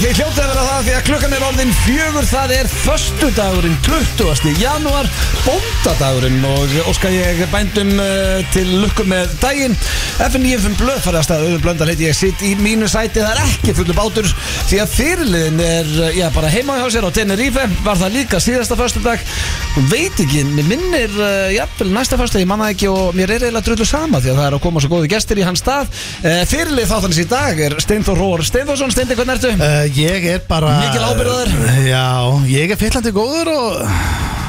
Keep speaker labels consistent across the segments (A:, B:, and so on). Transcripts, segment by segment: A: þið hljótið að vera það því að klukkan er orðin fjögur Það er föstudagurinn, 20. janúar, bóndadagurinn Og óska ég bændum uh, til lukku með daginn FNF Blöð farið að staða, auðvitað blöndar heiti ég sitt í mínu sæti Það er ekki fullu bátur því að fyrirliðin er, eh, já, bara heima hjá sér á Tenerife Var það líka síðasta föstudag Hún veit ekki, mér minnir, uh, jafnvel næsta föstudag, ég manna ekki Og mér er eiginlega drullu sama því að það er að koma svo góði gestir í hans stað uh, Fyrirlið þáttanins í dag er Steinþór Róar Steinþórsson, Steindi, hvernig ertu?
B: Uh, ég er bara
A: Mikil ábyrgðar.
B: Já, ég er fyllandi góður og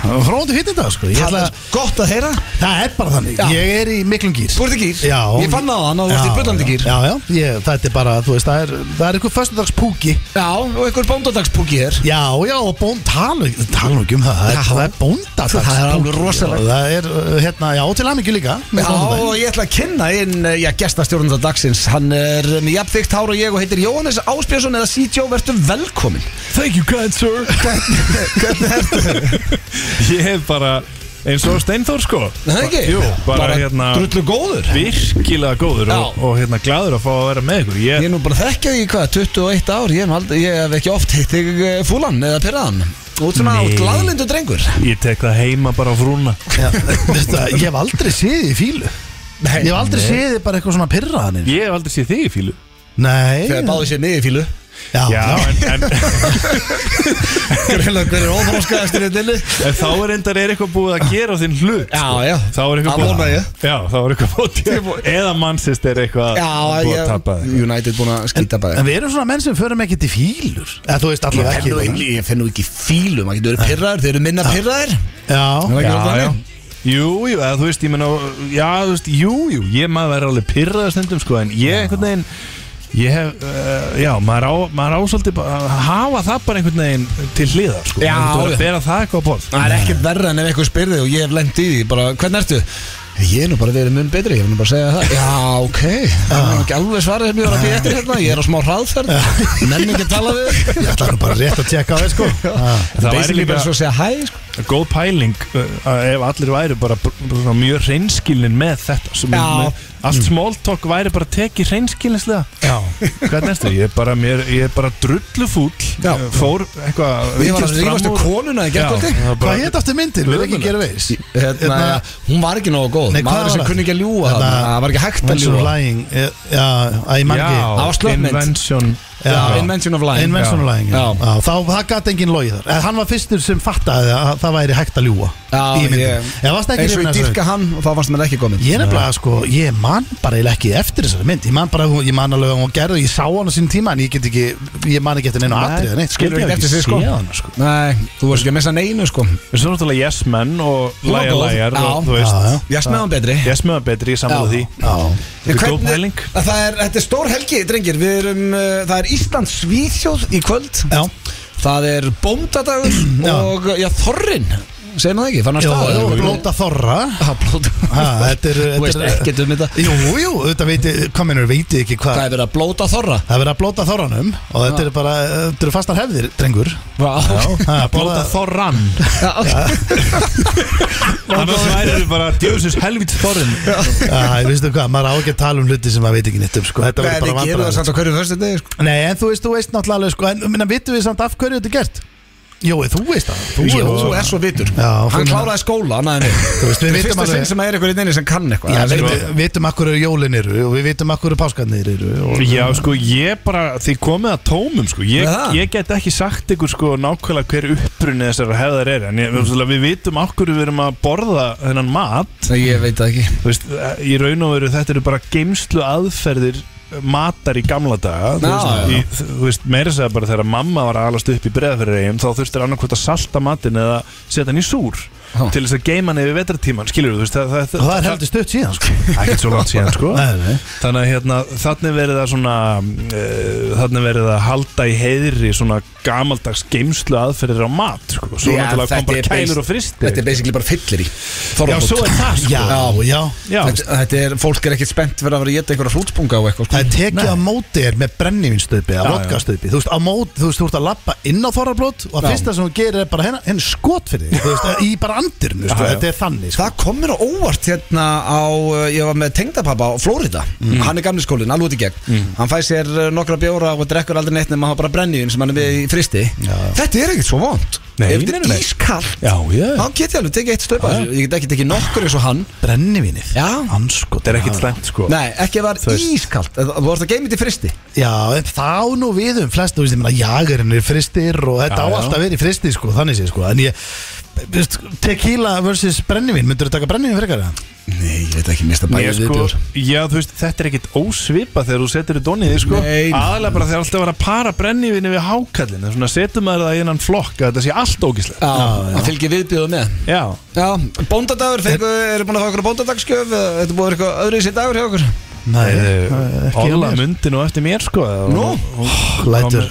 B: og fróðandi fyrir þetta sko. Ég
A: Það
B: ætla,
A: er gott að heyra
B: Það er bara þannig,
A: Já.
B: ég er í miklum gýr
A: Þú ert í gýr?
B: Já
A: Ég fann á hann að þú ert
B: Já,
A: í bullandi gýr
B: Já, já, ég, þetta er bara, þú veist, það er, það er einhver föstudags púki
A: Já, og einhver bóndadagspúki hér
B: Já, já, og bónd, tala, tala nú ekki um það
A: Já.
B: Það er, það er bóndadags
A: Það er alveg rosalegt.
B: Það er, uh, hérna, já, til aðmyggju líka með
A: Já,
B: bóndadaginn.
A: og ég ætla að kynna inn eh, já, gestastjórnanda dagsins Hann er með jafnþygt hár og ég og heitir Jóhannes Áspjörsson eða CTO, vertu velkomin
C: Thank you kind sir
A: Hvernig ertu?
C: Ég er bara eins og Steinþór sko
A: Það er ekki?
C: Jú, bara, hérna
A: Drullu góður
C: Virkilega góður og,
A: Já.
C: og hérna gladur að fá að vera með ykkur
A: Ég
C: Ég,
A: er nú bara þekkja því hvað, 21 ár Ég, hef nú aldrei, ég hef ekki oft hitt þig eh, fúlan eða pyrraðan Út svona
C: Nei.
A: átt glaðlindu drengur
C: ég tek það heima bara á frúna
B: Já, veistu það, Ég hef aldrei séð þið í fílu Ég hef aldrei séð þið bara eitthvað svona pyrraðanir
C: Ég hef aldrei séð þig í fílu
B: Nei
A: Þegar báði sér niður í fílu
B: Já,
C: Já, en, en,
A: Greinlega hver er óþróskaðastur í dillu
C: en þá er endar er eitthvað búið að gera á þinn hlut
A: Já,
C: sko.
A: já.
C: Þá er
A: Það
C: eitthvað búið
A: vona ég.
C: Já, þá er eitthvað búið Eða mannsist er eitthvað
A: Já,
C: búið
A: ég-
C: að tappa þig.
A: United búin að skýta bæði
B: En við erum svona menn sem förum ekkert í fílur Eða þú veist
A: Ég
B: allavega
A: finn
B: ekki
A: nú ekki, ég finn nú ekki fílu, maður getur verið pyrraður, þeir eru minna pyrraður
B: Já,
A: Já,
C: Já, já Jú, jú, eða þú veist, ég menna Já, þú veist, jú, jú, ég maður verið alveg pyrraða stundum sko, en ég einhvern veginn Ég hef, uh, já, maður á, maður á svolítið bara að hafa það bara einhvern veginn til hliðar, sko
A: Já,
C: Þú verður
A: já.
C: að bera það eitthvað á borð Mm.
A: Það er ekkert verra en ef einhver spyrði og ég hef lent í því bara, hvernig ertu? Ég er nú bara verið mun betri, ég er nú bara að segja það Já, ok, Ah. það er nú ekki alveg svarað sem ég var að býja eftir hérna, ég er á smá hraðferð Menn ekki að tala við
B: ég ætla nú bara rétt að tjekka á þér sko Já,
C: Það væri
A: Basically
C: líka
A: bara svo að segja hæ sko.
C: góð pæling uh, að ef allir væri bara, br- bara svona mjög reynskilin með þetta sem
A: Já. Mm.
C: með, Allt small talk væri bara tekið reynskilinslega
B: já.
C: Hvað næstu? Ég er bara, mér, ég er bara drullufúll
A: Já.
C: uh, Fór eitthvað
A: Ég var
C: víkjast
A: að
C: fram
A: rífastu
C: úr-
A: konuna í
C: Já,
A: gerkvöldi
C: það var bara-
B: Hvað hétt aftur myndir? Við erum ekki að gera veis
A: Hérna, hún var ekki nógu góð,
B: Nei, hvað
A: maður
B: var
A: sem
B: það?
A: kunni ekki að ljúa
B: Hérna,
A: það Það var ekki hægt að
B: Invention of
A: ljúa
B: lying eh, Já, að ég mann
C: Já,
B: ekki
A: Það var slöppmynd.
C: Invention
A: Já,
B: Já.
A: Invention of lying
B: Invention of lying já.
A: Já.
B: Já, Þá það gæti engin logið þar En Hann var fyrstur sem fattaði að það væri hægt að ljúa
A: Já,
B: Í myndinni.
A: ég-
B: Já, varstu ekki
A: Eins og
B: hrifin
A: ég
B: af þessu?
A: dýrka hann og það fannst mér ekki komin
B: Ég nefnilega sko, ég man bara eiginlega ekki eftir þessari mynd Ég man bara, ég man alveg að hún gerði Ég sá hana sín tíma en ég get ekki Ég man ekki eftir neina
C: Nei,
B: atriða neitt
C: skilur
B: Ég
C: ekki
B: hef
C: eftir sig, sko.
B: séð hana, sko.
A: Nei, þú varst ekki að missa neinu sko
C: Svo náttúrulega Yes Men og
A: Hún var
C: Læja
A: góð.
C: Læjar
A: Já.
C: og þú veist
B: Já, já.
A: Ég smeða hann betri
C: Yes Men var betri, ég samfélag því
B: Já,
C: Þetta er góð pæling
A: að það er, þetta er stór helgi, drengir Við erum, uh, það er Íslands Svíþjóð í kvöld
B: já
A: Það er bóndadagur
B: Já.
A: og, uh, já, þorrin Segir maður það ekki, fann að
B: Jó,
A: staða
B: jó, blóta þorra
A: Ha, blóta
B: Ha, þetta er-
A: Þú
B: þetta
A: veist
B: er-
A: ekkert um þetta
B: Jú, jú, þetta veit ég, hvað mennur, veit ég ekki
A: Það
B: hvað
A: er verið að blóta þorra
B: Það er verið að blóta þorranum og þetta eru bara, þetta eru fastar hefðir, drengur
A: Vá
B: Ha,
C: Blóta Þorran
A: Já, ok.
C: Annars væri þau bara djöfusins helvits Þorrin
B: Já, veistu hvað, maður á ekki að tala um hluti sem maður veit ekki neitt um, sko, þetta
A: Nei,
B: verður
A: Við
B: bara
A: gerum það
B: vandræðalegt.
A: samt á hverju fyrstu degi sko.
B: Nei, en þú veist, þú veist náttúrulega, alveg, sko, en minna, vitum við samt af hverju þetta er gert? Jói, þú veist það, þú
A: Jú,
B: veist
A: Þú er svo vitur
B: Já,
A: Hann
B: þú-
A: kláraði skóla, hann aðeins
B: Þú veist, við
A: Þetta er
B: vitum
A: fyrsta
B: alveg-
A: sinn sem sko. er eitthvað í þinni sem kann eitthvað
B: Já,
A: Það er
B: við
A: eitthvað-
B: við vitum akkur eru jólin eru og við vitum akkur eru páskarnir eru og,
C: Já sko ég bara, þið komið að tómum sko Ég,
A: Já.
C: ég get ekki sagt ykkur sko nákvæmlega hver uppbrunni þessar hefðar er En ég, mm. við vitum okkur við erum að borða þennan mat
A: Nei, Ég veit það ekki
C: Þú veist, eh, í raun og veru þetta eru bara geimslu aðferðir eh, matar í gamla daga
A: Já,
C: þú veist,
A: já.
C: í, þú veist meira segja bara þegar mamma var að alast upp í breðafyrirregjum þá þurftir annarkvort að salta matin eða setja hann í súr
A: Já.
C: til þess að geima hann yfir vetartíman skilur þú veist það, það,
B: og það er heldur stutt síðan, sko
C: það er ekki svo langt síðan sko
B: Nei, nei.
C: þannig að hérna þannig verið að svona uh, þannig verið að halda í heiðri svona gamaldags geimslu aðferðir á mat sko. svo
A: Já,
C: náttúrulega kom
A: þetta er
C: bara kælur
A: bas-
C: og fristi
A: Þetta er basically bara fyllir í
C: já svo er það sko
B: Já, já
C: Já.
A: þetta, þetta er, fólk er ekkert spennt fyrir að vera að geta einhverja hrútspunga og eitthvað sko.
B: Það er tekið á móti er með brennivínstöpi eða
C: Já, já.
B: vodkastöpi, þú veist, á móti þú veist, þú ert að lappa inn á þorrablót og að
A: Já.
B: fyrsta sem þú gerir er bara henn, henn skot hérna, fyrir þig, þú veist, í bara andirn veistu,
C: Já, já.
B: Þetta er þannig sko.
A: Það kom mér á óvart hérna á, uh, ég var með tengdapappa á Flórida, hann er gamli skólinn, alveg út í gegn Hann fæ sér uh, nokkra bjóra og drekkur aldrei neitt nema hann bara brenniðin sem hann er með í fristi Þetta er ekkert svo vond
C: Nei,
A: Ef
C: nei,
A: þetta
C: nei.
A: er ískallt,
C: Já, já.
A: þá get ég alveg tekið eitt stöpa
C: Já, já.
A: Ég get ekki tekið nokkur eins og hann
B: Brennivínið
A: Já.
B: Anskot
C: Þetta er ekkit slæmt sko
A: Nei, ekki ef það
C: Þú
A: var
C: veist.
A: ískallt, þú vorst að geima þetta í fristi
B: Já, en þá nú við um flest Þú veist, ég meina, jagerinn er fristir Og þetta
C: Já,
B: á
C: já.
B: alltaf verið fristir sko Þannig sé sko En ég þú veist, Tequila versus brennivín Myndur þú taka brennivín frekar? eða?
A: Nei, ég veit ekki mista
C: Ég sko, já þú veist, þetta er ekkit ósvipa þegar þú setur í donnið, sko
A: Nei.
C: Aðalega bara þegar alltaf var að para brennivinni við hákallin Svona setur maður það í innan flokk að þetta sé allt ógislegt
A: Já, hann fylgir viðbjóðu með
C: Já,
A: Já, bóndadagur, fengu, eru búin að fá okkur bóndadagsgjöf eða Þetta búið að vera eitthvað öðru í sér dagur hjá okkur
B: Nei,
C: Óla myndi nú eftir mér, sko
A: Nú?
B: Lætur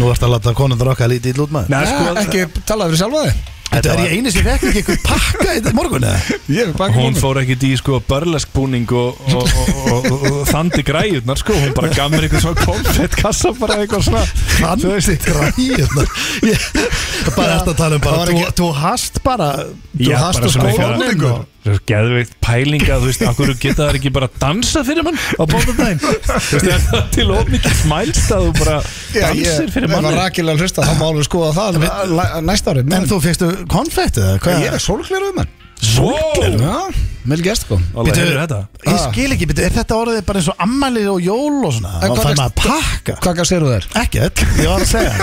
B: Nú ertu að láta konundur okkar lítið ítl út maður
C: Nei,
A: Já,
C: sko,
A: ekki talaðu fyrir sjálfa þig
B: Þetta er ég eini sem fekk ekki einhver pakka í morgun eða?
A: Ég er baka
C: Hún fór ekkit í sko börleskbúning og, og, og, og, og, og þandi græjurnar sko Hún bara gaf mér eitthvað svona konfett kassa bara eitthvað svona
B: Hann græðunar Bara eftir að tala um bara þú- Þú hast bara Þú
C: Já,
B: hast sko.
C: bara
B: og
C: svona eitthvað-
B: skóðuninn og
C: Svo geðveikt pælinga, þú veist, akkur geta þær ekki bara dansa fyrir mann á bóndardaginn Þú veist, það er til of mikið smælst að þú bara dansir fyrir
A: Ef
C: mann
A: að rakilega hlusta, þá málum við skoða það alveg la- næsta árið
B: En
A: Men
B: þú fegstu konfekt eða? Hvað?
A: ég er sólgleru um hann
C: Svolítið
A: Já, vel gest sko
C: Alla,
B: Bíddu,
C: hefur þetta?
B: Ég skil ekki, betur, er þetta orðið bara eins og ammæli og jól og svona?
A: En
B: Og
A: hvað
B: fær
A: veist-
B: maður að pakka?
A: Hvað gaf sér þú þér?
B: Ekkert, ég var að segja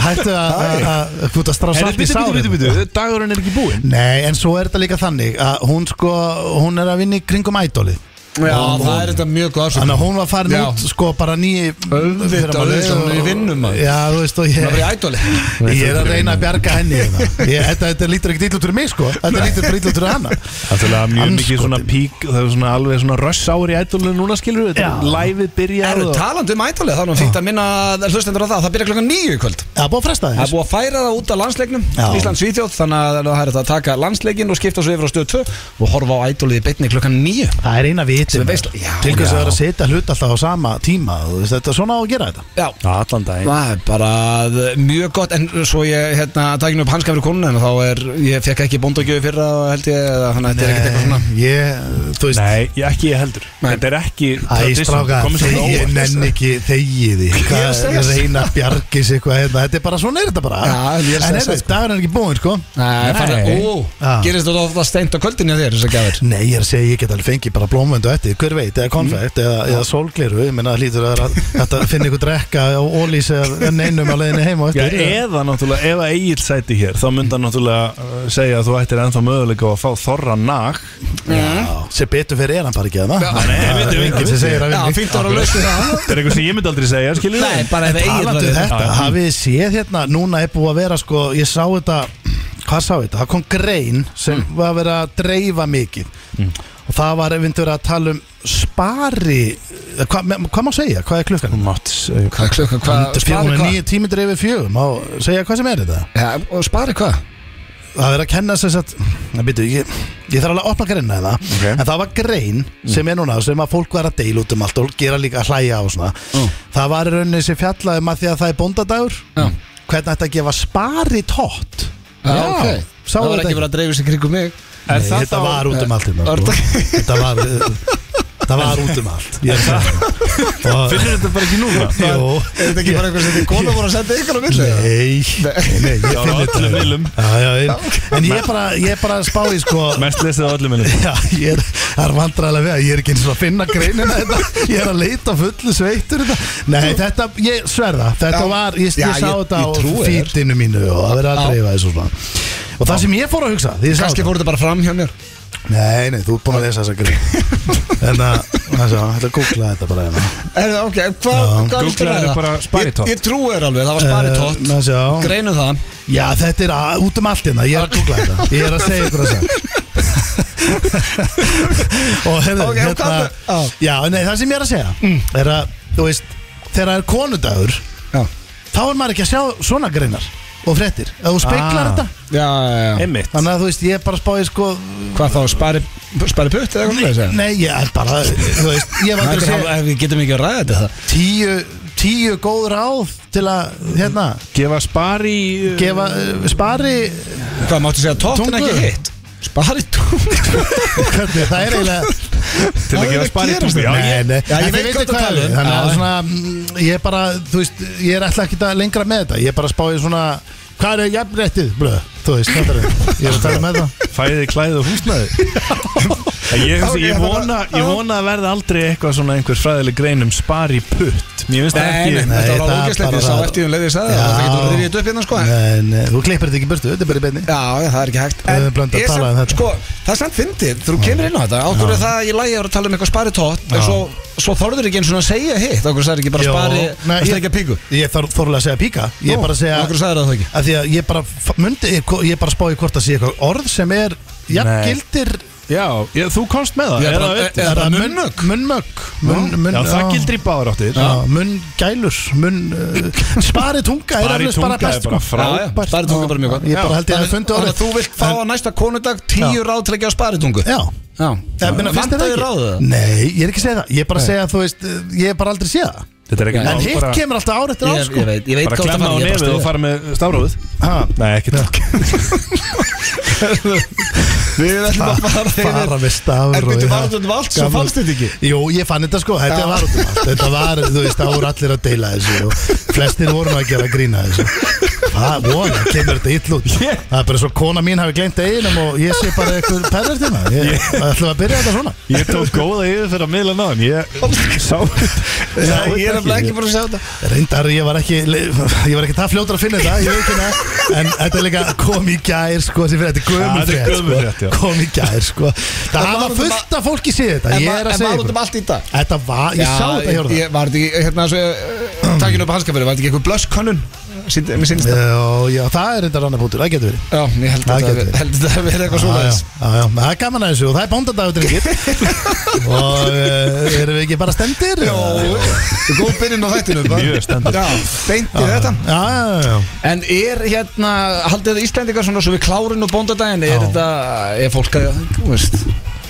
B: Hættu að- að að- Þú ert að strá
C: Herri,
B: salt í
C: bitu,
B: sárin
C: bitu, bitu, bitu, dagurinn er ekki búinn
B: Nei, en svo er þetta líka þannig að hún sko, hún er að vinna í kringum ædolið
A: Já, það er þetta mjög góð
B: Þannig
A: afsökun
B: að hún var farin
A: Já.
B: út sko bara nýi
A: Auðvitað, auðvitað, hún er í vinnu, maður.
B: Já, þú veist og
A: Það
B: ég
A: var í ædoli
B: Ég er að reyna að bjarga henni hérna. ég, þetta, þetta lítur ekki ítlut fyrir mig sko Þetta lítur bara ítlut fyrir hana
C: Það er mjög mikið
B: Andskotinn.
C: svona pík, það er svona alveg svona röss ári í ætlunum núna skilur Þetta er læfið byrjað
A: Eru
C: og-
A: talandi um ædoli, þá er nú fínt að minna hlustendur á það Það byrja klokkan nýju í kvöld
B: Það er búið að
A: Það
B: fresta
A: er
B: þess
A: búið að færa það út af landsleiknum
B: Já.
A: Ísland Svíþjóð, þannig að það er hægt að taka landsleikin og skipta svo yfir á stöð 2 og horfa á ædolið í beinni klokkan 9
B: Það er eina viti
A: Sem er
B: maður.
A: veisla- Já,
B: Til hvers
A: já.
B: að vera að setja hlut alltaf á sama tíma þú veist, Þetta er svona á að gera þetta
A: Já,
C: Allan daginn
A: Það er bara uh, mjög gott en svo ég hérna takin upp hanska fyrir konuna þá er, ég fekk ekki bóndagjöfi fyrra og held ég, eða þannig að þetta er ekkert eitthvað svona
B: Ég, þú veist
C: Nei, ég- ekki ég heldur
A: Nei.
C: Þetta er ekki
B: Æ,
C: tradition,
B: stráka,
C: komið svo
B: þegi- ég
C: óvart. sko.
B: nenn ekki þegið því
A: Ég er að segja
B: Hvað
A: það.
B: reyna bjargis eitthvað hérna Þetta er bara svona er þetta bara
A: Já, ég er að segja
B: En
A: það,
B: hérna,
A: sko.
B: dagur er ekki búinn sko
A: Nei, farið, ó,
B: Ah.
A: gerist þetta ofta steint á kvöldin hjá þér þess að gafir
B: Nei, ég er að segja, ég get alveg fengið bara blómvöndu eftir Hver veit, eða konfekt, eða, eða sólgleru Ég menna, hlýtur að vera- þetta finna ykkur drekka á ólís eða neinum á leiðinni heim og
C: Já,
B: eftir
C: eða náttúrulega, ef að Egil sæti hér þá myndi hann náttúrulega uh, segja að þú ættir ennþá möguleika á að fá þorra nag
B: Já, sem betur fyrir er hann bara ekki að það
C: nei,
B: Það
C: veitum
B: er
C: við
B: enginn
C: ekki.
B: sem segir að
A: Já,
B: vinni
A: fínt ára að lausa það
C: Þetta er eitthvað sem ég myndi aldrei segja, skilur
A: Nei, bara ef eigin
B: Talandi um þetta,
C: Já, já.
B: hafið þið séð hérna Núna er búið að vera sko, ég sá þetta Hvað sá þetta? Það kom grein sem var að vera að dreifa mikið Og það var einhvern verið að tala um spari Hvað hva má segja? Hvað er klukkan?
C: Mátt segja
A: Hvað klukka, hvað,
B: Hún
A: spari
B: er
A: hvað?
B: nýju tímyndir yfir fjögum Má segja hvað sem er þetta?
A: Ja, og spari hvað?
B: Það er að kenna sér satt Það byrju, ég, ég þarf alveg að opna greinna það
C: Ok.
B: En það var grein sem er núna sem að fólk var að deila út um allt og gera líka að hlæja á svona Það var í rauninni sem fjallaðum að því að það er bóndadagur
A: Já.
B: Hvernig ætti að gefa spari tótt
A: Já, ok
B: Sá
A: Það var
B: þetta
A: ekki verið að dreifu sér kringum mig
C: Er
B: Nei,
C: það
B: Þetta
C: þá-
B: var út um allt hérna,
A: Var
B: sko. Þetta var Það var út um allt Ég er að segja það. Og-
C: Finnur þetta bara ekki núna?
B: Jú.
A: Er þetta ekki bara eitthvað sem þið konum voru að senda ykkur á milli?
B: Nei, nei, ég
C: á
B: finn
C: öllum miðlum.
B: Já, já, ég- En ég er bara, ég er bara að spá í sko
C: Mest lesið á öllum minnum
B: Já, ég er, það er vandræðilega við að ég er ekki eins og að finna greinina þetta Ég er að leita fullu sveitur þetta Nei, þetta, ég sverða, þetta
A: Já.
B: var, ég, ég,
A: Já,
B: sá
A: ég-
B: þetta
A: ég trúi
B: á
A: þér.
B: fítinu mínu og það verið að
A: Já.
B: dreifa þessu svona Og það sem ég fór að hugsa, því ég sá
A: Kanski
B: þetta
A: fór þetta bara fram hjá mér
B: Nei, nei, þú er búin að lesa þessa grein En að, það sé, hætti að googla þetta bara hérna
A: Er það, ok, hvað hva
C: Googlaðu bara spari tótt.
A: Ég, ég trúi þér alveg, það var spari tótt
B: Eh, það sé, já.
A: Greinu það
B: Já, þetta er að, út um allt hérna, ég er að googla þetta Ég er að segja ykkur þess að Og hefðu,
A: Ok, og hvað- já.
B: hérna
A: Mm.
B: Já, nei, það sem ég er að segja Er að, þú veist, þegar það er konudagur
A: Já,
B: Þá er maður ekki að sjá svona greinar Og fréttir, ef þú speklar
C: Ah.
B: þetta
A: já, já, já.
C: Emmitt
B: Þannig að þú veist, ég er bara að spáði sko
A: Hvað þá, spari, spari putt eða hvað það segja?
B: Nei, ég er bara, þú veist, ég var
A: Nei,
B: aldrei að
A: hver-
B: segja
A: ef við getum ekki að ræða þetta
B: Tíu tíu góð ráð til að, hérna,
C: Gefa spari uh,
B: gefa, eh, spari
A: Hvað máttu segja, tóttin
B: Tungu.
A: ekki hitt? Spari tungu
B: hvernig, það er eiginlega
C: Til
A: Hvað
C: að
A: er
C: gefa
A: að
C: spari
A: gerast
C: tungu Já,
B: Nei,
C: ég
B: nei,
A: Já, ég
B: en þið
A: veit
B: vitið
A: hvað þú
B: hvað
A: talar
B: er,
A: um.
B: Þannig að
A: Já.
B: svona, mm, ég er bara, þú veist, ég er alltaf ekki að lengra með þetta Ég er bara að spá í svona, hvað er jafnréttið, blöð, þú veist, þetta er Ég er að tala um með það
C: fæði klæði og húsnaði En ég,
B: Ok,
C: okay, ég,
B: það var-
C: vona, ég vona að verða aldrei eitthvað svona einhver fræðileg grein um spari putt Mér finnst það
A: Nei,
C: ekki
A: nei, þetta var
B: það
A: ógæslegt Ég
B: bara-
A: sá eftir því um leiði ég sagði það Það getur að rifja þetta upp hérna sko en-
B: Nei, nei, þú klippir þetta ekki í burtu, þetta er bara í beinni
A: Já, já, það er ekki hægt
B: Við höfum blanda að
A: ég
B: tala
A: samt-
B: um þetta.
A: Sko, það er samt fyndið Þú kemur inn á þetta Ákvörðu er það að ég lægi að vera að tala um eitthvað spari tótt En svo, svo þorður ekki eins og að segja hitt Ákvörðu sagði ekki bara
B: Jó,
A: spari
B: nei,
A: að
B: ég-
A: stekja píku
B: Ég þarf þorlega að segja píka Ég er bara að segja
A: Ákvörðu sagði það ekki
B: að því að ég bara f- myndi, ég, ko- ég bara spá í hvort að sé eitthvað orð sem er jafn
C: Nei.
B: gildir
C: Já, ég, þú komst með það
A: Ég er
C: er
A: bara-
C: það vitið?
A: er- E, bara
B: munn-
A: munnmök?
B: munnmök munn, munn,
C: Já, það gildir í báðar áttir
B: já, munn gælur munn, uh, spari tunga er
C: Spari
B: alveg spara
C: tunga er
B: best
C: bara
B: sko.
C: frábært.
A: Já, já, Spari tungu er bara mjög gott
B: ég bara held ég að fundi
A: Þannig að
B: orðið
A: þú vilt fá
B: En-
A: á næsta konudag Tíu ráð til að gefa spari tungu
B: já
A: Já,
B: En minna, finnst þér það
A: Vantaði
B: ekki?
A: ráðu það?
B: Nei, ég er ekki að segja það Ég er bara að segja að þú veist uh, Ég er bara aldrei að segja það
C: Þetta er ekki
B: En
C: mál,
B: hitt
C: bara-
B: kemur alltaf ár eftir ár
A: Ég,
B: sko
A: ég veit, ég veit
C: Bara
A: hvað
C: klemma á
A: það var, ég
C: nefið
A: bara
C: og
A: styð
C: fara með stafrófið
B: Ha,
C: Nei, ekki takk
A: það. Við ætlum að fara
B: Fara
A: yfir-
B: með stafur
A: En byrju, var þetta um allt, svo fannst þetta ekki
B: Jú, ég fann þetta sko, þetta
A: Já.
B: var út um allt Þetta var, þú veist, það voru allir að deila þessu og flestir voru nú að gera grína þessu Hvað, vona, kemur þetta ill út
C: Ég-
B: Það er bara svo kona mín hafi gleymt eiginum og ég sé bara eitthvað pervert hérna Ég ætlum að byrja þetta svona
C: Ég tók góða yfir fyrir að miðla náðum Ég sá
A: Já,
B: Já,
A: Ég er nefnilega ekki búin að sjá þetta
B: Reyndar, ég var ekki, ég var ekki það fljótur að finna þetta, ég veit ekki það En þetta er líka kom í gær, sko, sem fyrir þetta
C: Já, þetta er
B: er
C: gömul
B: gömul
C: frétt,
B: frétt,
C: já.
B: sko Kom í gær, sko Það
A: En var
B: hafa
A: út um
B: fullt af fólki séð þetta, ég er að segja
A: En var út
B: ykkur.
A: um allt í dag
B: Þetta var, ég sá þetta hjá það
A: Ég var þetta ekki, hérna svo eh, Takkinu upp hanskafyrir, var þetta ekki eitthvað blösskönnun Sýnd- Mér sýnist það
B: Já, já, það er reyndar annar punktur, það getur verið
A: Já, ég held
B: Það
A: að
B: getur verið.
A: þetta að vera eitthvað
B: Já, já,
A: svoleiðis
B: já, já, það er gaman að þessu og það er bóndadagur drengir Og uh, erum við ekki bara stendir?
A: Jó, góð byrjun á þættinu bara.
C: Mjög stendur.
A: Já, beint í þetta
B: Já, já, já,
A: En er hérna, haldið þið Íslendingar svona svo við klárin og bóndadaginn Er
B: Já.
A: þetta, er fólk að, þú veist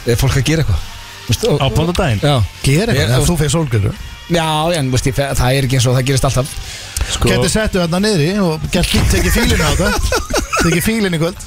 A: Er fólk að gera eitthvað Veist, og-
C: Á bóndadaginn
A: Já,
B: gera
A: Ég-
B: eitthvað, eða þú fegir sólgjörðu
A: já, en veist, ég, það er ekki eins og það gerist alltaf
C: sko,
B: Getur settu þarna niðri og gert fíl, tekið fílinn á þetta Tekið fílinn í kvöld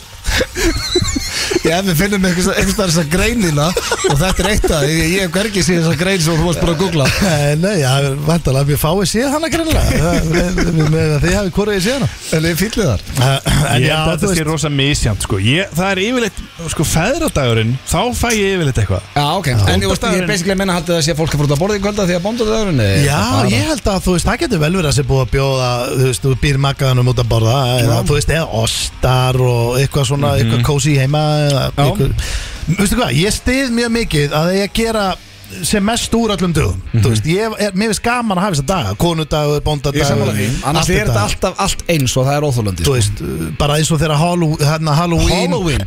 A: Já, við finnum einhvers einhvers staðar þessa greinina og þetta er eitt að því, ég hef hvergi síðan þessa grein sem þú varst bara að googla
B: Nei, Eh, nei, já, vantalega að við fáið séð hana Eh, greinlega Þið hafið hvorið séð hana
A: En ég fýllu þar
B: Eh, En
C: Ég
B: já,
C: held að þetta
B: þú
C: sé
B: veist
C: rosa misjant sko. ég, Það er yfirleitt, sko feðradagurinn Þá fæ ég yfirleitt eitthvað
A: Já, ok, en ég, veist, ég er basically að menna haldið að sé að fólk að fór út að borða í kvölda því að bónda dagurinn er-
B: Já, ég held að þú veist, það getur vel verið að sé búið að bjóða, þú veist, þú býr makaðanum út að borða eða þú veist, eða ostar og eitthvað svona, eitthvað kósi heima eða
A: Mhm. Já.
B: eitthvað, veistu hvað, ég stið mjög mikið að ég gera sem mest úr öllum dögum, þú veist, ég er, mér finnst gaman að hafa þess að daga, konundagur,
A: Mhm. Ég er
B: bóndadagur,
A: sammála því, annars er þetta alltaf allt eins og það er sko. óþólandi
B: Þú veist, bara eins og þegar Halló- hérna, Halloween
A: Halloween.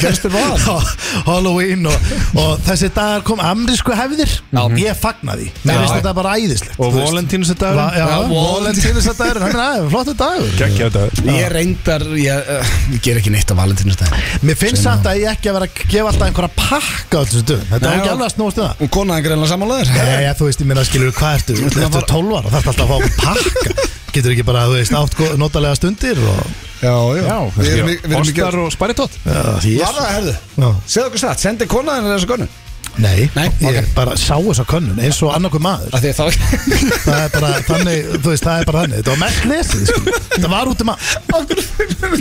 A: Kemstu
B: Halloween,
A: var?
B: Halloween og, og þessi dagar kom amrísku hefðir
A: Já.
B: Ég fagna því, mér
A: Mhm.
B: finnst
A: Já.
B: þetta bara æðislegt
C: Og
B: þú veist. Va,
C: volentínusdagurinn
B: já,
A: Já,
B: Valentínus þetta er, hann er flottu dagur
C: Gekkja þetta
A: Ég reyndar, ég, uh, ég ger ekki neitt á valentinustæðin
B: Mér finnst samt að ég ekki að vera að gefa alltaf einhverja pakka á þessum dögum Þetta
A: Nei,
B: er ekki
A: já.
B: alveg að snúast um það
A: Og konaðin greinlega sammálaður
B: Nei, þú veist, ég minna skilur hvað ertu Þú ertu 12 ára, þarf alltaf að fá pakka Getur ekki bara, þú veist, átt gó- notalega stundir og
A: Já,
C: Já,
A: Við erum í- við erum ekki
C: Ostar og sparitótt
B: Já,
A: Var það, herðu?
B: Já.
A: Segðu okkur satt, sendi konaðin þessu konu
B: Nei,
A: Nei,
B: ég
A: ok.
B: bara sá þess að könnun eins og annarkur maður
A: Af því að þá
B: Það er bara þannig, þú veist, það er bara þannig Þetta var mest lesið, sko Þetta var út um að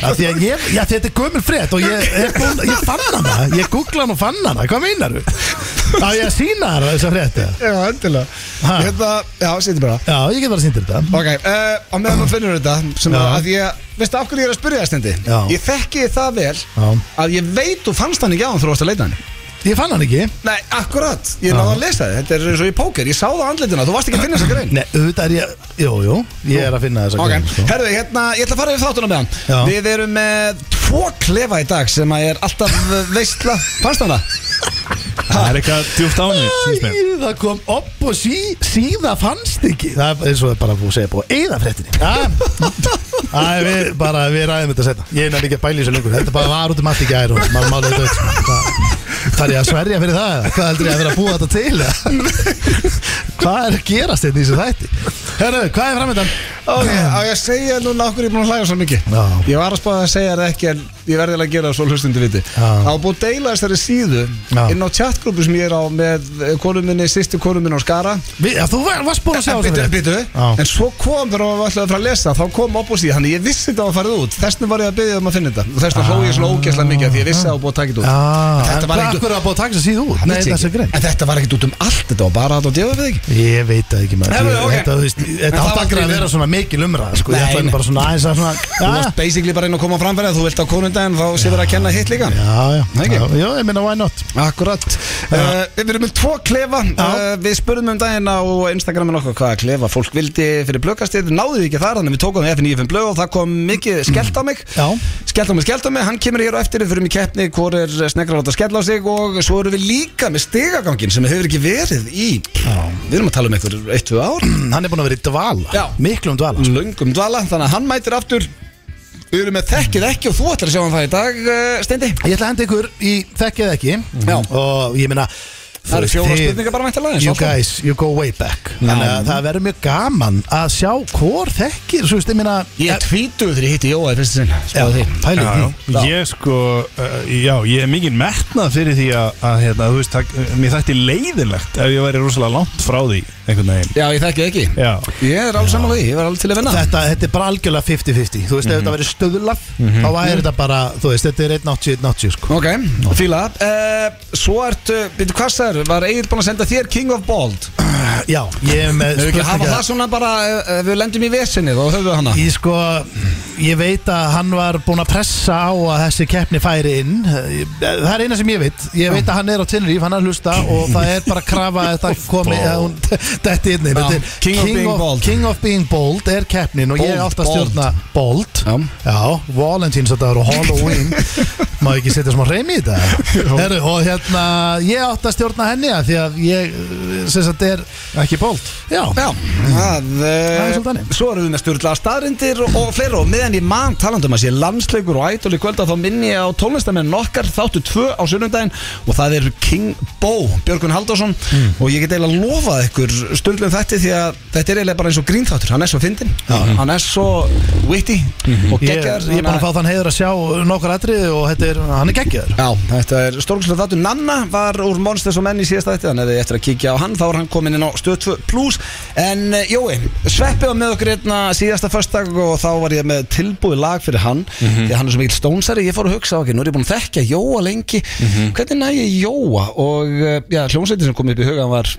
B: Af Því að ég, já þetta er gömul frétt og ég, ég, búin, ég fann hana Ég googla hann og fann hana, hvað meinar þú? Á ég að sína þér þessa frétt eða?
A: Já, endilega
B: Ha.
A: Hérna, já, setjum bara
B: Já, ég get bara að sýndir þetta
A: Ok, uh, á meðan þú finnur þetta sem
B: Já.
A: að að ég, veistu af hverju ég er að spyrja það stendi
B: Já.
A: ég þekki það vel
B: Já.
A: að ég veit þú fannst hann ekki á hann þú varst að leita hann
B: Ég fann hann ekki
A: Nei, akkurat, ég náði að lesa þið þetta er eins og í póker, ég sá það á andlitina, þú varst ekki að finna þessa grein
B: Nei, auðvitað er ég, jú, jú, ég er að finna þessa
A: Ok,
B: grein, sko.
A: herðu, hérna, ég ætla að fara yfir þáttuna með hann
B: Já.
A: Við erum með tvo klefa í dag sem að er alltaf uh, veistla Fannst hann það?
C: Það er eitthvað djúpt áni
B: Æ, það kom upp og sí, síða fannst ekki Það er eins og það er bara búið að segja búið Eða fréttinni Já. Æ, við, bara, við ræðum þetta setna Ég er nefnilega ekki að bæla í þessu lengur Þetta bara var út um allt í gær og maður málaði þetta Þar ég að sverja fyrir það eða? Hvað heldur ég að vera að búa þetta til eða? Hvað er að gerast þetta í þessu þætti Herru, hvað er framöndan?
A: Ok, á ég að segja núna okkur ég er búin að hlæga svo mikið
B: Já.
A: Ég var að spáða að segja það ekki en ég verði alveg að gera það svo hlustandi viti
B: Já.
A: Það var búin að deila þessari síðu
B: Já.
A: inn á chatgrúpu sem ég er á með eh, konu minni, sýsti konu minni á Skara
B: Vi, já, þú var- varst búin að sjá
A: En
B: þessu
A: bitu,
B: frétt.
A: bitu,
B: Já.
A: en svo kom þegar við ætlaði að fara að lesa þá kom upp og síðan, þannig ég vissi þetta var að fara út þessna var ég að byggja um að finna þetta og þessna hló ég svona ógæslega mikið af því ég vissi að það var búið að taka
B: Já,
A: þetta út
B: en
A: þetta
B: hvað
A: var
B: ekki...
A: ekki,
B: akkur að búið að taka þessu síðu út? Nei, þessu grein
A: en þetta var ekkert út um allt þetta var bara að þetta djöfa við þig
B: Ég veit það ekki maður
A: Nei,
B: Ég-
A: ok.
B: Þetta, þú veist,
A: En
B: þetta
A: það
B: átt
A: var
B: akkur að
A: grínin.
B: vera svona mikil umræð sko. Ég
A: Nei,
B: ætlaði
A: nei.
B: bara svona aðeins að svona
A: þú
B: Já,
A: varst basically bara inn að koma fram fyrir að þú vilt á konundaginn þá sé verið að kenna hitt líka
B: Já, já,
A: Nei, ekki?
B: já, já, ég minna why not
A: Akkurat uh, Við erum með tvo klefa uh, Við spurðum um daginn á Instagramin okkar hvaða klefa fólk vildi fyrir blökastir Náðuð ekki þar, þannig við tókum það F95 blög og það kom mikið skellt á mig
B: Já.
A: Skellt á mig, skellt á mig, hann kemur hér á eftir Við fyrir mig keppni, hvor er snegrar að láta skella á sig og svo erum við líka með stigagangin sem hefur ekki verið í Við erum að tala um einhver 1-2 ár
B: Hann er búin að vera í dvala
A: Já.
B: Miklum dvala sko.
A: Löngum dvala, þannig að hann mætir aftur Við erum með þekkið ekki og þú ætlar að sjá hann það í dag, uh, Steindi
B: Mm. Ég ætla að henda ykkur í þekkið ekki
A: Já.
B: Og ég minna
A: Það eru fjóra spurningar bara mættilega
B: You guys, you go way back Þannig að það verður mjög gaman að sjá hvor þekkir Svo veist, ég minna
A: Ég er tvítuð þegar ég hitti Jóa í fyrsta sinn Spáðu því
B: pæli
C: Já, já. Ég sko, uh, já, ég er mikið metnað fyrir því að, að hérna, þú veist, það, mér þætti leiðilegt ef ég væri rosalega langt frá því einhvern veginn.
A: Já, ég þekki það ekki
C: Já,
A: Ég er alveg saman því, ég var alveg til að vinna
B: Þetta, þetta er bara algjörlega 50-50 Þú
A: Mhm.
B: veist, ef þetta verður stöðlað Þá væri þetta bara, þú veist, þetta er 180-180 sko.
A: Ok, fíla uh, Svo ertu, byrju, hvað það er? Var Egil búin að senda þér King of Bold?
B: Já, ég er með
A: Hefur ekki að hafa
B: spurningar-
A: það svona bara ef ef við lendum í vesinni þá höfum við hana
B: Ég sko, ég veit að hann var búinn að pressa á að þessi keppni færi inn Það er eina sem ég veit Ég veit að hann er á Tinnaríf, hann er að hlusta og það er bara að krafa að þetta komi að hún detti inn Þetta er
A: King of being bold.
B: King of being bold er keppnin og ég er
A: Bold,
B: alltaf að
A: bold.
B: stjórna bold
A: Já.
B: Já, Valentine's þetta og Halloween Má ekki setja smá reymi í þetta Heru, Og hérna, ég átt að stjórna henni að því að ég, sem sagt, er
C: ekki bólt.
B: Já,
A: Já, það,
B: Það er
A: uh,
B: svolítið þannig.
A: svo erum við með stjórnlega staðrindir og fleira og meðan ég man talandum að sé landsleikur og ædol í kvölda þá minni ég á tónlistamenn okkar þáttu tvö á sunnundaginn og það er King Bo, Björgun Halldórsson
B: Mm.
A: og ég get eiginlega lofað ykkur stundum þetta því að þetta er eiginlega bara eins og grínþáttur hann er svo fyndin, hann er svo witty og
B: Ég, Mhm. ég
A: geggjar
B: er búinn að fá þann heiður að sjá nokkur atriði og þetta er, hann er geggjaður
A: Já, þetta er stórkustlega þáttu Nanna var úr Monsters og Menn í síðasta þetta Þannig að við eftir að kíkja á hann Þá er hann komin inn á stöð 2 plus En eh, Jói, Sveppi var með okkur hérna síðasta föstdag Og þá var ég með tilbúið lag fyrir hann Því að hann er svo mikill stónsari Ég fór að hugsa, ok, nú er ég búin að þekkja Jóa lengi Hvernig næ ég Jóa? Og eh, já, hljómsveitin sem kom upp í hugan var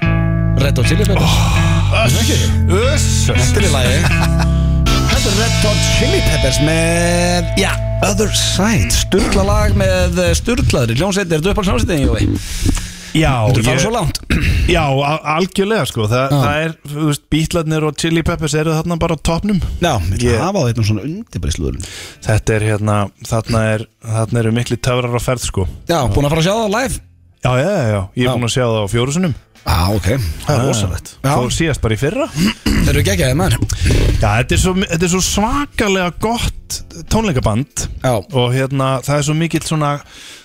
A: Red Hot Chili Peppers
C: Öss.
A: Þetta er í lagi Þetta er Red Hot Chili Peppers með, já, Other Side Sturla lag með eh, sturlaðri Hljómsveitin, er þetta upp á hljómsveitin, Jói?
C: Já,
A: Þú
C: ég-
A: fara svo langt
C: Já, a- algjörlega sko Þa, Það er, þú veist, bítlarnir og chili peppers eru þarna bara á topnum
A: Já, ég
C: Ég-
A: ætla að hafa á þetta um svona undir bara í slúðurinn
C: Þetta er hérna, þarna, er, þarna eru mikli töfrar á ferð sko
A: Já, búin að fara að sjá það live
C: Já, já, já, já. ég
A: Já.
C: er búin að sjá það á fjórusunum
A: Já, ok Það er rosalegt Já,
C: Fór síðast bara í fyrra
A: þeir eru geggjaði maður
C: Já, þetta er svo, þetta er svo svakalega gott tónleikaband
A: Já,
C: Og hérna, það er svo mikill svona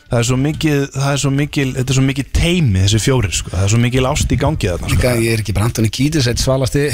C: Það er svo mikil, það er svo mikil, þetta er svo mikil teimi þessi fjórir sko Það er svo mikil ást í gangi þarna sko
A: líka ég er ekki bara Antoni Kítis Eitt svalasti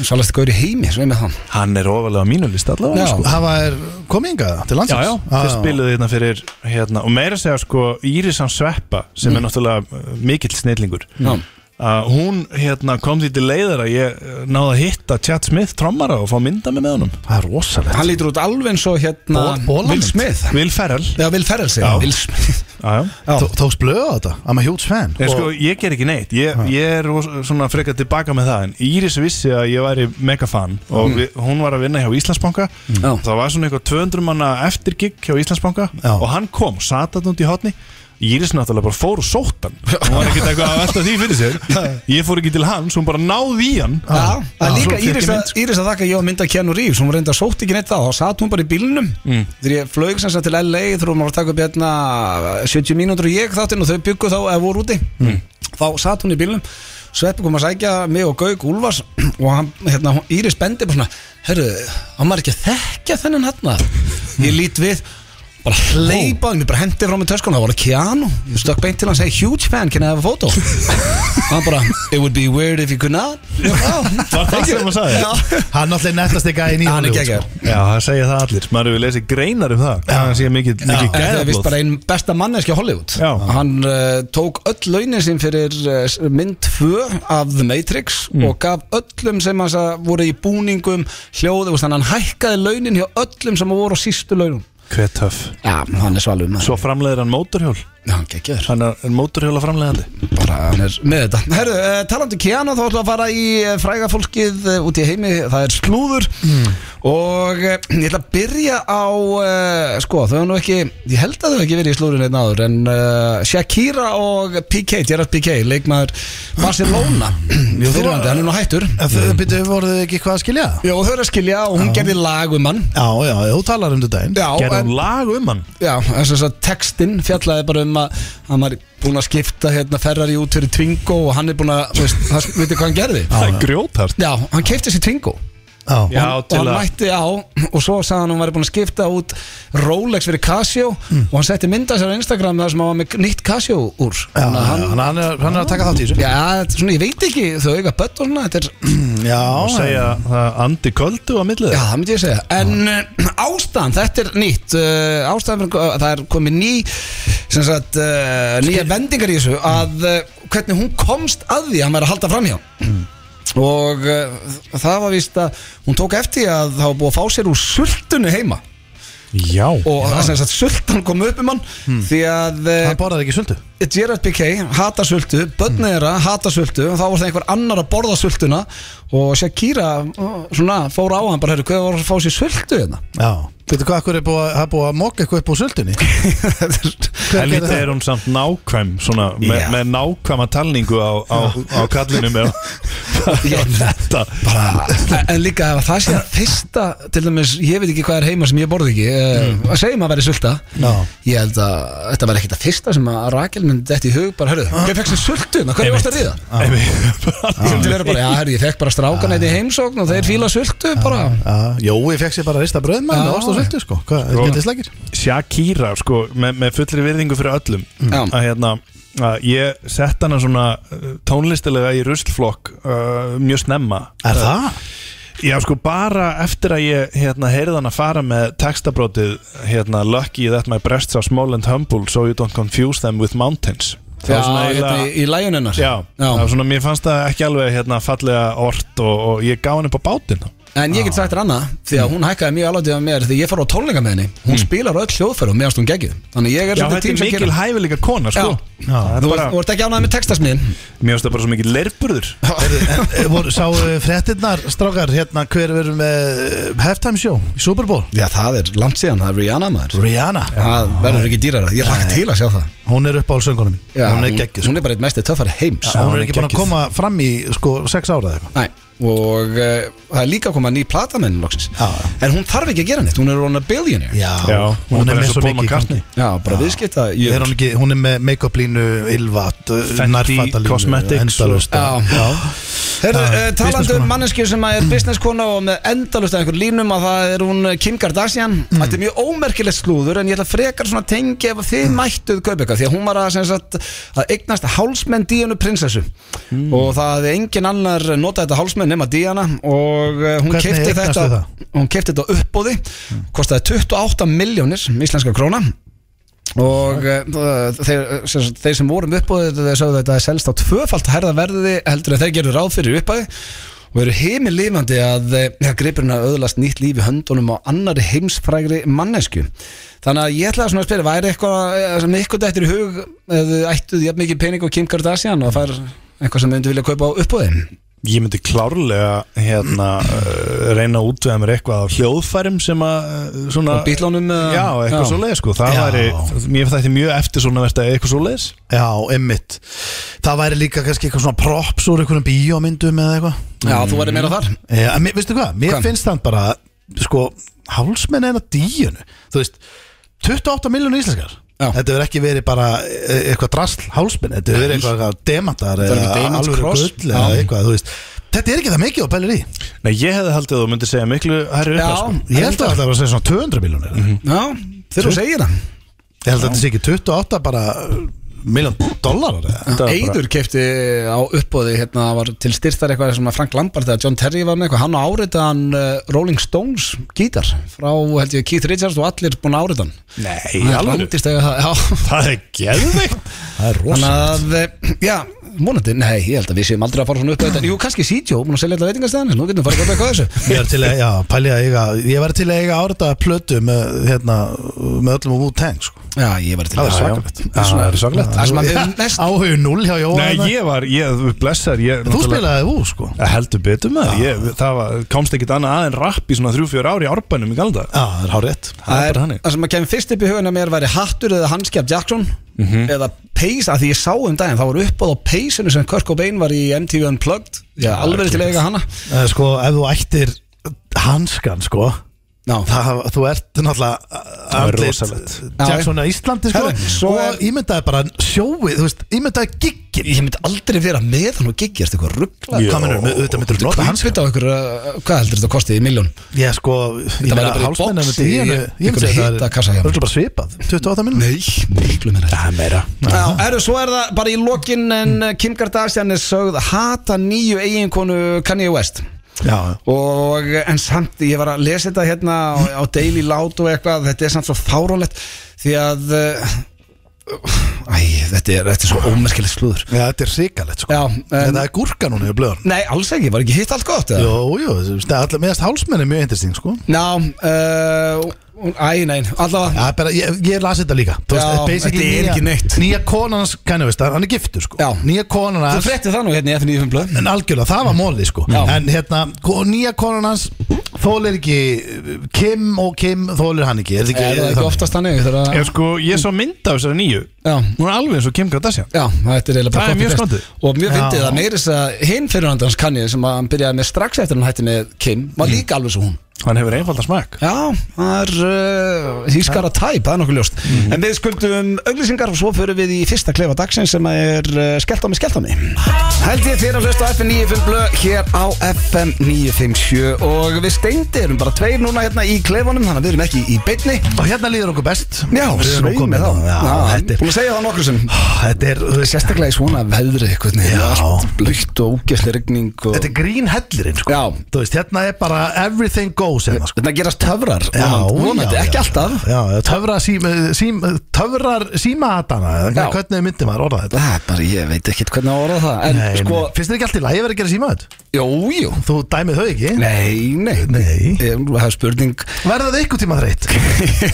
A: Svalasti gaur í heimi, svo er með hann
C: Hann er ofalega á mínu list allavega
A: Já.
C: sko
B: hafa er komið hingað til
C: Já,
B: landsins Ah,
C: já, þeir spiluðu hérna fyrir hérna, og meira að segja sko Írisan Sveppa sem er náttúrulega uh, mikill snillingur
A: Já.
C: að hún hérna kom því til leiðar að ég uh, náði að hitta Chad Smith trommara og fá mynda mig með honum
B: það er rosalegt
A: Hann lítur út alveg eins og hérna
B: Bol- Bólamynd.
A: Will Smith
C: Will Ferrell
A: Já, Will Ferrell segja
C: Já.
A: Will Smith
C: já, já.
A: Já.
B: Tó- tókst blöð á þetta, I'm a huge fan
C: En sko, ég ger ekki neitt, ég, ég er ros- svona frekar tilbaka með það en Íris vissi að ég væri mega fan
B: Mm.
C: og við, hún var að vinna hjá Íslandsbanka
A: Já.
C: það var svona eitthvað 200 manna eftir gig hjá Íslandsbanka
B: Já.
C: og hann kom, sat hann út í hotni Íris náttúrulega bara fór og sótt hann hún var ekkert eitthvað að velta því fyrir sér ég fór ekki til hans, hún bara náði í hann
A: Já, það er
C: Já.
A: líka
C: Svo fékk
A: Íris
C: ég
A: að, Íris að þakka að ég var að mynda Keanu Reeves hún reynda sótt ekki neitt þá, þá satt hún bara í bílnum
C: Mm.
A: þegar ég flög sem sagt til LA þegar hún var að taka upp hérna 70 mínútur og ég þáttinn og þau byggu þá eða voru úti
C: Mm.
A: þá satt hún í bílnum Sveppi kom að sækja mig og Gauk Úlfars og hann, hérna, hún- Íris bendi bara svona herru, hann maður ekki að þekkja þennan hérna ég lít við bara hleypaði mér, bara hendi frá mér töskun það var Keanu, ég stökk beint til hann og segi huge fan, can I have a photo hann bara, it would be weird if you could not wow,
C: Var það sem hann sagði?
A: já
B: Hann náttúrulega nettast ekki aðeins
A: hann
B: í
A: er
B: Hollywood,
A: geggjör
B: sko.
C: Já, það segja það allir Maður hefur lesið greinar um það Það sé mikið, mikið
A: Það er vist
C: gæðablóð
A: bara einn besta manneskja Hollywood
C: Já.
A: Hann uh, tók öll launin sín fyrir uh, mynd 2 af The Matrix
C: Mm.
A: og gaf öllum sem hans að voru í búningum hljóðu, þannig að hann hækkaði launin hjá öllum sem voru á sístu launum
C: Hver töff
A: Já, hann er svalum
C: Svo framleiðir hann mótorhjól
A: Hann geggjör
C: Hann er mótorhjóla framleiðandi
A: bara hann er með þetta Herru, uh, talandi um Keanu þá ætlum við að fara í uh, fræga fólkið uh, út í heimi, það er slúður og uh, ég ætla að byrja á uh, sko, þau hafa nú ekki ég held að þau hafi ekki verið í slúðurinn einn áður en uh, Shakira og PK Gerard PK, leikmaður Barcelona fyrirvandi, hann er nú hættur
B: En þau byrju, sko. voruð þið ekki hvað að skilja?
A: Jó, þau eru að skilja og hún gerði lag um hann
B: Já, já, þú talar um þetta einn
A: Já,
C: Gerði
A: en-
C: hann lag um hann
A: Já, þess að textinn fjallaði bara um að hann var búin að skipta hérna Ferrari út fyrir Twingo og hann er búin að, þú veist, það veitir hvað hann gerði
C: Það er grjótart
A: Já, hann keipti sér Twingo
B: Já,
C: Já,
A: og
C: til
A: hann
C: að
A: mætti á og svo sagði hann að hann væri búin að skipta út Rolex fyrir Casio og hann setti mynda sér á Instagram þar sem hann var með nýtt Casio úr
B: Mm. já,
A: Þannig að
B: hann,
A: hann,
B: hann, er, hann er að taka þátt í þessu
A: Já, þetta er svona, ég veit ekki þau eiga börn og svona, þetta er
B: Mm, Já,
C: Og segja það andi köldu á millið
A: Já, það myndi ég segja En uh, ástæðan, þetta er nýtt uh, Ástæðan, fyrir- uh, það er komið ný sem sagt, uh, nýja vendingar í þessu að uh, hvernig hún komst að því að hann væri að halda framhjá og uh, það var víst að hún tók eftir að það var búið að fá sér úr sultunni heima
C: Já
A: og það sem sagt sultan kom upp um hann því að uh,
B: hann borðar ekki sultu
A: Gerard Piqué hata sultu, börn þeirra hata sultu og þá var það einhver annar að borða sultuna og Shakira ó, svona, fór á hann bara, herru, hvað var að fá sér sultu hérna?
B: Já Veitu hvað, hvað er búið að, það er búið að móka eitthvað upp úr sultunni? Hver
C: En
B: gerði
C: lítið
B: það?
C: er hún samt nákvæm svona, með,
A: Já.
C: með nákvæma talningu á, á, á kallinum eða-
A: Já.
C: Þetta
A: bara, en líka ef það sé að fyrsta til dæmis, ég veit ekki hvað er heima sem ég borði ekki mm. að segja maður að vera sulta
B: Já.
A: ég held að þetta var ekkit að fyrsta sem að Rakel myndi þetta í hug, bara, herru,
C: Ah.
A: hvað fekk sér sultu hérna, hverju varst að ríða? Ég myndi vera bara, já, herru, ég fekk bara strákan
C: Ah.
A: eitt í heimsókn og þeir fíla sultu, bara
B: Já, Jói fekk sér bara að rista bröðmann
A: Já.
B: og ást á sultu sko Hvað,
C: Sko.
B: þetta er slækir?
C: Shakira sko, með, með fullri virðingu fyrir öllum
A: Mm. Já.
C: að hérna að ég sett hana svona uh, tónlistilega í ruslflokk uh, mjög snemma
B: Er það?
C: Já sko bara eftir að ég hérna heyrði hann að fara með textabrótið hérna Lucky that my breasts are small and humble so you don't confuse them with mountains Það
A: Já,
C: var svona
A: hérna
C: eiginlega-
A: í, í læjuninnar
C: Já, það var svona, mér fannst það ekki alveg hérna fallega orð og, og ég gá hann upp á bátinn
A: En
C: Ah.
A: ég get sagt þér annað, því
C: Mm.
A: að hún hækkaði mjög alveg með mér því ég fór á tónleika með henni, hún spilar öll hljóðferð og meðast hún geggið Þannig ég er
C: Já,
A: svolítið
C: þetta
A: tím
C: er
A: sem
C: mikil
A: gerir
C: hæfileika
A: Já,
C: kona, sko það er
A: þú
C: bara,
A: ert- þú ert ekki ánægð með textasmiðin
C: Mér finnst það bara svo mikil leirburður
B: Eh, voru- Sáu fréttinnar, strákar, hérna hver verður með eh, halftime show í Super Bowl?
A: Já, það er langt síðan, það er Rihanna maður
B: Rihanna
A: Það verður ekki dýrara, ég lagt til að sjá það
B: Hún er upp á söngunum
A: Já,
B: Hún er geggjuð sko.
A: Hún er bara eitt mesti töffari heims
B: Hún
C: hún
B: er
C: er
B: ekki búin að
C: geggjuð.
B: koma fram í sko sex ára eða eitthvað
A: Næ, og uh, það er líka að koma ný plata með henni loksins
B: Já, já.
A: En hún þarf ekki að gera neitt, hún er rona billionaire
B: Já,
C: Já,
B: hún,
C: bara
B: er með
C: eins og
B: svo
C: Paul
B: mikið í gangi.
C: McCartney.
A: Já, bara viðskipta
B: er hún, ekki, hún er með make-up línu, ylvat, eh,
C: Fenty Cosmetics
B: endalust eh,
A: Já. Herru,
B: Já,
A: uh, talandi um
B: businesskona.
A: mannesku sem að er businesskona og með endalust af einhver línum að það er hún eh, Kim Kardashian
B: Mm.
A: Þetta er mjög ómerkilegt slúður en ég ætla frekar svona að tengja ef
B: Mm.
A: þið mættuð kaup eitthvað því að hún var að, sem sagt, að eignast hálsmenn Díanu prinsessu
B: Mm.
A: og það hefði engin annar notað þetta hálsmenn nema Díana og eh, hún
B: Hvernig
A: kefti
B: eignastu
A: þetta
B: það? Mm.
A: hún kefti þetta á uppbóði kostaði 28 miljónir íslenska króna og uh, þeir, sem, sagt, þeir sem voru um uppbóðið þeir sögðu að þetta er selst á tvöfalt herða verði heldur en þeir gerðu ráð fyrir í uppbæði og eru heimilifandi að ja, gripurinn að öðlast nýtt líf í höndunum á annari heimsfrægri mannesku þannig að ég ætlaði svona að spyrja væri eitthvað eh, sem ykkur dættir í hug eða ættuð jafn mikið pening og Kim Kardashian og það er eitthvað sem þau myndu vilja kaupa á uppbóði
C: Ég myndi klárlega hérna, uh, reyna að útvega mér eitthvað af hljóðfærum sem að uh, svona,
A: Og bítlánum, eða?
C: Já, eitthvað
A: Já.
C: svo leið sko Það
B: Já.
C: væri, mér þætti mjög eftir svona versta eitthvað svo leiðis
B: Já, emmitt Það væri líka kannski eitthvað svona props úr einhverjum bíómyndum eða eitthvað
A: Já, þú væri meira þar
B: Já, Eh, en mér- veistu hvað, mér
A: Hvað?
B: finnst þann bara sko, hálsmenn en að díunu þú veist, 28 miljónu íslenskar
A: Já.
B: þetta verður ekki verið bara e- eitthvað drasl hálsmenn, þetta verður eitthvað, eitthvað demantar
A: er ekki demant
B: alveg
A: kross.
B: gull eða
A: Já.
B: eitthvað, þú veist þetta er ekki það mikið og pælir í ég
C: Nei, ég hefði haldið að þú myndi segja miklu herri upp
A: Já,
C: sko.
A: Mhm.
B: held að þetta var að segja svona 200 miljónir
A: já Þegar þú segir það
B: Ég held að þetta sé ekki 28 bara miljón dólarar eða?
C: Þetta var bara-
A: Eidur kefti eh, á uppbóði hérna það var til styrtar eitthvað sem að Frank Lampard eða John Terry var með eitthvað, hann árita hann eh, Rolling Stones gítar frá held ég Keith Richards og allir búin að árita hann
C: Nei,
A: Hann
C: alveg
A: vandist eða það, já
C: Það er geðveikt
B: Það er
A: Þannig
B: rosa
A: að, eh, já, múnandi, nei, ég held að við séum aldrei að fara svona upp á þetta Jú, kannski CJ, búin að selja þetta veitingastæðan Nú getum við farið að gota eitthvað þessu
B: Ég var til að, já, pæli að eiga Ég var til að eiga árita plötu með, hérna, með öllum og Wu-Tang sko.
A: Já, ég var til
B: Það
A: í það, já.
B: er svakalegt Það er svakalegt
A: Það sem að hefur mest-
B: Áhug null hjá Jóa
C: Nei,
B: þarna.
C: ég var, ég, blessar ég,
B: Þú
C: náttúrulega-
B: spilaði Wu sko
C: Eh, Heldur betur með
A: Ah.
C: ég, Það var, komst ekkit annað aðeins rapp í svona 3-4 ári í árbænum í galda
B: Já, það er hárétt
C: Það er bara
A: Það
C: hannig
A: það sem að kemur fyrst upp í huguna mér væri hattur eða hanski af Jackson
C: Mhm.
A: eða peysa, að því ég sá um daginn þá var uppáð á peysinu sem Kirk Cobain var í MTV Unplugged, já, alveg til að eiga hana
B: Eh, Sko, ef þú ættir hanskan sko
A: Já,
B: það, Þú ert náttúrulega eh,
C: er
B: andlit
C: rosalegt.
B: Jackson á Íslandi sko
A: Herra, svo er-
B: Og ímyndaði bara sjóið Þú veist, ímyndaði giggin
A: ég myndi aldrei vera með hann og giggi, ertu eitthvað ruggla
C: Jú.
B: Hvað mennur, auðvitað myndur nota hans
A: Kvítbytta á ykkur, uh, hvað heldur þetta kostið í miljón?
B: Ég sko, ég
A: væri
B: meina
A: bara í
B: hálsmennan
A: boxi
B: með
A: í
B: díinu Ég myndi
A: einhverju
B: að
A: hita
B: það
A: kassa hjá
B: er
A: mér.
B: örugglega bara svipað 28 minnum
A: Nei, miklu meira
C: Það er meira
A: Já, eru, svo er það bara í lokin en uh, Kim Kardashian er sögð að hata nýju eiginkonu Kanye West
B: Já,
A: og en samt ég var að lesa þetta hérna á, á Daily Loud og eitthvað þetta er samt svo fárálegt því að uh, æ, þetta er, þetta er svo ómerkilegt slúður
B: Já, þetta er ríkalegt sko
A: Já, en-
B: Þetta er gúrka núna í blöðan
A: nei, alls ekki, var ekki hitt allt gott eða?
B: Jó, jú, það er allir meðast hálsmenn er mjög interesting sko
A: ná, uh, æ, nei, allavega
B: Já, bara, ég, ég las þetta líka Þú
A: Já,
B: basically
A: þetta er
B: nýja-
A: ekki neitt.
B: Nýja konan hans, kannu veist, hann er giftur sko
A: Já.
B: Nýja konan
A: þú
B: hans
A: frettir það nú hérna í F95 blöð
B: En algjörlega, það var mólið sko
A: Já.
B: En hérna, ko- nýja konan hans Þólir ekki Kim og Kim þólir hann ekki Er þetta
A: er
B: ekki,
A: það ekki oftast þannig þegar að-
C: Ég sko, ég sá mynd af þessari nýju
A: já
C: Hún er alveg eins og Kim Kardashian
A: Já, þetta er eiginlega bara
C: Það er mjög
A: copy-paste. Og mjög fyndið
B: Já.
A: að meira þess að hinn fyrirhandans kannið sem að hann byrjaði með strax eftir hann hætti með Kim var líka alveg svo hún
C: Hann hefur einfalda smak
A: Já, það er uh, hískara tæp, það er nokkuð ljóst En við skuldum auglýsingar og svo förum við í fyrsta klefa dagsins sem er uh, skellt á mig, skellt á mig Held ég þér að hlusta á FM 95 blö hér á FM 957 og við steindir erum bara tveir núna hérna í klefanum þannig að við erum ekki í beinni
B: Og hérna líður okkur best
A: Já,
B: Við erum nú
A: sveimi
B: komin
A: þá
B: á- Já, þetta er,
A: Búin að segja það nokkru sem
B: þetta er, þú veist,
A: Sérstaklega í svona veðri hvernig,
B: Já.
A: allt blökt og úgesli rigning og...
B: þetta er grín hellirinn sko
A: Já,
B: Þú veist, hérna er bara everything goes hérna sko
A: þetta gerast töfrar vonandi, vonandi, ekki alltaf
B: já, já, töfra sím, sím, Töfrar símahatana
A: Já.
B: eða Hvernig myndi maður orða þetta?
A: Það er bara, ég veit ekkert hvernig að orða það En
B: Nei,
A: sko,
B: nei. Finnst þér ekki allt í lagi að vera að gera símahat?
A: jú, jú
B: Þú dæmið þau ekki?
A: Nei, nei,
B: Nei.
A: Ég- Það er spurning
B: Verða þau ykkur tíma þreitt?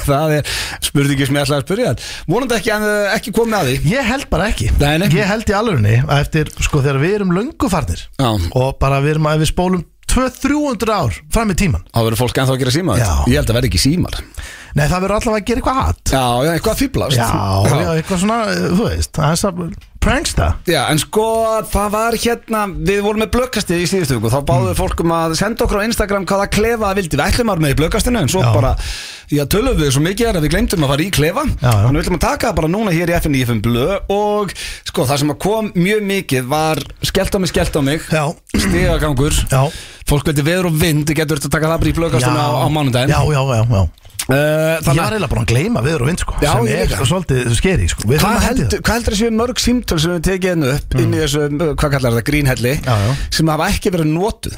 A: Það er spurningi sem ég ætlaði að spyrja þér. Vonandi ekki, en, uh, ekki komið að því
B: Ég held bara ekki
A: Nei, nei.
B: Ég held í alvörunni að eftir, sko, þegar við erum löngufarnir
A: Já.
B: Og bara við erum að við spólum 200-300 ár fram í tíman
A: Þá verður fólk ennþá að gera síma
B: Já.
A: Ég held að verði ekki símar
B: Nei, það verður allavega að gera eitthvað hatt
A: Já, já, eitthvað að fýblast
B: Já, já, eitthvað svona, þú veist aðeins að Pranksta
A: Já, en sko, það var hérna, við vorum með blökkastið í síðustu viku, þá báðum
B: Mm.
A: við fólkum að senda okkur á Instagram hvaða klefa það vildi, við ætlum að vera með í blökkastinu, en svo
B: Já.
A: bara, já, tölum við svo mikið er að við glemdum að fara í klefa,
B: Já, já.
A: þannig við ætlum að taka það bara núna hér í FNIFM blö og sko, það sem að kom mjög mikið var skellt á mig, skellt á mig,
B: Já,
A: stigagangur,
B: já
A: fólk veldi veður og vind, getur þetta að taka það bara í blökkastinu á, á
B: Já,
A: mánudaginn.
B: já, já, já
A: Uh,
B: Ég
A: þannig
B: var
A: að-
B: eiginlega bara að gleyma viður og vind sko
A: Já,
B: sem
A: ég
B: er
A: líka.
B: svolítið skeri sko
A: Hvað
B: Við þurfum að hendi
A: heldur,
B: það
A: hvað heldur þessu mörg símtöl sem við tekið hennu upp inn í þessu, uh, hvað kallar þetta, grínhelli
B: Já, já.
A: sem hafa ekki verið notuð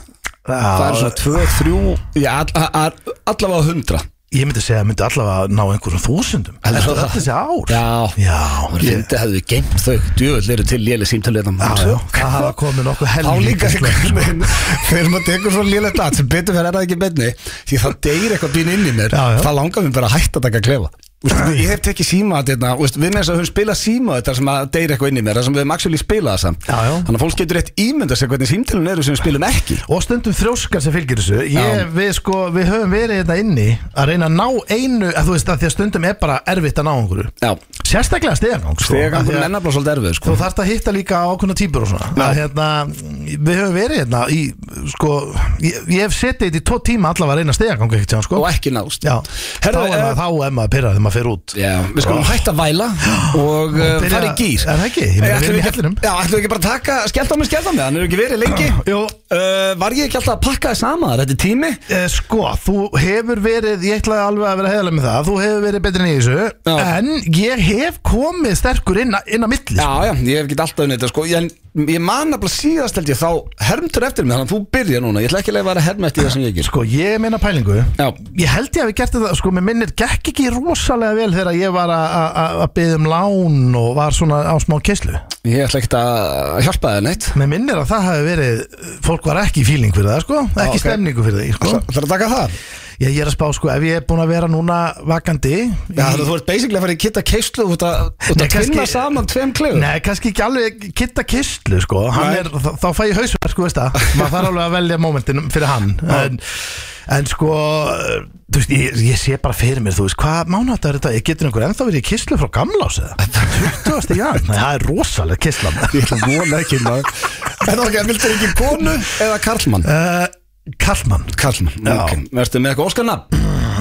A: Það
B: Já,
A: er svona 2, 3, já, all, all, allavega 100
B: Ég myndi segja að myndi allavega ná einhverjum þúsundum
A: Heldur
B: Heldur
A: það?
B: þetta þessi ár
A: Já,
B: Já,
A: það
B: ég-
A: finnst að hefðu geimt þau Djöfull eru til hérna. léli símtölu
B: já, já Það hafa komið nokkuð
A: Þá líka
B: helvíti sko.
A: Þegar maður tekur svo lélega dætt sem betur fyrir er það ekki benni því þá deyr eitthvað býn inn í mér
B: Já, já.
A: þá langar mér bara að hætta að taka klefa Ústu, ég hef tekið síma þetta og við með þess að höfum spilað síma þetta sem að deyr eitthvað inn í mér þar sem við höfum actually spilað það samt
B: Já, já.
A: þannig að fólk getur rétt ímynda sér hvernig símtælun eru sem við spilum ekki
B: Og stundum þrjóskar sem fylgir þessu ég,
A: Já.
B: við, sko, við höfum verið hérna inni að reyna að ná einu að Þú veist að því að stundum er bara erfitt að ná einhverju
A: já,
B: Sérstaklega stegagang sko.
A: þegar
B: Af því
A: gangur
B: að-
A: mennafla svolítið erfið sko.
B: Þú þarft að hitta líka ákveðna típur og svona að, hérna, Við höfum verið hérna í, sko, ég, ég hef setið þetta í tvo tíma allavega að reyna stegagang ekkert hjá sko.
A: og ekki nást
B: Já,
A: Herðu,
B: þá er
A: eh,
B: maður, þá er maður pyrrað þegar maður fer út
A: Já, við skulum hætta að væla og uh,
B: byrja-
A: fara í gýr
B: Er það ekki? Ég meina, við
A: ætlum
B: erum í
A: við
B: hellinum.
A: ekki- Já, ætlum við ekki bara að taka Skellt á mig, skellt á mig, hann er ekki verið lengi
B: Jú,
A: uh, Var ég ekki alltaf að pakka þið sama þar? Þetta er tími
B: Eh, sko, þú hefur verið, ég ætlaði alveg að vera heiðalega með það, þú hefur verið betri en ég í þessu,
A: Já.
B: en ég hef komið sterkur inn, að- inn á milli.
A: Já, já, ég hef ekki alltaf unnið þetta sko Ég, ég man nafnilega síðast held ég þá hermtur eftir mig Þannig að þú byrja núna Ég ætla ekki að leiða að herma eftir það sem ég ger
B: Sko, ég meina pælingu,
A: Já,
B: ég held ég hafi gert þetta, sko, mér minnir gekk ekki rosalega vel þegar ég var að- að- að að biðja um lán og var svona á smá kesslu.
A: ég ætla ekkert að hjálpa þér neitt
B: Mér minnir að það hafi verið, fólk var ekki í fíling fyrir það, sko, ekki
A: ok.
B: stemningu fyrir því, sko.
A: Það er að taka það
B: Ég, ég er að spá, sko, ef ég er búin að vera núna vakandi í-
A: Já, þú ert basically að fara í kitta keislu Þú ert að- þú ert
B: Nei,
A: að tvinna
B: kannski-
A: saman tveim klefur
B: Nei, kannski ekki alveg kitta kistlu sko. Hann
A: Nei.
B: er, þá, þá fæ ég hausverk sko, veist það maður þarf alveg að velja momentin fyrir hann en, en sko þú veist, ég, ég sé bara fyrir mér þú veist, hvað mánatar er þetta, ég getur einhver ennþá verið í kistlu frá gamla ás eða 20. jan, Nei, það er rosalega kistlan
A: Ég ætla að vona ekki maður En ok, viltu ekki konu eða karlmann?
B: uh, Kallmann
A: Karlmann,
B: Já.
A: ok Verstu með eitthvað óskarnafn?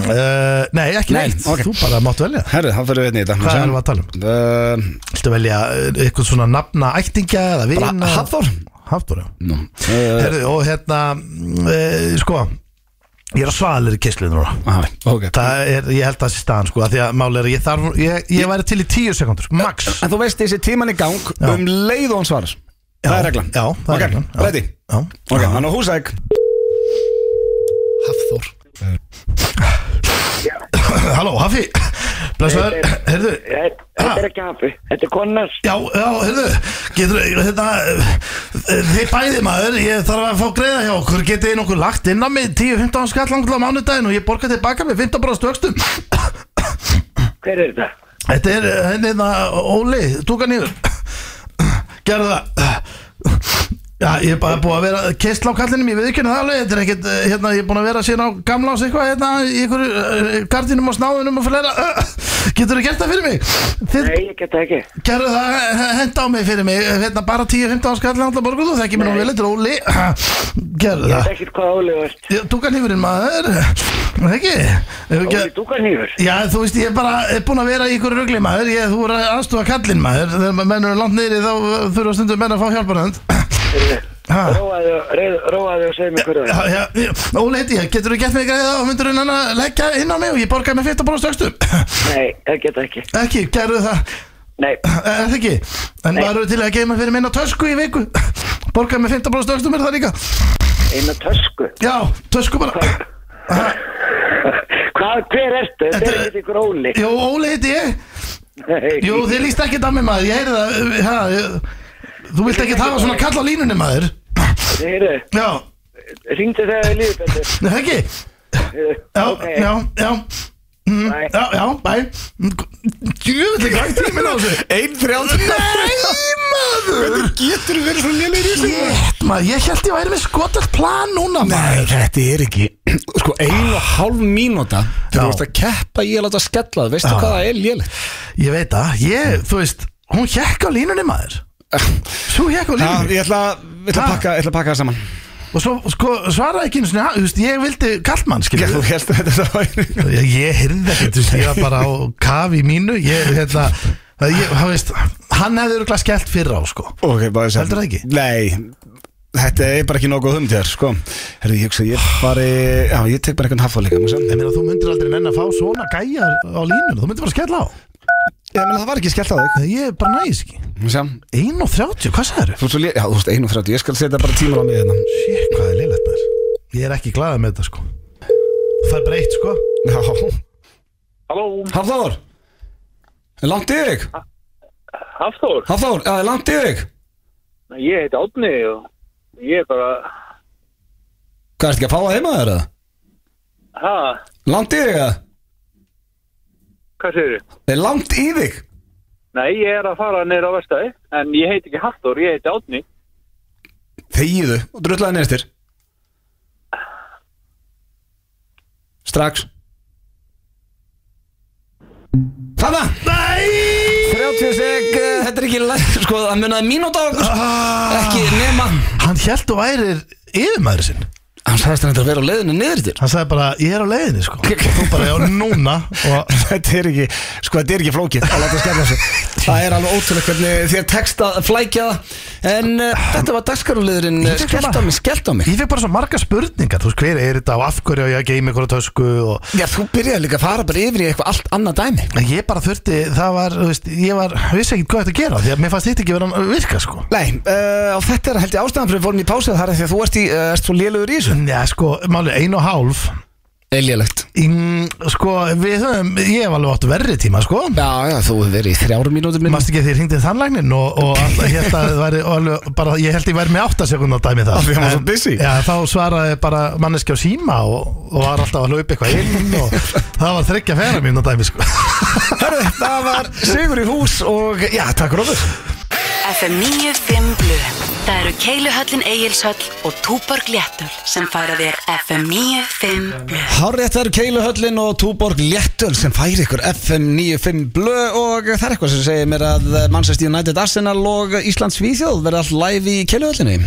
B: uh, Nei, ekki
A: Nei,
B: neitt,
A: ok.
B: þú bara máttu velja
A: Herri, það fyrir við einnig í þetta
B: Hvað erum við að tala um?
A: um?
B: Viltu velja eh, eitthvað svona nafna ættingja eða
A: Bara
B: vina
A: Hafþór?
B: Hafþór, já
A: Nú uh,
B: Herðu, og hérna, uh, sko Ég er að svalir í kistlu núna
A: aha, Ok
B: Það er, ég held að það sé staðan sko, að því að máli er að ég þarf, ég, ég væri til í tíu sekundur, max.
A: En þú veist þessi tíman í gang
B: Já.
A: um leið og hann svarar Það er reglan
B: Já, það
A: Ok,
B: er reglan. Já.
A: ready
B: Já.
A: Ok, hann á húsæk
B: Hafþór. Halló, Hafi, blessaður, heyrðu,
D: Þetta er ekki hafi, þetta er konars
B: já, já, heyrðu, getur, hérna, eh, þið bæði maður, ég þarf að fá greiða hjá okkur, getið þið nokkuð lagt inn á mig 10-15 skall langt á mánudaginn og ég borga tilbaka með 15 bróðst vöxtum.
D: Hver er þetta?
B: Þetta er, eh, hérna, Óli, túka nýður, gerðu það. Já, ég er bara búið að vera kistla á kallinum, ég veit ekki henni það alveg, þetta er ekkert, eh, hérna, ég er búin að vera síðan á gamla ás eitthvað, hérna, í einhverju eh, gardínum og snáðunum og fleira, getur þú gert það fyrir mig? Þið
D: Nei, ég geta ekki
B: gerðu það, eh, henda á mig fyrir mig, eh, hérna, bara 10-15 árs kallin allar borgu, þú þekkir mér nú
D: Nei.
B: vel, þetta er óli, gerðu það,
D: Þetta er ekkert hvað Óli veist
B: Ég- túkan hýfurinn maður, er það ekki? Ef við
D: Óli
B: ger-
D: Dúkanýfur
B: Já, þú veist, ég er bara er búin að vera í ykkur rugli maður, ég, þú er að aðstofa kallinn maður, þegar maður mennur er langt niðri þá eh, þurfa stundum menn að fá hjálparhönd. Ha?
D: Róaði og- reið- róaðu og segðu mig hverju
B: Já, já, já, Óli heiti ég, getur þú gett mig greiða og myndur hún að leggja inn á mig og ég borgaði með 15 bróðst öxtum?
D: Nei, það geta ekki
B: ekki, gerðu það, Eh,
D: Nei,
B: er það ekki? En
D: Nei.
B: maður eru til að geima fyrir minna tösku í viku, borgaði með 15 bróðst öxtum er það líka?
D: eina tösku
B: Já, tösku bara. Ha,
D: Hvað, hver ertu? Þetta er ekkert ykkur Óli
B: Jó, Óli heiti ég,
D: Nei.
B: jú, þið líst ekki dæmi maður, ég heyrði það, ha, ég- þú vilt ekki hafa svona kall á línunni maður?
D: Heyrðu,
B: Já,
D: Hringdu þegar við lífið betur
B: Nei, það ekki?
D: Heyrðu,
B: Já,
D: ok.
B: já, já Mm,
D: Bye.
B: Já, já, bæ Djöfulli gang tíminn á þessu
A: 1.30
B: Nei, maður
A: Getur verið svona lélir í
B: Rétt, maður, ég held ég væri með skotelt plan núna maður
A: Þetta er ekki Sko, ein og hálf mínúta
B: Já.
A: Þú veist að keppa í að láta skella það Veistu
B: Já.
A: hvað það er lélir?
B: Ég veit það, ég, þú veist Hún hjekk á línunni maður Svo hjekk á línunni
A: ég ætla ég ætla
B: Ha?
A: að pakka, ég ætla að pakka það saman
B: Og svo sko, svaraði ekki einu sinni ha- Þú veist, ég vildi kallmann,
A: Já,
B: skilja
A: þú helst að þetta væri
B: Ég, ég heyrði ekki, þú veist, ég var bara á kafi mínu Ég, hérna það- ég- Þú veist, hann hefði örgulega skellt fyrra á, sko
A: Ok, bara sem
B: Heldur það ekki?
A: Nei Þetta er bara ekki nokkuð um þér, sko Herðu, ég hugsa, ég fari Já, ég tek bara einhvern hafðarleika Ég
B: Ég meina þú myndir aldrei nenn að fá svona gæjar á línunum, þú myndir bara skella á
A: meina, það var ekki skellt á þig
B: Nei, Ég er bara næs ekki
A: Sem,
B: 1.30, hvað sagður?
A: Þú ert svo lé... Já, þú veist, 31, ég skal setja bara tíma á mig hérna
B: Sér, hvað er liðlegt maður Ég er ekki glaðið með þetta sko Það er breytt sko
A: Já,
E: Halló,
A: Hafþór Er langt í þig?
E: Hafþór
A: Hafþór, já, er langt í þig?
E: Nei, Ég heiti Átni og ég er bara
A: Hvað, ertu ekki að fá að heima þér eða?
E: Ha,
A: Langt í þig eða?
E: hvað segirðu?
A: Er langt í þig?
E: Nei, ég er að fara neyra á vestæði En ég heiti ekki Hafþór, ég heiti Átni
A: Þegiðu og drullæði neðstir Strax Þarna
B: Nei,
A: 30 seg, eh, þetta er ekki lægt Sko, það munaði mínúta á okkur sko,
B: Ah.
A: Ekki nema
B: hann held og værir yfirmaður sinn
A: Hann sagðist hann þetta að vera á leiðinu niður til
B: Hann sagði bara, ég er á leiðinni sko Þú bara, já, núna og
A: Þetta er ekki, sko þetta er ekki flókið að láta skella sig Það er alveg ótrúlega hvernig þér tekst að flækja það En uh, þetta var dagskarulegurinn
B: Ég fékk
A: Skellt á
B: bara-
A: mig, skellt á mig
B: Ég fekk bara svo marga spurningar, þú veist, hver er þetta og af hverju á ég að geima ykkur á tösku og
A: Já, þú byrjaði líka að fara bara yfir í eitthvað allt annað dæmi
B: En Ég bara þurfti, það var, þú veist, ég var, vissi ekkert hvað þetta að gera Því að mér fannst þetta ekki vera að virka, sko
A: Nei, uh, og þetta er held ég ástæðan fyrir við fórum í pásið þar er því að þú ert, í, uh, ert svo lélugur í þessu
B: Já, sko, málið, ein og hálf
A: Eilélegt
B: mm, Sko, við höfum, ég hef alveg átt verri tíma, sko
A: Já, já, þú hefur verið í þrjárum mínútur minn
B: Mást ekki að þið hringdið þannlægnin og, og alltaf, ég held að það væri alveg, bara, ég held ég væri með 8 sekundar dæmi það
A: Af því að hann var svo
B: En-
A: busy.
B: Já, þá svaraði bara manneski á síma og, og var alltaf að hlaupa eitthvað inn og það var þryggja færa mín dæmi, sko
A: Hörðu, það var Sigur í hús og já, takk Róður
F: FM 95 Blu Það eru Keiluhöllin Egilshöll og Túborg Léttul sem færa þér FM 95 Blu
A: Hárið þetta eru Keiluhöllin og Túborg Léttöl sem færi ykkur FM 95 blö og það er eitthvað sem segir mér að Manchester United Arsenal og Íslands Svíþjóð verða allt live í Keiluhöllinni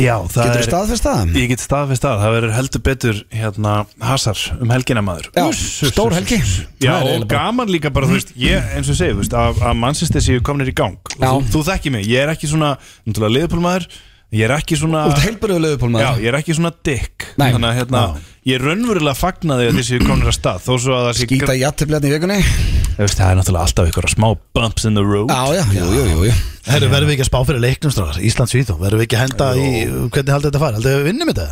C: Já, það
A: Getur staðfyrst það?
C: Ég get stað fyrir stað, það verður heldur betur hérna hasar um helgina maður
A: Já,
C: Uss, uss,
A: stór
C: uss,
A: helgi.
C: uss.
A: Það
C: Já,
A: er
C: og
A: eiginlega bara-
C: gaman líka bara, þú veist, ég, eins og segið, þú veist, að, að mannsistir séu komnir í gang Og
A: Já.
C: þú, þú þekki mig, ég er ekki svona, náttúrulega liðpólmaður Ég er ekki svona
A: Út heilbörðu
C: Já,
A: lögupólmaður
C: ég er ekki svona dick
A: Nei.
C: Þannig að hérna, ég er raunverulega fagnaði að þið séu komnir að stað Þó svo að það sé
A: Gýta jættibletni í vikunni
C: Þú veist, Það er náttúrulega alltaf ykkur smá bumps in the road
A: Já, já, jú, jú, jú, jú.
B: Herru, verðum við ekki að spá fyrir leiknum, strákar, Íslands Víþó Verðum við ekki að henda í, hvernig haldið þetta fara? Haldið við vinnum þetta?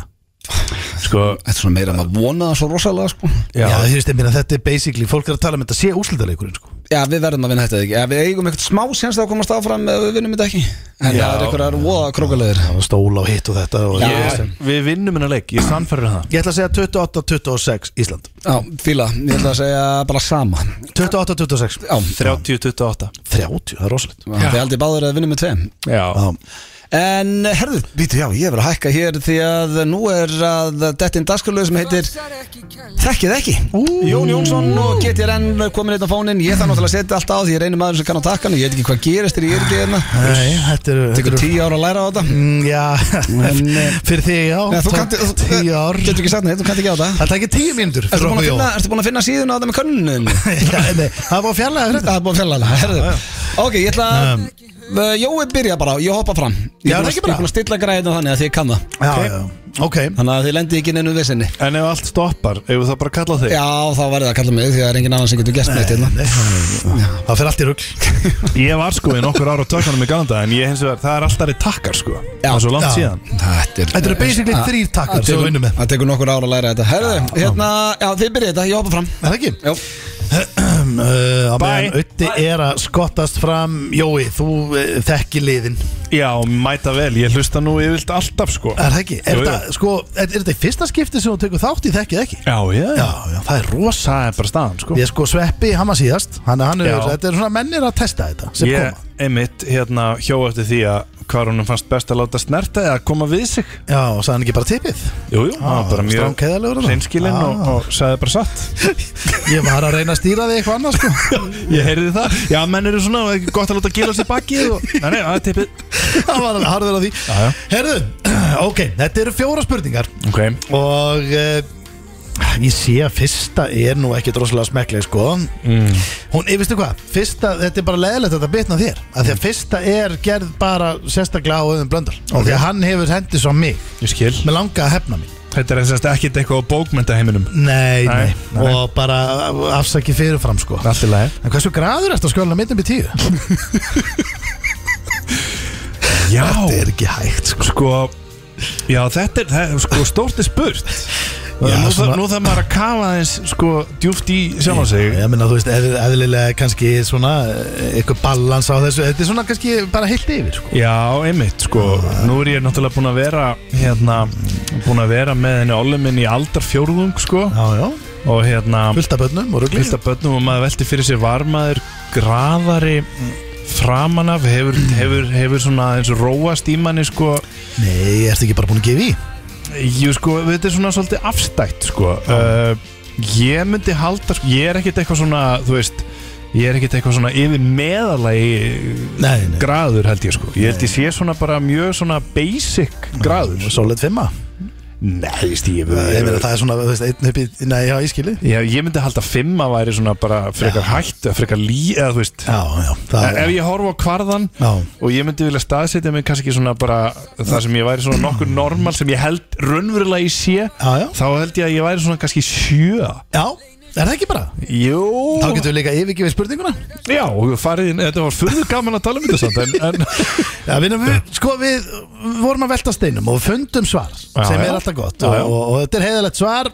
C: Sko,
A: Þetta er svona meira að maður vona það svo rosalega sko.
B: Já, þú veist, ég meina þetta er basically, fólk er að tala um þetta sé úslitaleikurinn sko.
A: Já, við verðum að vinna þetta ekki Já, Við eigum eitthvað smá séns að komast áfram ef við vinnum þetta ekki En
C: Já.
A: það er eitthvað voða krókulegur
B: Það var stól á hitt og þetta og
C: ég, við vinnum hennar leik, ég sannfærir það
B: Ég ætla að segja 28-26 Ísland
A: Já, fíla, ég ætla að segja bara sama
B: 28-26
A: Já,
C: 30-28
B: 30, það er rosalegt
A: þið aldrei báður að vinna með tveim
C: Já,
A: En herðu, býtu já, ég verður að hækka hér því að nú er að dettin dagskurlöð sem heitir Þekkið ekki Jón Jónsson og GTRN komin einn á fónin Ég þarf náttúrulega að setja allt á því ég reynir maður sem kann á takkan Ég veit ekki hvað gerist þegar ég er ekki hérna
B: Nei, þetta eru
A: Tekur
B: þetta eru-
A: tíu ára að læra á þetta
B: Mm, Já,
A: En, eh,
B: fyrir þig já
A: Nei, þú
B: tók
A: kannt, þú,
B: Tíu ár
A: Getur ekki sagt neitt, þú kannt ekki á það
B: Það tekir tíu mínútur
A: Ertu
B: fyrir
A: búin,
B: okkur
A: að
B: Jón
A: finna, ertu búin að finna síðuna á það með könnunum?
B: Já, nei, Það var fjarlæða fyrir
A: Það er búin að fjalla hana Ok, ég ætla að um, Jói byrja bara, ég hoppa fram Ég
B: Já,
A: er búin
B: það er
A: að-
B: ekki
A: ég er
B: bara.
A: búin að stilla græðina þannig að þið kann það
B: þetta Já, já, ok
A: Þannig að þið lendi ekki neinu vissinni
C: En ef allt stoppar, ef við það bara kalla þig
A: Já, þá verður það að kalla mig því að það er engin annan sem getur gert neitt hérna
B: Nei, Það fyrir allt í rugl
C: Ég var sko í nokkur ára á tökunum í ganda En ég hins vegar, það er alltaf reyð takkar sko
A: Já.
C: Það er svo langt
B: Já.
C: síðan
A: Þetta er-
B: Þetta eru basically
A: Ah,
B: þrýr
A: það
B: takkar sem
A: tekur-
B: við vinnum með
A: Það tekur nokkur ára að læra þetta Herðu, hérna, já þið byrja þetta, ég hoppa fram
B: Er það ekki?
A: Jó.
B: Uh, á meðan
C: Bye.
B: Utti er að skottast fram Jói, þú uh, þekki liðin
C: Já, mæta vel, ég hlusta nú yfirlt alltaf sko
B: Er það ekki? Er
C: Jú, jú.
B: þetta, sko, er, er þetta í fyrsta skipti sem þú tekur þátt í þekkið ekki?
C: Já, já,
B: Já, já, það er rosa
C: Það er bara staðan sko
B: Ég sko sveppi, hann var síðast hann, hann er,
C: Já.
B: Þetta er svona mennir að testa þetta sem
C: Ég, einmitt, hérna, hjó eftir því að Hvar honum fannst best að láta snerta eða koma við sig
B: koma Já, og sagði hann ekki bara tippið
C: Jú, Ah, jú, það var bara mjög
B: stránkæðalegur
C: Seinskilinn og, og sagði bara satt
B: Ég var að reyna að stýra þig eitthvað annað sko
C: Ég heyrði það Já, menn eru svona, það er ekki gott að láta gila sér bakið og... Nei, nei, það er tippið
B: Það var harður á því
C: Já, já.
B: Herðu, ok, þetta eru fjóra spurningar
C: okay.
B: og uh, ég sé að fyrsta er nú ekkit rosalega smekkleg sko
C: Mm.
B: hún, ég veistu hvað, fyrsta, þetta er bara leðilegt að þetta bitna á þér, af
C: Mm.
B: því að fyrsta er gerð bara sérstaklega á öðum blöndal og því að hann hefur hendis á mig
C: Ég skil
B: með langa að hefna mig
C: Þetta er þess að ekkert eitthvað á bókmyndaheiminum
B: nei, nei,
C: Nei, nei.
B: og bara afsaki fyrirfram sko
C: Allt í lagi
B: en hversu graður ertu að skjölna mittum í tíu?
C: Já
B: þetta er ekki hægt sko
C: Sko Já þetta er það, er sko stórt er spurt
B: Já,
C: já, Nú
B: svona-
C: þarf nú þarf maður að kafa aðeins sko djúft í sjálfan sig
B: Ég meina, þú veist, eð- eðlilega kannski svona eh, eitthvað balans á þessu Þetta er svona kannski bara heilt yfir, sko
C: Já, einmitt sko Nú er ég náttúrulega búin að vera hérna, búin að vera með henni Olli minn í aldar fjórðung sko
B: Já, já,
C: og hérna
B: fullt af börnum og rugli
C: fullt af börnum og maður velti fyrir sér var maður graðari framan af hefur, hefur, hefur svona eins og róast í manni sko
B: Nei, ertu ekki bara búin að gefa í?
C: Jú sko, þetta er svona svolítið afstætt sko uh, Ég myndi halda, sko, ég er ekkert eitthvað svona, þú veist Ég er ekkert eitthvað svona yfir meðalagi
B: Nei,
C: graður held ég sko Ég held ég sé svona bara mjög svona basic graður
B: Solid 5
C: Já, Nei, ég stíf
B: Mm. Ég meina
C: ég,
B: það er svona, þú veist, einn upp í, nei, já, ég skili
C: Já, ég myndi halda fimm að væri svona bara frekar hætt eða frekar lí, eða þú veist e-
B: Já, já, það
C: Ef ég horfa á kvarðan
B: Já.
C: og ég myndi vilja staðsetja mig kannski ekki svona bara það sem ég væri svona nokkur normal sem ég held raunverulega í sé
B: Já, já.
C: þá held ég að ég væri svona kannski sjö
B: Já, er það ekki bara?
C: Jú
B: Þá getum við líka yfirgefið spurninguna
C: Já, og farið inn, þetta var fyrir gaman að tala um þetta samt en, en
B: Já, við, við, sko, við vorum að velta steinum og fundum svar sem
C: já.
B: er alltaf gott
C: Já, já.
B: Og, og, og þetta er heiðalegt svar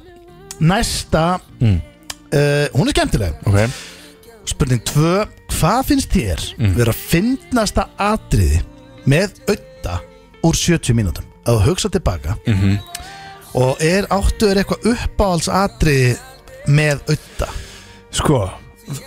B: Næsta
C: Mm.
B: uh, Hún er skemmtileg
C: okay.
B: Spurning 2 Hvað finnst þér
C: Mm.
B: vera fyndnasta atriði með auða úr 70 mínútum að hugsa tilbaka
C: Mhm.
B: og er áttu er eitthvað uppáhalds atriði með auða
C: Sko,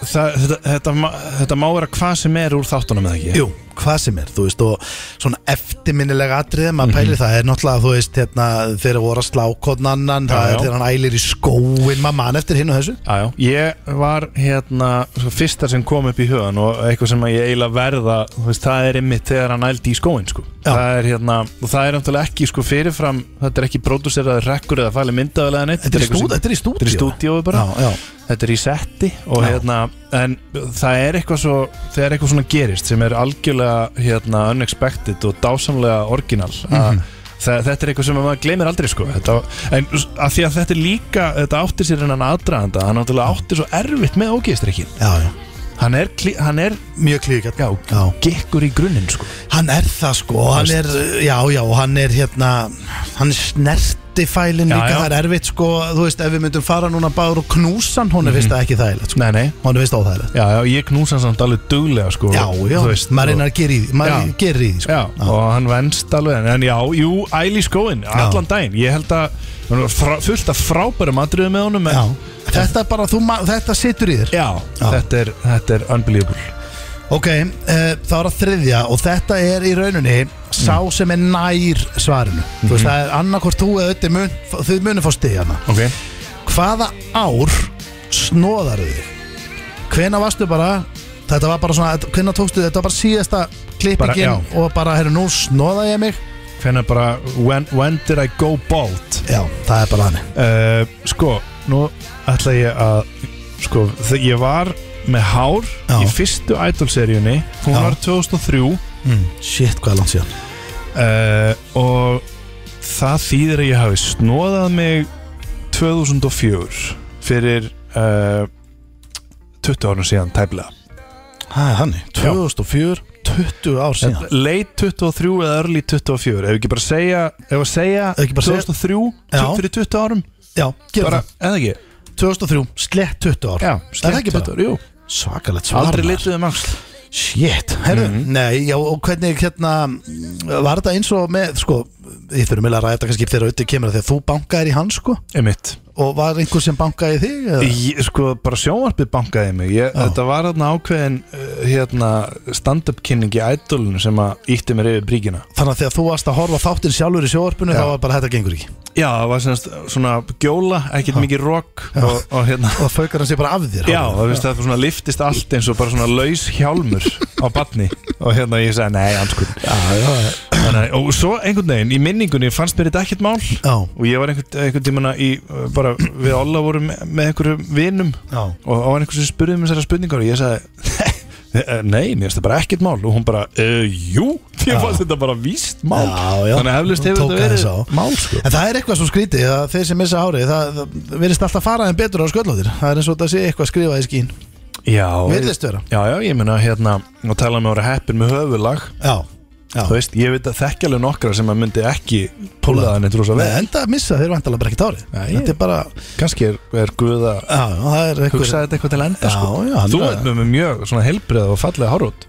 C: það, þetta, þetta, ma- þetta má vera hvað sem er úr þáttunum eða ekki
B: Jú, hvað sem er, þú veist og svona eftirminnilega atriði
C: Mhm.
B: maður pælir það er náttúrulega, þú veist, hérna þegar voru að slá kodn annan, það
C: Já,
B: er
C: já.
B: þegar hann ælir í skóin maður mann eftir hinn og þessu
C: Já, já. Ég var hérna svo fyrsta sem kom upp í hugan og eitthvað sem að ég eiginlega verða þú veist, það er einmitt þegar hann ældi í skóin sko.
B: Já.
C: það er hérna, og það er náttúrulega ekki sko, fyrirfram, þetta er ekki pródúseraður rekkur eða falið myndaðalega neitt
B: Þetta er í
C: eitthvað
B: stúdíu-
C: sem-
B: þetta er í
C: Þetta er í
B: stúdíu.
C: stúdíu bara
B: Já, já,
C: þetta er í setti og
B: Já.
C: hérna en það er eitthvað svo þegar eitthvað svona gerist sem er algjörlega hérna unexpected og dásamlega orginal að
B: Mhm.
C: það, þetta er eitthvað sem maður gleymir aldrei sko þetta, en að því að þetta er líka þetta átti sér hennan aðdraðanda hann náttúrulega átti svo erfitt með ógeðstrykkin
B: já, já,
C: hann er, klí- hann er
B: mjög klíkat Já, já
C: gekkur í grunninn sko
B: Hann er það sko, og hann er, já, já, og hann er hérna, hann er snertifælin
C: Já,
B: líka,
C: já.
B: það er erfitt sko, þú veist, ef við myndum fara núna báður og knúsan,
C: Mhm.
B: hún er vist það ekki þægilegt sko,
C: nei nei
B: hún er vist óþægilegt.
C: já, já, ég knús hann samt alveg duglega sko
B: Já, já,
C: þú veist,
B: maður
C: og-
B: reynar að gera í því, maður
C: Já.
B: gerir í því sko.
C: Já, og hann venst alveg en- En já, jú, æli í skóin, allan daginn Ég held að hann var frá, fullt af frábærum atriðum með honum en,
B: Já, þetta er bara, þú, ma- þetta situr í þér
C: já, Þetta, er, þetta er unbelievable
B: Ok, uh, það var að þriðja og þetta er í rauninni sá
C: Mhm.
B: sem er nær svarinu Þú veist, það er annarkvort þú eða ötti mun, þau munum fá hérna. stigana
C: okay.
B: Hvaða ár snóðar þau? Hvena varstu bara, þetta var bara svona, hvena tókstu þau, þetta var bara síðasta klippingin
C: Bara,
B: og bara, herru, nú snóða ég mig
C: Hvernig bara, when, when did I go bald?
B: Já, það er bara þannig
C: Uh, sko, nú ætla ég að Sko, þegar ég var með hár
B: Já.
C: Í fyrstu Idol-seríunni Hún
B: Já.
C: var 2003
B: Mm. Shit, hvað er langt síðan?
C: uh, Og það þýðir að ég hafi snóðað mig 2004 Fyrir uh, 20 árum síðan tæplega
B: Það er þannig, 2004, 20 ár síðan
C: Late 23 eða early 24 Ef ekki bara segja, ef að segja
B: Ef ekki bara segja-
C: 2003
B: Já.
C: fyrir 20 árum
B: Já, gerum
C: bara,
B: það
C: Eða ekki
B: 2003, slett 20 ár
C: Já,
B: Er það ekki bara?
C: 20 ára, jú
B: Svakalegt svar
C: Aldrei
B: maður.
C: litið um axl
B: Shit, herru, nei, já, og hvernig hérna, var þetta eins og með, sko, ég þurfum eiginlega að ræða þetta kannski þegar auðvitað kemur að því að þú bankaðir í hann, sko,
C: Einmitt
B: og var einhver sem bankaði í þig, eða?
C: Ég, sko, bara sjónvarpið bankaði mig ég,
B: Já.
C: Þetta var þarna ákveðin uh, hérna, stand-up kynning í ædolinu sem að ítti mér yfir bríkina
B: Þannig að þegar þú varst að horfa á þáttinn sjálfur í sjóarpinu, þá var bara þetta gengur ekki.
C: Já, það var semast svona gjóla, ekkert mikið rock og, og hérna
B: Og faukar hann sér bara af þér.
C: Já,
B: hálfur.
C: það finnst það svona liftist allt eins og bara svona laus hjálmur á batni og hérna ég sagði, nei, anskun
B: Já, já, já.
C: Þannig, og svo einhvern veginn, í minningunni fannst mér þetta ekkert mál
B: Já,
C: og ég var einhvern, einhvern tímann í, uh, bara við Olla vorum með, með einhverjum vinum
B: já.
C: og það var einhvern sem spurði mér þessara spurningar og ég sagði nei, mér finnst það bara ekkert mál og hún bara, uh, jú, ég fannst þetta bara víst mál
B: Já, já.
C: þannig að eflust hefur
B: Tók
C: þetta
B: aðeins á.
C: verið mál sko.
B: En það er eitthvað svo skrítið, að þeir sem missa árið, það, það verðist alltaf fara þeim betur á sköllóttir. Það er eins og þetta sé eitthvað skrifað í skín.
C: já,
B: Virðist vera.
C: já, já, ég meina hérna og tala um að vera heppin með höfulag
B: Já, já.
C: þú veist, ég veit að þekkja alveg nokkra sem að myndi ekki púla þannig trúsa
B: Nei,
C: vel
B: enda að missa þeir vantalega bara ekkert árið.
C: Nei.
B: Þetta er bara,
C: kannski er, er Guð að
B: já, já, það er eitthvað.
C: hugsa þetta eitthvað til enda
B: Já,
C: sko.
B: já, hann
C: þú
B: er-
C: veit með mjög svona helbrið og fallega hárút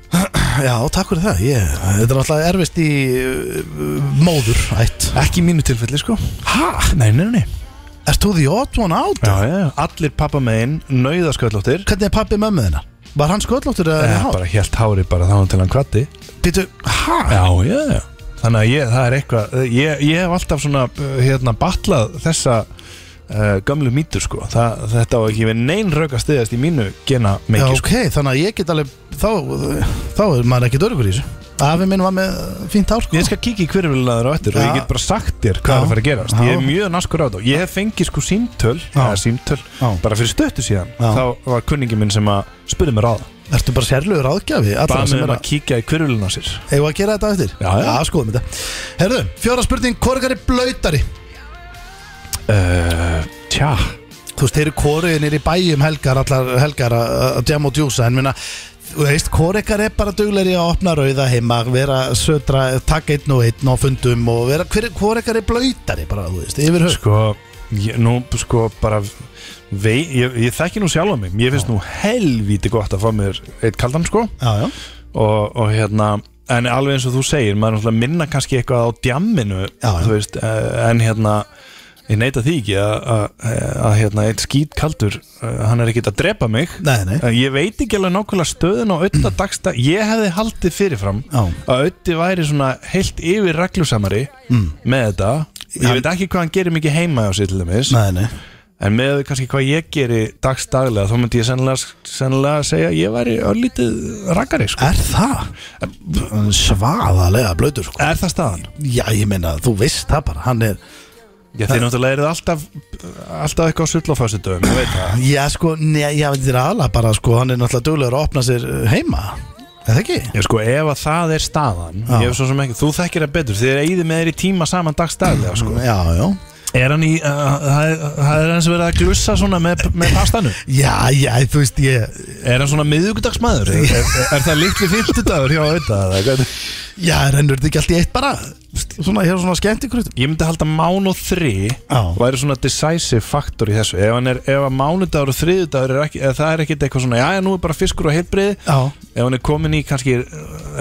B: Já, takk fyrir það ég, Þetta er náttúrulega erfist í uh, móður ætt
C: ekki í mínu tilfelli sko hæ? nei, nei, nei
B: Erst þú the odd one out?
C: já, já, já. allir pappamegin, nauðasköllóttir
B: Hvernig er pappi mömmu þina? Var hann sköllóttur eða
C: Já,
B: er hann
C: bara helt hári bara þá til hann kvatti
B: Býtu, hæ?
C: Já, já, já Þannig að ég, það er eitthvað eh, Ég, ég hef alltaf svona, uh, hérna, batlað þessa uh, gömlu mítur, sko Þa, Þetta á ekki við neinn rauk að stiðast í mínu gena
B: Já,
C: sko. meiki,
B: ok, þannig að ég get alveg þá, þá er maður ekkert örgur í þessu
C: sko
B: Afi minn var með fínt ár sko
C: Ég skal kíkja í hverjulegur á eftir og
B: Já.
C: ég get bara sagt þér hvað er að fara að gerast Ég er
B: Já.
C: mjög naskur á þetta Ég hef fengið sko símtöl, eða símtöl
B: Já.
C: bara fyrir stöttu síðan
B: Já.
C: þá var kunningi minn sem að spurði mér á það
B: Ertu bara sérlegur áðgjafi Allra
C: Bað
B: sem
C: mig um
B: er
C: að
B: að
C: kíkja í hverjuleguna sér
B: Eða að gera þetta á eftir
C: Já, já.
B: skoðum þetta Herðu, fjóra spurning, korgar er blöytari Eh,
C: uh, Tja
B: Þú veist, þeir eru kóriðinir í bæjum helgar Allar helgar að að jam og djúsa En minna, þú veist, kórikar er bara dugleiri að opna rauða heima Vera södra, taka einn og einn á fundum Og vera, hver, kórikar er blöytari Bara, þú veist, yfir höf
C: Sko, ég, nú sko bara vei, ég, ég þekki nú sjálf á mig Mér finnst nú helvíti gott að fá mér eitt kaldan sko
B: Já, já,
C: og, og hérna en alveg eins og þú segir, maður er náttúrulega að minna kannski eitthvað á djamminu
B: Já, já.
C: þú veist, eh, en hérna ég neita því ekki að, að, að hérna, eitt skýt kaldur, hann er ekkit að drepa mig
B: Nei, nei.
C: Eh, ég veit ekki alveg nákvæmlega stöðun á auðvitað dagsta ég hefði haldið fyrirfram
B: Já.
C: að auðvitað væri svona heilt yfir reglusamari mm. með þetta ég veit ekki hvað hann gerir mikið heima á sér til dæmis
B: nei, nei
C: En með þau kannski hvað ég geri dagstaglega þá myndi ég sennilega, sennilega segja að ég væri örlítið rakari sko.
B: Er það? Svaðalega blöytur, sko
C: Er það staðan?
B: Já, ég meina, þú veist það bara, hann er
C: Já, þeir náttúrulega eru alltaf, alltaf eitthvað á sull á föstudöfum, ég veit það.
B: Já, sko, neða, ég veit þér aðla bara, sko Hann er náttúrulega duglegur að opna sér uh, heima Er það ekki?
C: Já, sko, ef að það er staðan,
B: Já.
C: ég hef svo sem ekki, þú þekkir það betur, þið er eigið með þeir í tíma saman dagstaglega, sko.
B: Já, já
C: Er hann í, uh, það er- það er hans verið að glussa svona með, með pastanu?
B: Já, já, þú veist, ég
C: Er hann svona miðugudagsmaður? Er, er, er það líkt við fyrtudagur hjá auðvitað?
B: Já, rennur þetta ekki allt í eitt bara Svona, hér er svona skemmt ykkur
C: Ég myndi halda mán og þri
B: Já.
C: væri svona decisive faktor í þessu ef, hann er, ef að mánudagur og þriðudagur er ekki, eða það er ekkit eitthvað svona, já, nú er bara fiskur og heilbrið
B: Já.
C: ef hann er komin í kannski uh,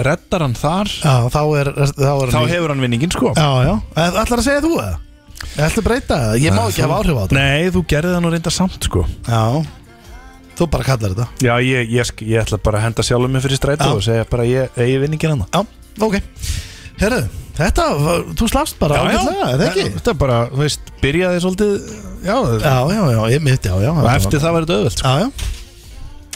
C: reddar hann þar,
B: Já, þá er, þá er
C: þá hefur hann vinningin sko
B: Já, já, ætlar að segja þú það? Ætlar að breyta það? Ég má ekki hafa áhrif á þetta
C: Nei, þú gerði það nú reynda samt sko
B: Já, þú bara kallar þetta
C: Já, ég, ég, sk- ég ætla bara að henda sjálfum mig fyrir strætó
B: Já.
C: og segja bara ég, hérna." ég, ég vinningin hann
B: Já, ok Herðu, þetta, var- þú slafst bara ágætlega, er það ekki?
C: Þetta bara, þú veist, byrjaði svolítið Já,
B: Já, já, já, ég mitt, já, já
C: og eftir það var þetta öðvöld
B: Já, já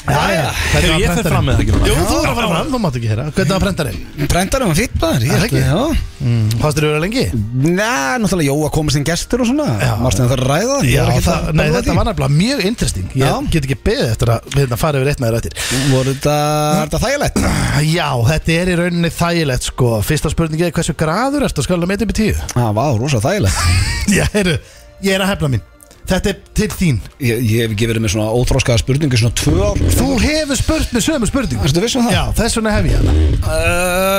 C: Jæja,
B: Hvernig
C: hefur
B: var
C: ég fer
B: prentarinn?
C: fram með það ekki núna?
B: Jú, þú er að fara fram, þú mátt ekki heyra Hvernig var prentarinn?
A: Brendarum var fýtt bara,
B: Er
A: ég
B: það
A: ætla,
B: ekki?
A: já
B: Fannst þér að vera lengi?
A: Næ, náttúrulega Jóa komið sem gestur og svona
B: Já.
A: Marstein þarf að um ræða það, ég er ekki
B: það,
A: það
B: nei, þetta var nefnilega mjög interesting Ég
A: Já.
B: get ekki beðið eftir að hérna, fara yfir eitt með þér eftir
A: Voru þetta, er þetta þægilegt?
B: Já, þetta er í rauninni þægilegt sko Fyrsta spurningi er hversu graður ertu að skala með upp í tíu?
A: Það var Ah, rosa þægilegt
B: Já, heyrðu, ég er að hefna mín Þetta er til þín
A: Ég, ég hef ekki verið með svona óþróskaða spurningu í svona tvö ár
B: Þú hefur spurt með sömu spurningu
A: Ertu viss um það?
B: Já, þess vegna hef ég hana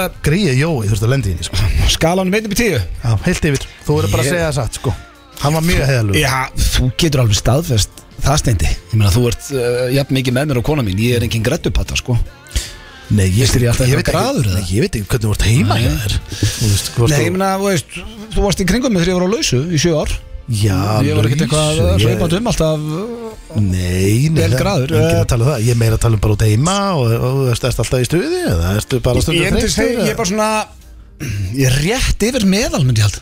A: uh,
B: Gríði Jói, þú veist að lendi í henni sko
A: Skalanum 1 upp í 10
B: Já, heilt yfir Þú verður bara að
A: Ég-
B: segja það satt sko Hann var mjög heðalug
A: Já, þú getur alveg staðfest það steindi Ég meina, þú ert uh, jafn mikið með mér og kona mín Ég er engin grættupatta, sko
B: Nei, ég,
A: Finnst þér ég alltaf
B: ég
A: eitthvað graður, eða?
B: veit ekki, nei, ég veit ekki hvernig þú ert heima hjá þér Þú veist, hvað
A: Nei, ég
B: varst þú
A: meina, þú veist, þú varst í kringum með þegar ég var á lausu í sjö ár
B: Já,
A: Ég var ekkert
B: lausu,
A: eitthvað
B: ég-
A: að hlaupa um alltaf
B: Nei, nei
A: Vel
B: það-
A: graður,
B: Ég er
A: eh.
B: að tala um það, ég er meira að tala um bara út heima og, og, og erst alltaf í stuði eða erstu bara
A: Ég
B: stundum
A: myndi segja, ég er bara svona Ég er rétt yfir meðal, myndi ég held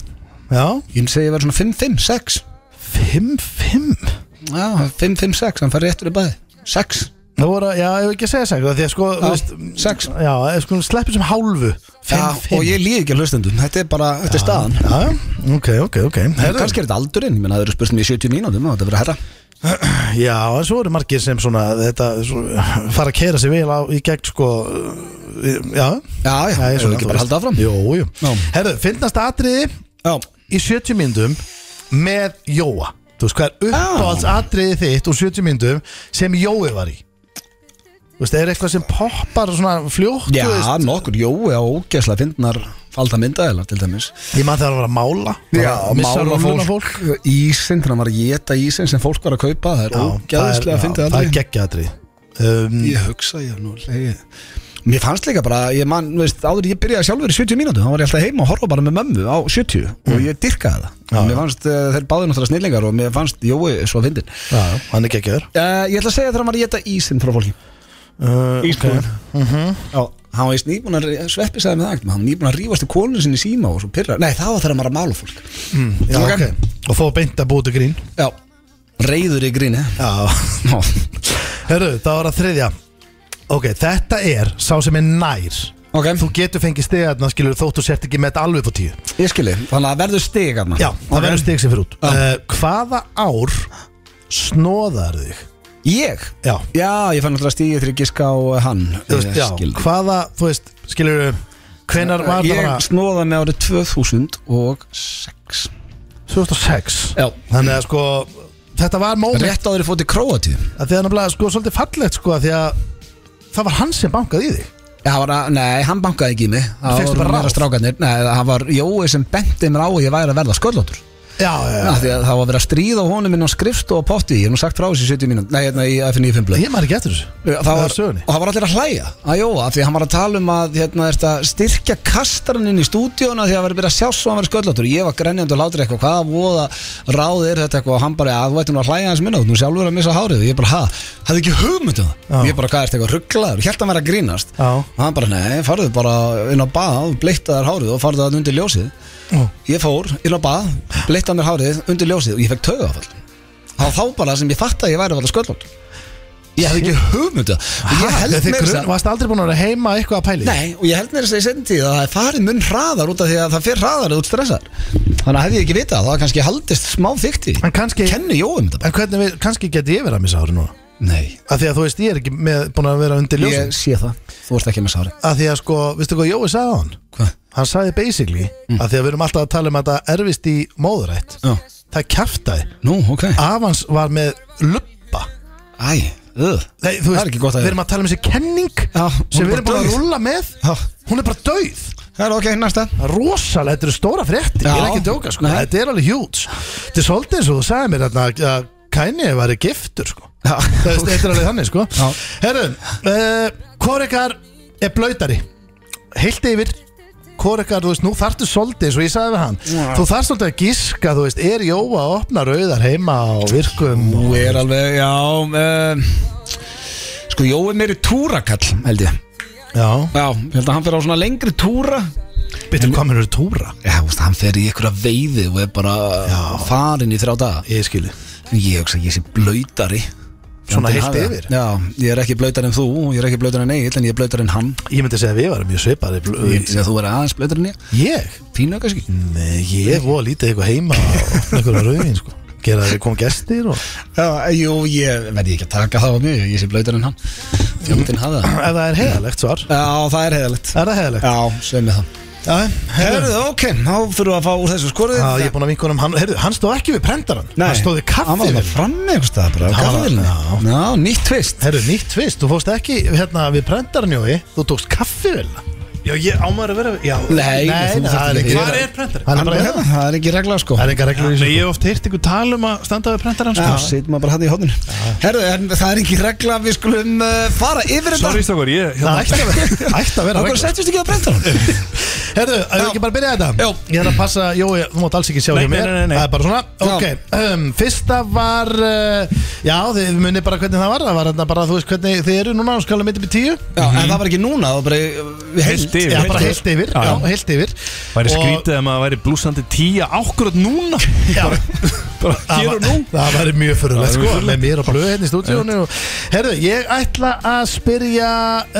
B: Já,
A: Ég myndi segja, ég var svona 5-5, 6
B: 5-5
A: Já, 5-5, 6, hann fær rétt yfir bæði 6
B: Það voru, að- já, ég hef ekki að segja sæk Því að sko,
A: Já,
B: þú veist
A: sex.
B: Já, eh, sko, sleppur sem hálfu 5-5
A: Já, og ég líði ekki að hlustendum Þetta er bara, þetta er staðan
B: Já, já, ok, ok, ok
A: Herðu.
B: Herðu.
A: Kannski er þetta aldurinn, menn það eru spurt mér í 70 mínútum og þetta verður að herra
B: Já, en svo eru margir sem svona þetta svona, fara að keira sig vel á, í gegn sko eh, Já,
A: Já, já,
B: já,
A: já
B: svona,
A: ekki
B: þú
A: bara
B: veist.
A: halda áfram
B: Jú, jú
A: Já.
B: Herðu, finnast atriði
A: Já,
B: í 70 myndum með Jóa Þú veist hvað er uppáhalds atriði þitt úr 70 myndum sem Jói var í Þú veist, er eitthvað sem poppar svona fljótt þú
A: já
B: veist?
A: nokkur, jú, já, ógæslega fyndnar falda myndaðilar til dæmis
B: Ég maður þegar að var að mála Bara missa rúlluna fólk
A: Ísinn, þannig að maður geta ísinn sem fólk var að kaupa Það er
B: Já, það
A: ógæslega
B: er- já,
A: fyndið
B: Það er
A: aldrei
B: geggja atrið um,
A: Ég hugsa, ég nú leið Mér fannst líka bara, ég man, þú veist, áður ég byrjaði sjálfur í 70 mínútu, þá var ég alltaf heima og horfa bara með mömmu á 70 og ég dyrkaði það. mér fannst uh, þeir báði náttúrulega snillingar og mér fannst Jói svo fyndin.
B: Já, já, hann er geggjaður
A: Uh, ég ætla að segja þegar maður geta ísinn frá fólki.
B: uh,
A: Ísbúinn Já, hann var íst nýbúin að sveppi sagði með það ekkert, hann var nýbúin að rífast í konu sinni í síma og svo pyrra, nei það var þegar maður að mála fólk
B: já,
A: Ok.
B: okay. Og fóðu beint að búið til grín
A: Já, reyður í gríni
B: Já
A: Já,
B: Herru, það var að þriðja Ok, þetta er sá sem er nær
A: Ok.
B: Þú getur fengið stigarna skilur þótt þú sért ekki með þetta alveg på tíu
A: Ég skilji, þannig að verður stig hann
B: Já, það verður stig sem fyrir út
A: Já.
B: uh, Hvaða ár snóðar þig?
A: Ég?
B: Já,
A: Já, ég fann alltaf stigið þegar ég giska á eh, hann
B: þú veist,
A: Ég
B: já
A: skil.
B: hvaða, þú veist, skilur Hvenar var það
A: Ég
B: bara
A: snóða mig árið 2006
B: 2006
A: Já.
B: Þannig að sko, þetta var moment
A: Rétt áður ég fótt í Króatíu
B: að því að nefnilega sko svolítið fallegt sko að því að það var hann sem bankaði í þig
A: Já, var að, nei, hann bankaði ekki í mig Það
B: Fékkstu
A: voru
B: bara
A: meira
B: ráð?
A: strákarnir Nei, það var Jói sem benti mér á að ég væri að verða sköllóttur
B: já, já,
A: ja. Því að það var verið að stríða á honum inn á skrifst og á potti Ég hef nú sagt frá þessu í 70 mínútur Nei, hérna í FNI 5 blöð
B: ég maður ekki eftir þessu
A: Það var,
B: sögunni
A: og það var allir að hlæja að Jóa Því að hann var að tala um að hérna, þetta, styrkja kastarinn inn í stúdíóna Því að það var verið að sjá svo að hann verið sköllóttur Ég var grenjandi og látur eitthvað Hvaða voða ráð er þetta eitthvað Og hann bara, að þú ætti nú að hlæja hans minna þú ert Nú sjálfur að missa hárið Og Ég bara, ha, hafði ekki hugmynd um það
B: Já.
A: Ég bara, hvað er þetta eitthvað rugglaður Hjælt að vera að grínast
B: Já.
A: Og hann bara, nei, farðu bara inn á bað Bleitta þær hárið og farðu það undir ljósið
B: Ó.
A: Ég fór inn á bað, bleitta mér hárið undir ljósið og ég fekk tögafall Það var þá bara sem ég fatt að ég væri að verða sköllótt Ég hafði ekki hugmynda Og ég held
B: Þið
A: mér
B: grun-
A: þess að
B: varst aldrei búin að vera heima eitthvað að pæli í?
A: Nei, og ég held mér þess að í seinni tíð að það er farið mun hraðar út af því að það fer hraðar út stressar Þannig að hefði ég ekki vitað, það var kannski haldist smá þykti
B: En kannski-
A: Kenni Jóum þetta bara
B: en hvernig við, kannski geti ég verið að missa ári núna
A: Nei,
B: að því að þú veist ég er ekki með, búin að vera undir ljósin
A: ég sé það, þú ert ekki með sári
B: að því að sko, veistu hvað Jói sagði á hann
A: Hvað?
B: hann sagði basically
A: Mm.
B: að því að við erum alltaf að tala um að það erfist í móðurætt
A: Já.
B: það kjaftaði,
A: Nú, ok
B: af hans var með lubba
A: Æ, öð
B: Nei, þú
A: Það er
B: veist,
A: ekki gott að
B: við
A: heyra.
B: erum að tala um þessi kenning
A: Já, hún
B: sem
A: er
B: við erum
A: bara
B: búin að
A: dauð.
B: rúlla með
A: Já.
B: hún er bara dauð
A: Það er ok, næsta
B: rosalega, þetta eru stóra fréttir ég er
A: Já.
B: ekki að djóka, sko,
A: Nei.
B: þetta er alveg hjúts þetta er svolítið eins og þú sagði mér þarna að- að Kanye væri giftur, sko
A: Já.
B: Það veist, þetta er alveg þannig, sko
A: Já.
B: herru, uh, hvor ykkar er blöytari heilt yfir hvor ykkar, þú veist, nú þarftu svolítið eins og ég sagði við hann, þú þarft svolítið að gíska þú veist, er Jóa að opna rauðar heima á virkum
A: Þú
B: og,
A: er alveg, já um, Sko, Jói meiri túrakall, held ég
B: já,
A: Já, ég held að hann fer á svona lengri túra
B: betur hvað mér eru túra
A: Já, þú veist, hann fer í einhverja veiði og er bara Já. farin í þrjá daga
B: ég skilji
A: En Ég hugsa, að ég sé blöytari
B: Svona heilt yfir?
A: Já, ég er ekki blöytari en þú, og ég er ekki blöytari en Egil en ég er blöytari en hann
B: Ég myndi segja að við varum mjög svipaði
A: Ég sé að þú er aðeins blöytari en ég
B: Ég?
A: Fínu kannski
B: Nei, ég er voða lítið eitthvað heima og opna einhverja rauðin sko Gera að við komum gestir og Ef
A: Já, jú, ég verði ekki að taka það á mjög Ég sé blöytari en hann Fjöndin hafa það
B: það er heiðalegt svar
A: Já, það er heiðalegt
B: Er það heiðalegt?
A: Já, sveið með það
B: Já,
A: Herðu, ok, þá fyrir við að fá úr þessu skorið
B: Já, ég er búin að vinkunum, hann, heyrðu, hann stóð ekki við prendaran Hann stóð við
A: Hann var
B: kaffið
A: það frammi einhvers staðar bara á
B: Hann var-
A: garðinum.
B: já.
A: Já, nýtt tvist
B: Herru, nýtt tvist, þú fórst ekki hérna við prendaran jói Þú tókst kaffið
C: Já, ég ámar að vera Já
A: Nei,
B: Nei,
A: þú
B: nei,
A: þarft
B: það er
A: ekki
B: ekki
A: að
C: Hvar
A: gera-
C: er prentarinn?
B: Hann
A: Hann
B: er bara
A: hérna,
B: hérna
A: Það er ekki regla sko
B: Það er engar reglur í
C: Nei,
B: þessu
C: ég hef oft heyrt ykkur tala um að standa við prentarinn
A: Já,
C: sko.
A: situr maður bara hann í hodninu Herðu, en það er ekki regla að við skulum uh, fara yfir þetta
C: Sorry, stókur, ég hérna,
B: Það ætti að vera- ætti að
A: Það
B: vera regla.
A: bara settist ekki á brendarann
B: Herðu, ef við ekki bara byrja þetta
A: Já.
B: Ég er að passa, Jói, þú mátt alls ekki sjá
C: Nei,
B: hjá
C: nei,
B: mér
C: nei, nei, nei.
B: Það er bara svona
A: Já.
B: Ok, um, fyrsta var uh, Já, þið munið bara hvernig það var Það var hérna bara, þú veist hvernig þið eru núna Þú skalum mitt upp í tíu
A: Já, en það var ekki núna Það var bara í- við
C: Heilt yfir.
B: Já, bara
C: yfir.
B: heilt yfir,
C: Já.
B: já, heilt yfir
C: Væri
B: Og-
C: skrítið að maður væri blúsandi tíja ákvörð núna
B: Já.
C: Bara
B: Það
C: hér og
B: var-
C: nú
B: Það væri mjög fyrirlegt
C: Það væri
B: sko
C: mjög
B: Með mér og blöð hérna í stúdíónu og- Herðu, ég ætla að spyrja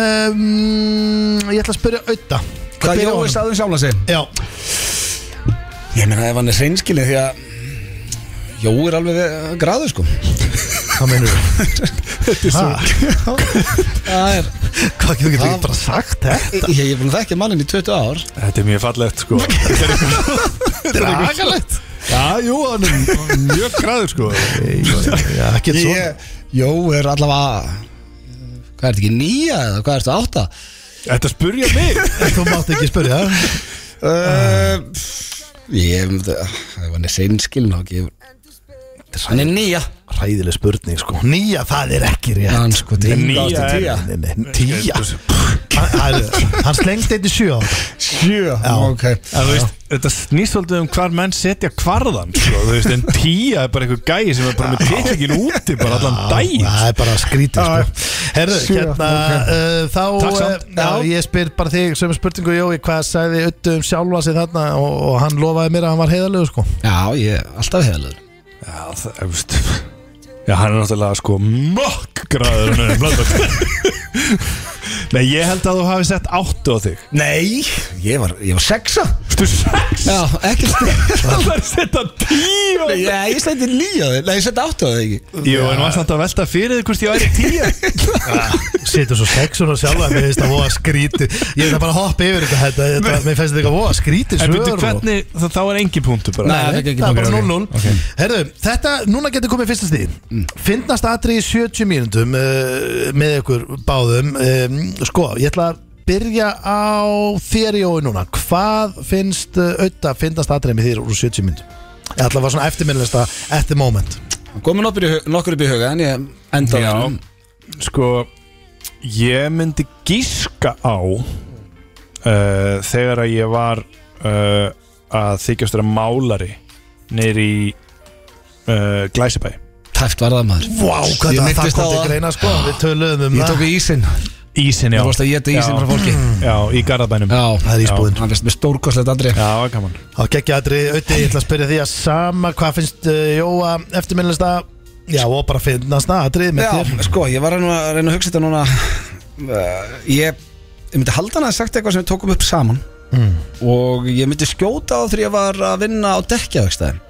B: um, Ég ætla að spyrja auða
A: Hvað Jói um staðum sjálf að segja
B: Já,
A: Ég meina, ef hann er hreinskilið því að Jói er alveg eh, graður sko
B: hvað meinur þú? Þetta er svo
A: Það er
B: Hvað getur
A: Það-
B: ekki bara sagt þetta?
A: Ég ég er búin að þekkja mannin í 20 ár
C: Þetta er mjög fallegt sko
B: Dragalegt
C: Já, jú, hann er mjög græður sko
B: Já, ekki svo
A: Ég, Jói er allavega Hvað er þetta ekki, nýja eða hvað er þetta, átta?
C: Þetta spurja mig
B: Þú mátt ekki spyrja
A: Uh, ég ef hann er seinskilin og ekki hann er nýja
B: Ræðileg spurning sko Nýja, það er ekki rétt
A: hann sko til
C: Nýja er- sko,
B: Nei, nei, nei, Tíja Hann- hann- Hann slengst einn í sjö á þetta.
A: sjö
B: Já.
A: ok
C: Það, þú veist, þetta snýst svolítið um hvar menn setja kvarðan sko, þú veist, En tíja er bara einhver gæi sem er bara með titlingin úti bara allan daginn
B: Það er bara skrítið sko Herðu,
A: Sjö,
B: hérna uh, Þá,
C: Takk
B: uh,
C: samt.
B: já, ég spyr bara þig sem spurningu Jói, hvað sagði Uttu um sjálfa sig þarna og, og hann lofaði mér að hann var heiðalegu sko
A: já ég er alltaf hefðalur
C: Já, það, þú veist Já, hann er náttúrulega sko mokk græður en hann er bland Nei, ég held að þú hafi sett áttu á þig
A: Nei, ég var, ég var sexa
C: Þú sex
A: Já, ekki
C: Það var að setja tíu á-
A: Já, ég slendi nýja þig Nei, ég sendi átt á þig ekki
C: Jú, en varst þetta að velta fyrir þig hvort ég væri tíu
B: Ah, Situr svo sexun og sjálfa Mér finnst það voða skríti Ég ætla bara að hoppa yfir þetta, þetta, þetta Mér finnst þetta voða skríti
C: En
B: svör
C: byrju,
B: og-
C: hvernig, þá, þá er engin punktu bara
B: Nei,
G: ekki- ekki
B: það er bara
G: punktur,
B: 0-0 Herðu, þetta, núna getur komið fyrsta stíð Fyndnast atri í 70 mínútum uh, með ykkur báðum um, Sko, ég ætla að byrja á þér í ói núna Hvað finnst uh, auðvitað fyndnast atrið með þér úr 70 mínútum? Ég ætla að var svona eftirminnlista at the moment
A: Komum nokkur, í hug- nokkur upp í huga En ég enda á
C: Já,
A: honum.
C: sko Ég myndi gíska á uh, Þegar að ég var uh, Að þykjast vera málari Neyri í uh, Glæsibæ
A: Tæft var það maður
B: Vá, hvað
A: Ég
B: það, það
A: minntist á
B: kom til
A: það.
B: greina sko Við töluðum um
A: Ég
B: það
A: tók í ísinn
C: Ísin, já
A: Þú varst að geta ísinn frá fólki
C: Já, í Garðabænum
A: Já,
B: Það er ísbúðin
A: hann veist með stórkoslegt andri
C: Já, var gaman
B: Það geggja aðri auðvitað, ég ætla að spyrja því að sama Hvað finnst uh, Jóa eftirminnlista Já, og bara fyndnast atrið með
A: Já,
B: þér
A: sko, ég var að reyna að, reyna að hugsa þetta núna uh, Ég, ég myndi halda hann að hafa sagt eitthvað sem við tókum upp saman Og ég myndi skjóta á þegar ég var að vinna á dekkjaðvegstæðin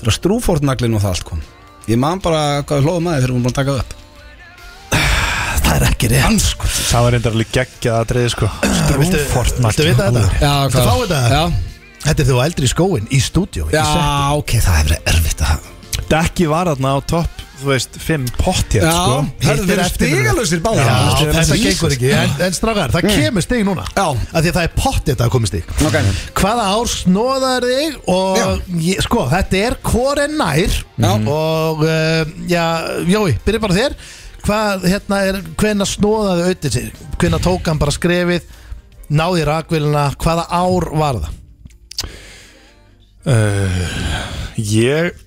A: Þegar strúfórtnaglinn og það allt kom Ég man bara hvað við hlóðum að þið þegar við vorum búin að taka það upp
B: Það er ekki rétt
C: Það var reyndar alveg geggjað atriði sko
B: Viltu, viltu vita þetta?
A: Já,
B: Viltu fá þetta?
A: Já,
B: Þetta er þú eldri í skóin, í stúdíó
A: já ok, það hefur verið erfitt að
C: Dekki var þarna á topp, þú veist, fimm pott hér sko
A: hörðu,
B: Hitt
A: þeir
B: er
A: eru
B: eftirminni.
A: stigalausir
B: Já,
A: báðir
B: þetta, gengur ekki En, en strákar, það kemur stig núna
A: Mm. Já.
B: Af Því að það er pottið þetta að komið stig
A: Ok.
B: Hvaða ár snóðar þig Og ég, sko, þetta er hvore nær
A: Já.
B: Og uh, já, Jói, byrja bara á þér Hvað, hérna er, hvenna snóðaði auðvitað sig Hvenna tók hann bara skrefið Náði rakvilina, hvaða ár var það?
C: Uh, ég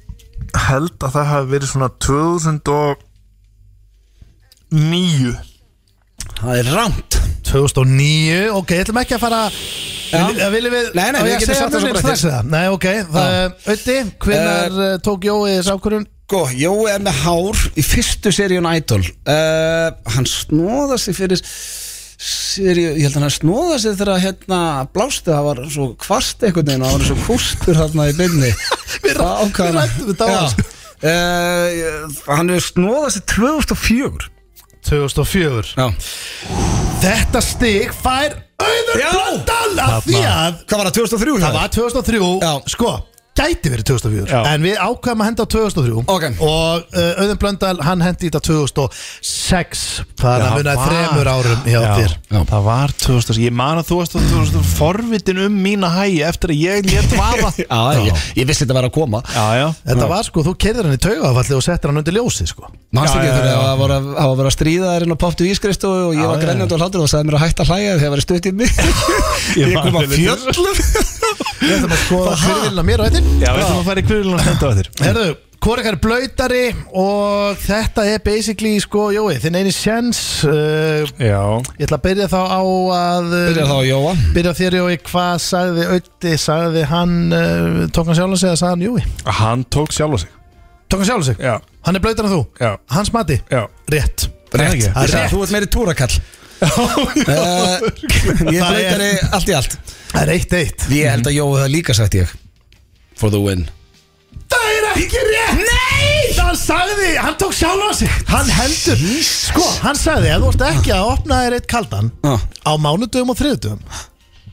C: held að það hafi verið svona 2009
A: Það er rámt
B: 2009, ok, ætlum ekki að fara
A: Já.
B: Vil, eh, Viljum við
A: Nei, nei,
B: á
A: við
B: ég að
A: getum
B: segja
A: sagt það svo
B: nöfnin
A: bara Eh.
B: strax eða? Nei, ok, það er Ötti, hvenar uh, tók Jói þessu ákvörðun?
A: Sko, Jói er með hár í fyrstu seríun Idol uh, Hann snóða sig fyrir seríu, ég held að hann snóða sig þegar hérna blástu, það var svo kvast einhvern veginn og það var svo kústur þarna í byrni Við
B: ræddum
A: sko.
B: þetta á hans.
A: uh, Hann hefur snóðað sig 2004
B: 2004
A: Já.
B: Þetta stig fær auður
A: Já.
B: blöndal af því að
A: Hvað var það, 2003?
B: það var 2003,
A: Já.
B: sko gæti verið 2004,
C: Já.
B: en við ákveðum að henda á 2003
A: Ok.
B: og uh, Auðun Blöndal, hann hendi í þetta 2006 það er að munaði þremur árum hjá
C: Já,
B: þér
C: Það var 2000 Ég man að þú varst þú varst forvitin um mína hægi eftir að ég létt vaða Já,
A: Já, ég, ég vissi þetta var að koma
C: já
B: Þetta var sko, þú kerðir hann í taugafalli og settir hann undir ljósi sko
A: Manstu
C: Já,
A: ekki
C: já,
A: þegar
C: já.
A: það var að það var að vera að stríða þær inn á poptu ískristu og ég var grænjandi og hlátur og það sagði mér að hætta að hlæja þegar það var stutt í mig Ég
C: man
A: kom að
C: vel eftir
A: fjöllum
B: Við ætlum að skoða hvirvilna Sko, mér og þetta
C: Já, við ætlum að fara í kvirlun og stenda á þér
B: Herðu, hvort ykkar er blöytari og þetta er basically sko, jói, þinn eini sjens uh,
C: Já
B: ég ætla að byrja þá á að uh,
A: Byrja þá að jóa
B: byrja á þér jói, hvað sagði Ötti, sagði hann uh, tók hann sjálf að segja, sagði hann jói
C: Hann tók sjálf á sig
B: tók hann sjálf að segja,
C: Já,
B: hann er blöytar en þú
C: já,
B: hans mati,
C: já
B: rétt
A: Rétt,
B: Það er
A: Ég sagði,
B: rétt.
A: þú ert meiri túrakall Eh, Ég
B: Það er-
A: bleikari allt í allt
B: það er eitt eitt
A: Ég held að Jói það líka sagt ég For the win
B: það er ekki rétt Nei! hann sagði, hann tók sjálf að sig hann heldur, sko, hann sagði að þú ert ekki að opna þér eitt kaldan
A: ah.
B: á mánudöfum og þriðdöfum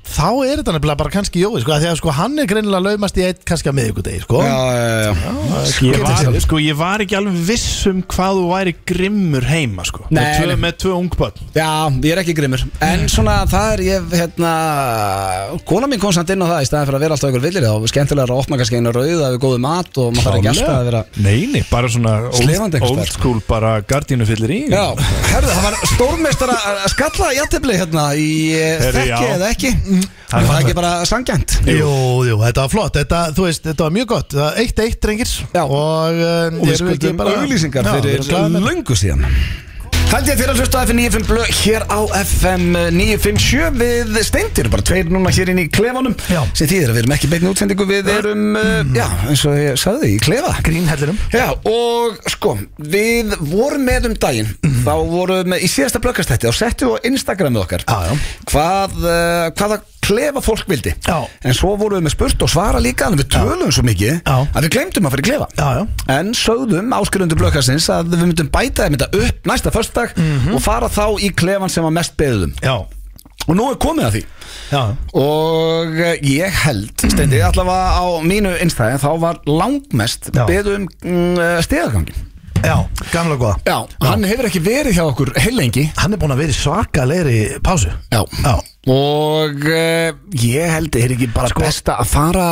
B: þá er þetta nefnilega bara kannski Jói sko, af því að sko, hann er greinilega laumast í eitt kannski að miðvikudegi sko.
A: Já, já, já
C: Ég var, sko, ég var ekki alveg viss um hvað þú væri grimmur heima sko. með,
A: Nei,
C: tvö,
A: nei.
C: með tvö ungbönn
A: Já, ég er ekki grimmur En svona það er ég hérna Kona mín kom samt inn á það Í staðan fyrir að vera alltaf ykkur villir Þá er skemmtilega að opna kannski einu rauða Við góðu mat og maður þarf ekki alltaf að vera
C: Neini, bara svona
A: Slefandi einhvers
C: old, old
A: staðar. sko.
C: school bara gardínu fyllir í
A: Já, herðu, það var stórmeistar að skalla játefli hérna í eh,
C: Herðu,
A: þekki
C: já.
A: eða ekki Það er það ekki bara sangjant
B: Jú, jú, þetta var flott þetta, Þú veist, þetta var mjög gott, Það var eitt eitt drengir
A: Já.
B: og, uh,
A: og við skuldum auglýsingar fyrir löngu síðan Haldið þér að hlusta á FM 95 blöð hér á FM 957 við steindir, bara tveir núna hér inn í klefanum
B: Já.
A: sem þýðir að við erum ekki beinni útsendingu, við erum, mm. já, eins og ég sagði, í klefa
B: Grínhellinum
A: Já, og sko, við vorum með um daginn þá vorum við í síðasta blöggastætti þá settum við á Instagramið okkar
B: Já, já.
A: Hvað, uh, hvaða klefa fólk vildi
B: Já.
A: en svo vorum við með spurt og svara líka en við tölum svo mikið
B: Já.
A: að við glemdum að fara í klefa
B: Já, já.
A: en sögðum áskurundu blöggastins að við myndum bæta þeim þetta upp næsta föstudag
B: Mhm.
A: og fara þá í klefan sem var mest um. beðum
B: já,
A: og nú er komið að því
B: já,
A: Og eh, ég held, steindi, allavega á mínu innstæði þá var langmest
B: Já.
A: beðum mm, stegagangin.
B: já, gamla góða
A: Já, hann hefur ekki verið hjá okkur heilengi.
B: Hann er búin að vera í svakalegri pásu
A: Já.
B: já,
A: Og uh, ég held, er ekki bara
B: Sko-
A: besta að fara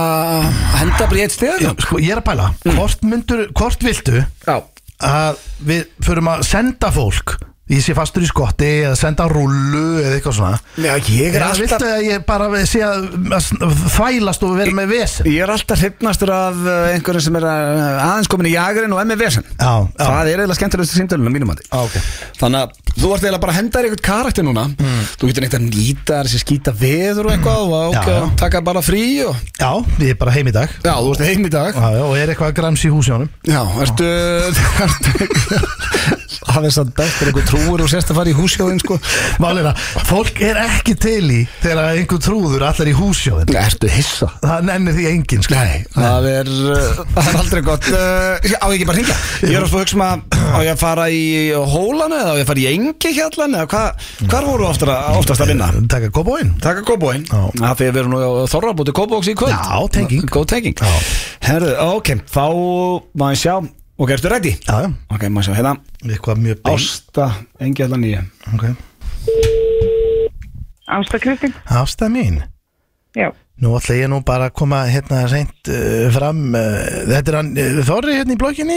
A: að henda bara í eitt
B: já,
A: stegagang?
B: sko ég er að pæla
A: Mm.
B: Hvort myndur, hvort viltu
A: Já.
B: að við förum að senda fólk Ég sé fastur í skotti eða senda rullu eða eitthvað svona
A: Já, ég
B: Ég
A: er
B: er
A: alltaf...
B: Viltu að ég bara sé að, að þvælast og vera með vesen
A: Ég er alltaf hrypnastur af eh, einhverjum sem er að- aðeins komin í jagarinn og emmi vesen
B: Já, já.
A: Það er eiginlega skemmtilegust í símdölunum mínum mati
B: Já, ok.
A: Þannig að þú ert eiginlega bara að henda þér eitthvað karakter núna Þú getur neitt að nýta þessi skýta veður og eitthvað og,
B: Já,
A: okay,
B: já.
A: og taka bara frí og...
B: Já, ég er bara heim í dag
A: Já, þú ert heim í dag
B: já, já, og er eitthvað grams í húsjónum
A: Já, ertu Það er satt best er eitthvað trúur og sérst að fara í húsjóðin sko
B: Máleina, fólk er ekki til í þegar einhver trúður allar í húsjóðin
A: Ertu hissa
B: Það nennir því enginn sko. Nei,
A: Það er, uh, það er aldrei gott uh, ég- Á ég ekki bara að hringja Ég er að spá að hugsa maður Á ég að fara í hólanu Eða á ég að fara í engi hjallan Eða hvað, hvar voru oftast að, oftast að vinna?
B: Takk að koma inn
A: Taka kóbóin
B: Já.
A: Það fyrir við erum nú á Þorrabúti kóbóks í kvöld
B: Já, tenging.
A: Góð tenging
B: Já.
A: Herðu, ok, þá má ég sjá Ok, ertu ready?
B: Já, já,
A: Ok, má ég sjá, hérna
B: eitthvað mjög beint
A: Ásta, engi hjallan nýja
B: okay.
H: Ásta Kristín,
B: Ásta mín
H: já.
B: Nú ætla ég nú bara að koma hérna reynt uh, fram uh, Þetta er hann uh, Þorri hérna í blokkinni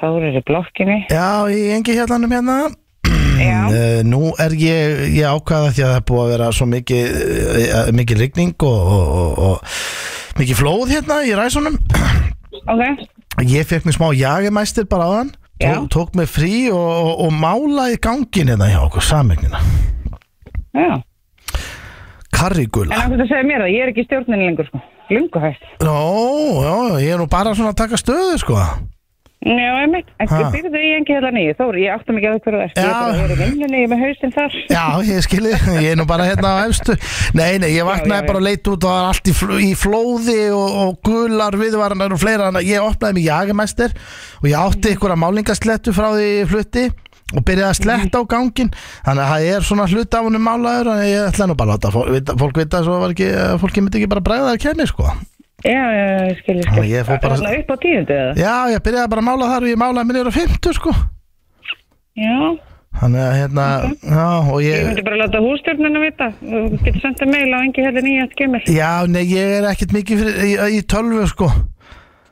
H: Þórir er í blokkinni.
B: Já, í engi hjallanum hérna
H: Já,
B: Uh, nú er ég, ég ákvaða því að það er búið að vera svo mikið, uh, mikið rigning og, og, og, og mikið flóð hérna í ræsunum.
H: ok.
B: Ég fekk mér smá jagemæstir bara á hann,
H: Já.
B: tók, tók mér frí og, og, og málaði gangin hérna hjá okkur samegnina.
H: Já. En
B: Karrigula.
H: af hverju segir mér það? Ég er ekki í stjórninni lengur, sko. Lungu hægt.
B: Nó, já, ég er nú bara svona að taka stöðu sko.
H: Já, einmitt. En
B: Ha.
H: byrjuðu í engi hella nýju. Þóri, ég átti mikið að hverju það er. Ég
B: Já.
H: er bara að vera í vinnunni, ég er með hausinn þar.
B: Já, ég skilji, ég er nú bara hérna á efstu Nei, nei, ég
H: Já, já,
B: vaknaði
H: já.
B: bara að leita út og það var allt í, fl í flóði og, og gular viðvarnar og fleira þannig að ég opnaði mig jagamæstir og ég
H: Mhm.
B: átti einhverja málingaslettu frá því ég flutti og byrjaði að
H: Mhm.
B: sletta á gangin þannig að það er svona hlut af honum málaður en ég ætla nú bara að láta fólk vita, fólk vita svo var ekki, að fólki myndi ekki bara bregða að kemni sko
H: Já, já, já, skilji,
B: Já,
H: skilji.
B: ég fór bara-
H: Þannig upp á tíundu eða?
B: Já, ég byrjaði bara að mála þar og ég málaði minni á 50 sko
H: Já.
B: Þannig að hérna, já, og
H: Mhm. Ég myndi bara að láta hússtjórnina vita. Þú getur sendað meil á engi hérna hella nýju að skemmil.
B: Já, nei, ég er ekkert mikið fyrir, í, í tölvu sko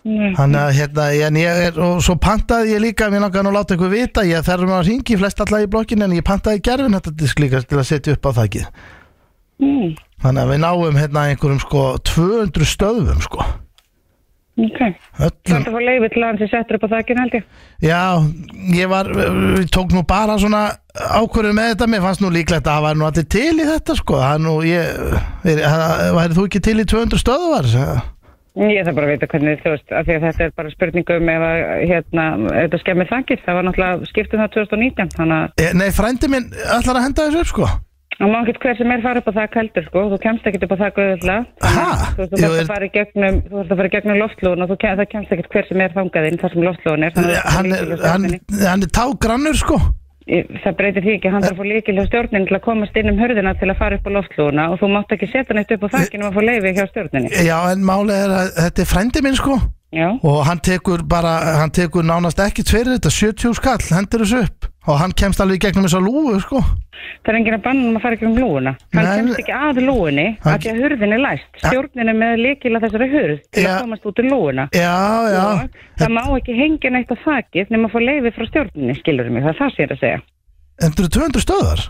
H: Mhm.
B: Þannig að hérna, en ég er, og svo pantaði ég líka, mér langar nú að láta ykkur vita, ég þarf nú að ringi flest alla í blokkinu en ég pantaði gerfin þetta disk líka til að setja upp á þakkið.
H: Mm,
B: Þannig að við náum hérna einhverjum sko 200 stöðum sko.
H: ok. Þú
B: Öllum,
H: ætti að fá leiði til að hann sé settur upp á þakkinn, held ég.
B: já, ég var, við tók nú bara svona ákvörðu með þetta, mér fannst nú líklegt að það var nú allir til í þetta sko, það er nú, ég, er, væri þú ekki til í 200 stöðuvar? Já.
H: Ég þarf bara að vita hvernig þú veist, af því að þetta er bara spurningu um ef að, hérna, ef þetta skemmir þangir, það var náttúrulega skiptum það 2019, þannig að
B: Eh, Nei, frændi minn ætlar að henda þessu upp sko
H: það má ekkert hver sem er fara upp á þakk heldur, sko, þú kemst ekkert upp á þakk auðvitað,
B: Ha?
H: þú veist, þú
B: Jú,
H: þarft
B: er-
H: að fara í gegnum, þú þarft að fara í gegnum loftlóðun og þú kem, það kemst ekkert hver sem er þangað inn þar sem loftlóðun er, þannig að
B: Hann er,
H: það,
B: hann,
H: hann...
B: hann er tágrannur sko
H: það breytir því ekki, hann þarf að fá líkil hjá stjórnin til að komast inn um hörðina til að fara upp á loftlóðuna og þú mátt ekki setja neitt upp á þakkinn og að fá leiði hjá stjórninni.
B: Já, en málið er að þetta er frændi minn sko
H: Já,
B: Og hann tekur bara, hann tekur nánast ekki tverir þetta 70 skall, hendur þessu upp Og hann kemst alveg í gegnum þessa lúgu sko
H: Það er enginn að banna um að fara ekki um lúuna. Hann
B: Nei,
H: kemst ekki að lúunni
B: Hann-
H: af því að hurðin er læst. Stjórnin er með líkila þessari hurð til
B: Ja.
H: að komast út úr lúuna.
B: Já, já
H: Og Það má ekki hengja neitt á þakið nema að fá leiði frá stjórninni, skilur mig. Það er það sem ég er að segja.
B: Endur 200 stöðar?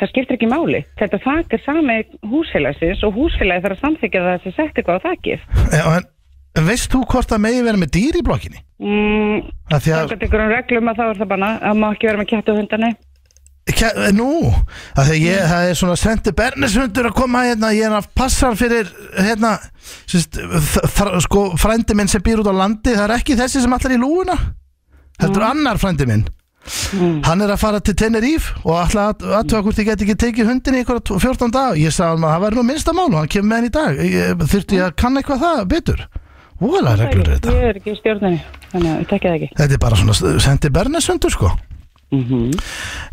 H: Það skiptir ekki máli. Þetta þak er sami húsfélagsins og húsfélagi þarf að samþykja það sem sett eitthvað á þakið.
B: Já, en, en Eh, veist þú hvort það megi vera með dýr í blokkinni?
H: Mm,
B: Af því að,
H: Samkvæmt einhverjum reglum að þá er það bara að má ekki vera með kjættu hundani.
B: kæ, eh, nú, af því að ég, það er svona sendi Bernishundur að koma hérna, ég er að passa hann fyrir, hérna, sérst, sko, frændi minn sem býr út á landi, það er ekki þessi sem allar í lúuna, heldur annar frændi minn. Hann er að fara til Tenerife og ætla að aðtöða hvort ég get ekki tekið hundin í einhverja tvo- 14 dag Ég sagði hann að það væri nú minnsta mál og hann kemur með hann í dag Ég- Þurfti ég að kanna eitthvað það betur Vóla reglur eru þetta
H: Ég er ekki í stjórnarni, þannig að ég tekja það ekki.
B: Þetta er bara svona sendi bernesundur sko
H: Mhm.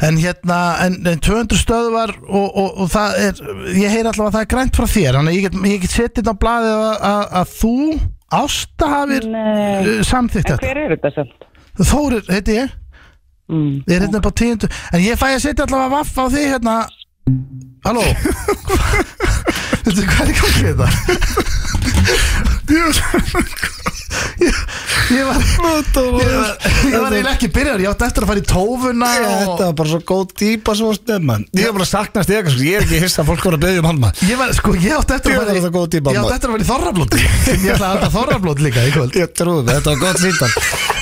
B: En hérna en, en 200 stöðvar og, og, og það er Ég heyr allavega að það er grænt frá þér Þannig að ég get, ég get setið á blaðið að, að, að þú Ásta hafir
H: Nei.
B: uh, samþykkt
H: En
B: þetta
H: hver er þetta samt?
B: Þórir, heiti ég
H: Mm.
B: Ég er hérna upp á tíundu En ég fæ að setja allavega vaff á þig hérna Halló Veitu hvað er í gangi hérna? þetta? ég, ég var Ég var, ég var eiginlega ekki byrjar Ég átti eftir að fara í tófuna og...
A: Þetta var bara svo góð típa svo stefn mann Ég er bara að sakna stega sko. Ég er ekki hissa að fólk voru að beðja um hann maður
B: Ég var, sko, ég átti eftir
A: Ég
B: að fara
A: var þetta góð
B: í
A: típa,
B: Ég átti
A: maður.
B: eftir að fara í þorrablót Ég ætla að halda þorrablót líka í kvöld
A: Ég trúi það, þetta var gott síndan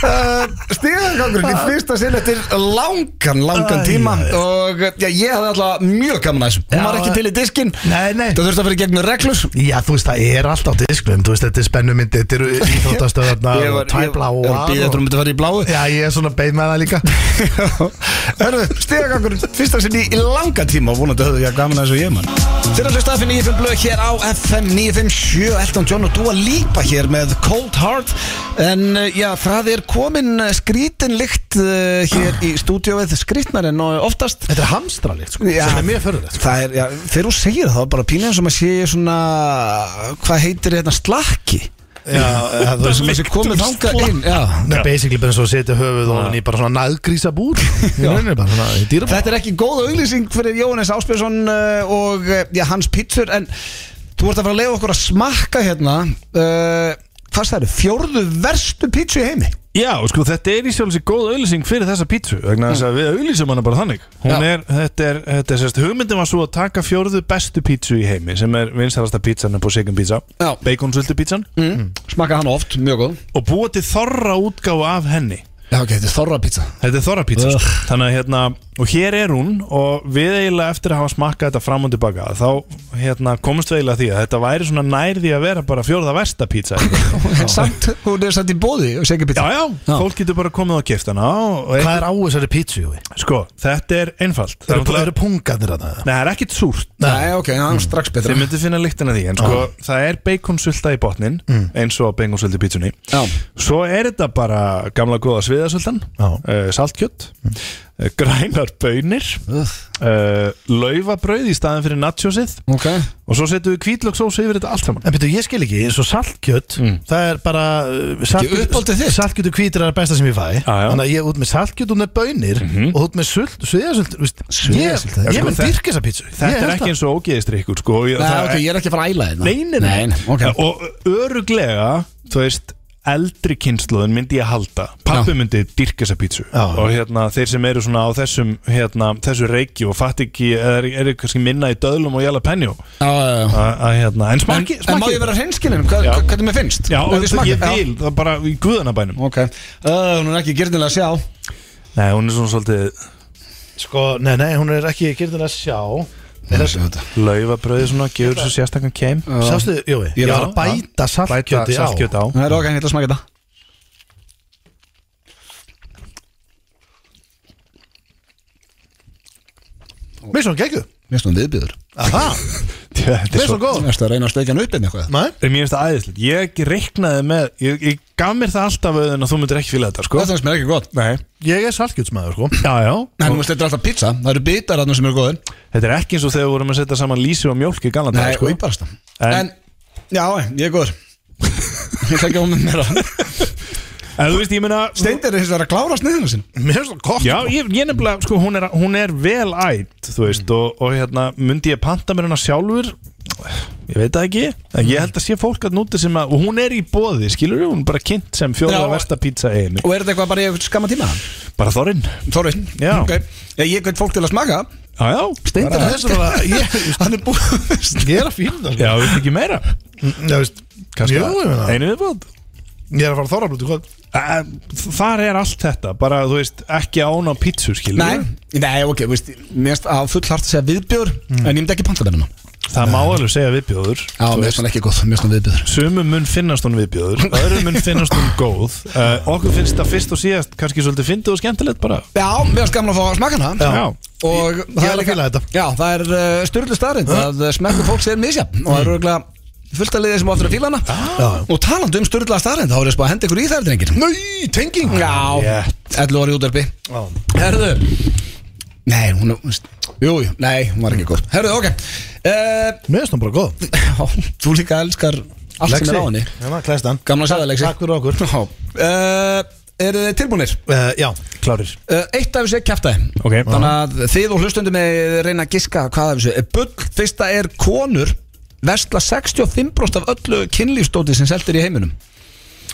A: uh, Stíðagangurinn í fyrsta sinn eftir langan, langan
B: Æ,
A: tíma
B: já, já.
A: og já, ég hafði alltaf mjög gaman að þessu
B: Já,
A: Hún var ekki
B: já.
A: til í diskin
B: Nei, nei.
A: Það þurfti að fyrir gegnum reglur
B: Já, þú veist, það er allt á disknum Þú veist, þetta er spennumyndi Þetta eru íþróttastöðarna
A: Ég
B: og
A: var, ég
B: tæbla
A: var
B: og
A: að býða þetta um þetta fara í bláu
B: Já, ég er svona bein með það líka
A: Hörru, stíðagangurinn fyrsta sinn í, í langan tíma og vonandi höfðu ég að gaman að þessu ég mann Þeir að hlusta FM 95 blöð hér á FM 957 Elton John og Dua Lipa hér með Cold Heart En uh, já, það er komin uh, skrítin lykt uh, hér í stúdíóið Skrítnar en oftast
B: Þetta er hamstralið, sko,
A: Já.
B: sem er mjög förðulegt sko.
A: Það er, já, þegar þú segir það, þá er bara pínu eins og maður sé svona, hvað heitir þetta, slakki?
B: Já, það er
A: Sem maður sé komið þangað inn, já.
B: Nei, basically bara eins og að setja höfuð og hann í bara svona næðgrísa búr Þetta
A: Þetta er ekki góð auglýsing fyrir Jóhannes Áspjörsson uh, og uh, já, hans pítsur, en þú ert að fara að leiða okkur að smakka hérna, uh, hvað það eru, fjórðu verstu pítsu í heimi?
C: Já, og sko, þetta er í sjálfsög góð auðlýsing fyrir þessa pítsu vegna þess að við auðlýsum hana bara þannig Hún er, þetta er, þetta er sérst, hugmyndin var svo að taka fjórðu bestu pítsu í heimi sem er vinstarasta pítsan upp á Sigan pítsa
A: Já.
C: Baconsvöldu pítsan
A: Mm. Smakka hann oft, mjög góð.
C: og búa til þorra útgáfa af henni
A: Já, ok, þetta er þorra pítsa.
C: Þetta er þorra pítsa sko. Þannig að hérna, og hér er hún og við eiginlega eftir að hafa smakkað þetta fram og tilbaka þá hérna, komumst við eiginlega að því að þetta væri svona nær því að vera bara fjórða versta pítsa
A: Samt, hún er samt í bóði, segja
C: Já,
A: pítsa.
C: já, fólk getur bara komið og keft hana og,
B: Hvað er á þessari pítsu, Jói?
C: Sko, þetta er einfalt Það er
B: Eru,
C: náttúrulega-
B: eru pungarnir að það?
C: Nei, það er ekkit súrt
A: Nei, ok,
C: Mm.
A: það er strax betra.
C: Þið myndir finna lyktina af því En sko, það er beikonsulta í botnin
B: Mm.
C: Eins og beikonsulta í pítsunni
A: Já.
C: Svo er þetta bara gamla góða sviðasultan
B: Já.
C: uh, Saltkjött mm. Grænar bönir uh, Laufabrauð í staðin fyrir nachosið
A: Ok,
C: Og svo setjum við kvítlöksós yfir þetta allt saman Mm.
B: En betur, ég skil ekki, eins og saltkjött Það er bara uh,
A: uppáldið þitt.
B: Saltkjött og hvítur er það besta sem ég fæ
C: já.
B: Þannig að ég er út með saltkjött og með bönir Og út með sult, sviðasult þú veist, Ég,
A: Sviðasult,
B: ég
C: Mhm. sko,
B: mun
C: þetta-
B: dyrka þessa pítsu
C: Þetta er ekki eins og ógeðistrykkur sko. Ég-
A: Nei,
C: það-
A: ok, ég er ekki að fara að æla hérna. þetta.
C: Nei, nei, nei, Og öruglega, þú veist eldri kynsluðin myndi ég halda pappi myndi dyrka þessa pítsu
B: Já.
C: og hérna, þeir sem eru svona á þessum hérna, þessu reiki og fatt ekki eða eru- eru kannski minna í döðlum og jala penjó
A: Já, já, já.
C: hérna, en
A: En,
C: smakki,
A: en má
C: smakki
A: ég vera hreinskilin, hvað,
C: Já.
A: hvernig mér finnst?
C: Já,
A: Ef
C: og
A: ég
C: þetta-
A: smakka?
C: ég
A: Já.
C: vil, það er bara í guðanabænum
A: Ok, uh, hún er ekki gerðinlega að sjá
C: Nei, hún er svona svolítið
B: Sko, nei, nei, hún er ekki gyrðin að sjá
C: laufabröði svona, gefur svo sérstakann keim
B: Sástu, Jói,
A: Ég
B: ég
A: er að-
B: var að bæta
C: bæta
B: saltkjötti á
C: saltkjöt á
A: Það er ok, ég ætla að smaka þetta
B: Mér er svona geggu
A: Mér finnst hún viðbjöður
B: Aha,
C: Þetta er
B: mér er
C: svo-
B: svona góð
A: Mér finnst það að reyna að steikja hann upp inn eitthvað
B: Nei,
C: En mér finnst það æðislegt Ég reiknaði með, ég, ég gaf mér það alltaf auðvitað að þú myndir ekki fíla þetta, sko
A: Það finnst mér ekki gott
C: Nei,
B: ég er saltkjötsmaður, sko
C: já, já
A: En þú veist, þetta er alltaf pizza, það eru bitar þarna sem eru góðir
C: Þetta er ekki eins og þegar við vorum að setja saman lísi og mjólk í galna dag,
A: Nei,
C: sko
A: og íbarasta
C: En-
A: En, já, ég er góður Ég ætla ekki að koma með mér
C: En þú veist, ég meina
A: Steindir er hins vegar að klára sniðina sin
B: Mér er svona gott
C: Já, ég, ég nefnilega, sko, hún er, hún er vel ætt, þú veist
B: Mm.
C: og, og hérna, myndi ég panta mér hana sjálfur Ég veit það ekki En
B: Mm.
C: ég held að sé fólk að núti sem að Og hún er í boði, skilur við, hún er bara kynnt sem fjóða
A: Já.
C: versta pizza einu
A: Og er þetta eitthvað bara í eitthvað skamma tíma?
C: Bara þorinn
A: Þorvinn,
C: Já.
A: ok Ég, ég veit fólk til að smaka
C: Já, já,
B: Steindar er þess að ég,
A: Hann er búið
B: ég er að fíla það
C: Já, við ekki meira
B: sko. Já, veist
C: Kannski
B: Jú, ég meina
C: Einu viðbót
B: Ég er að fara þorrablóti hvað
C: Æ, Þar er allt þetta, bara þú veist ekki án á pítsu skilur
A: Nei, nei, ok, þú veist Mér finnst að full hart að segja viðbjör En ég myndi ekki panta með hann
C: það má alveg segja viðbjóður
A: Mm. Já, mér finnst hann ekki góð, mér finnst hann viðbjöður
C: Sumum mun finnast hún viðbjóður Öðrum mun finnast hún góð uh, Okkur finnst það fyrst og síðast kannski svolítið fyndið og skemmtilegt bara
A: Já, mér finnst gaman að fá að smaka hana
C: Já.
A: Og
B: ég er að fíla þetta.
A: Já, það er uh, styrlu starinn að smekku fólks er misja og það eru auðvitað fullt að liðið sem á eftir að fíla hana
B: Mm. Já.
A: og talandi um styrla starinn þá er ég spá að henda ykkur í þær, drengir
B: Nei, tenging
A: Já,
C: Rétt.
A: 11 ári útverfi Herðu Nei, hún er Jú, jú, nei, hún var ekki góð Herðu, ok uh,
B: Mér finnst hún bara góð
A: já, Þú líka elskar allt sem er á henni
B: Já, klæst hann
A: Gamla að segja, Lexi
B: Takk fyrir okkur
A: Já uh, Eru þið tilbúinir?
B: uh, Já,
C: Klárir
A: Uh, eitt af þessu er kjæftæði
C: Ok.
A: Þannig að þið og hlustundum með reyna að giska hvað af þessu er bull Fyrsta er konur Vestla 65% af öllu kynlífstóti sem seltir í heiminum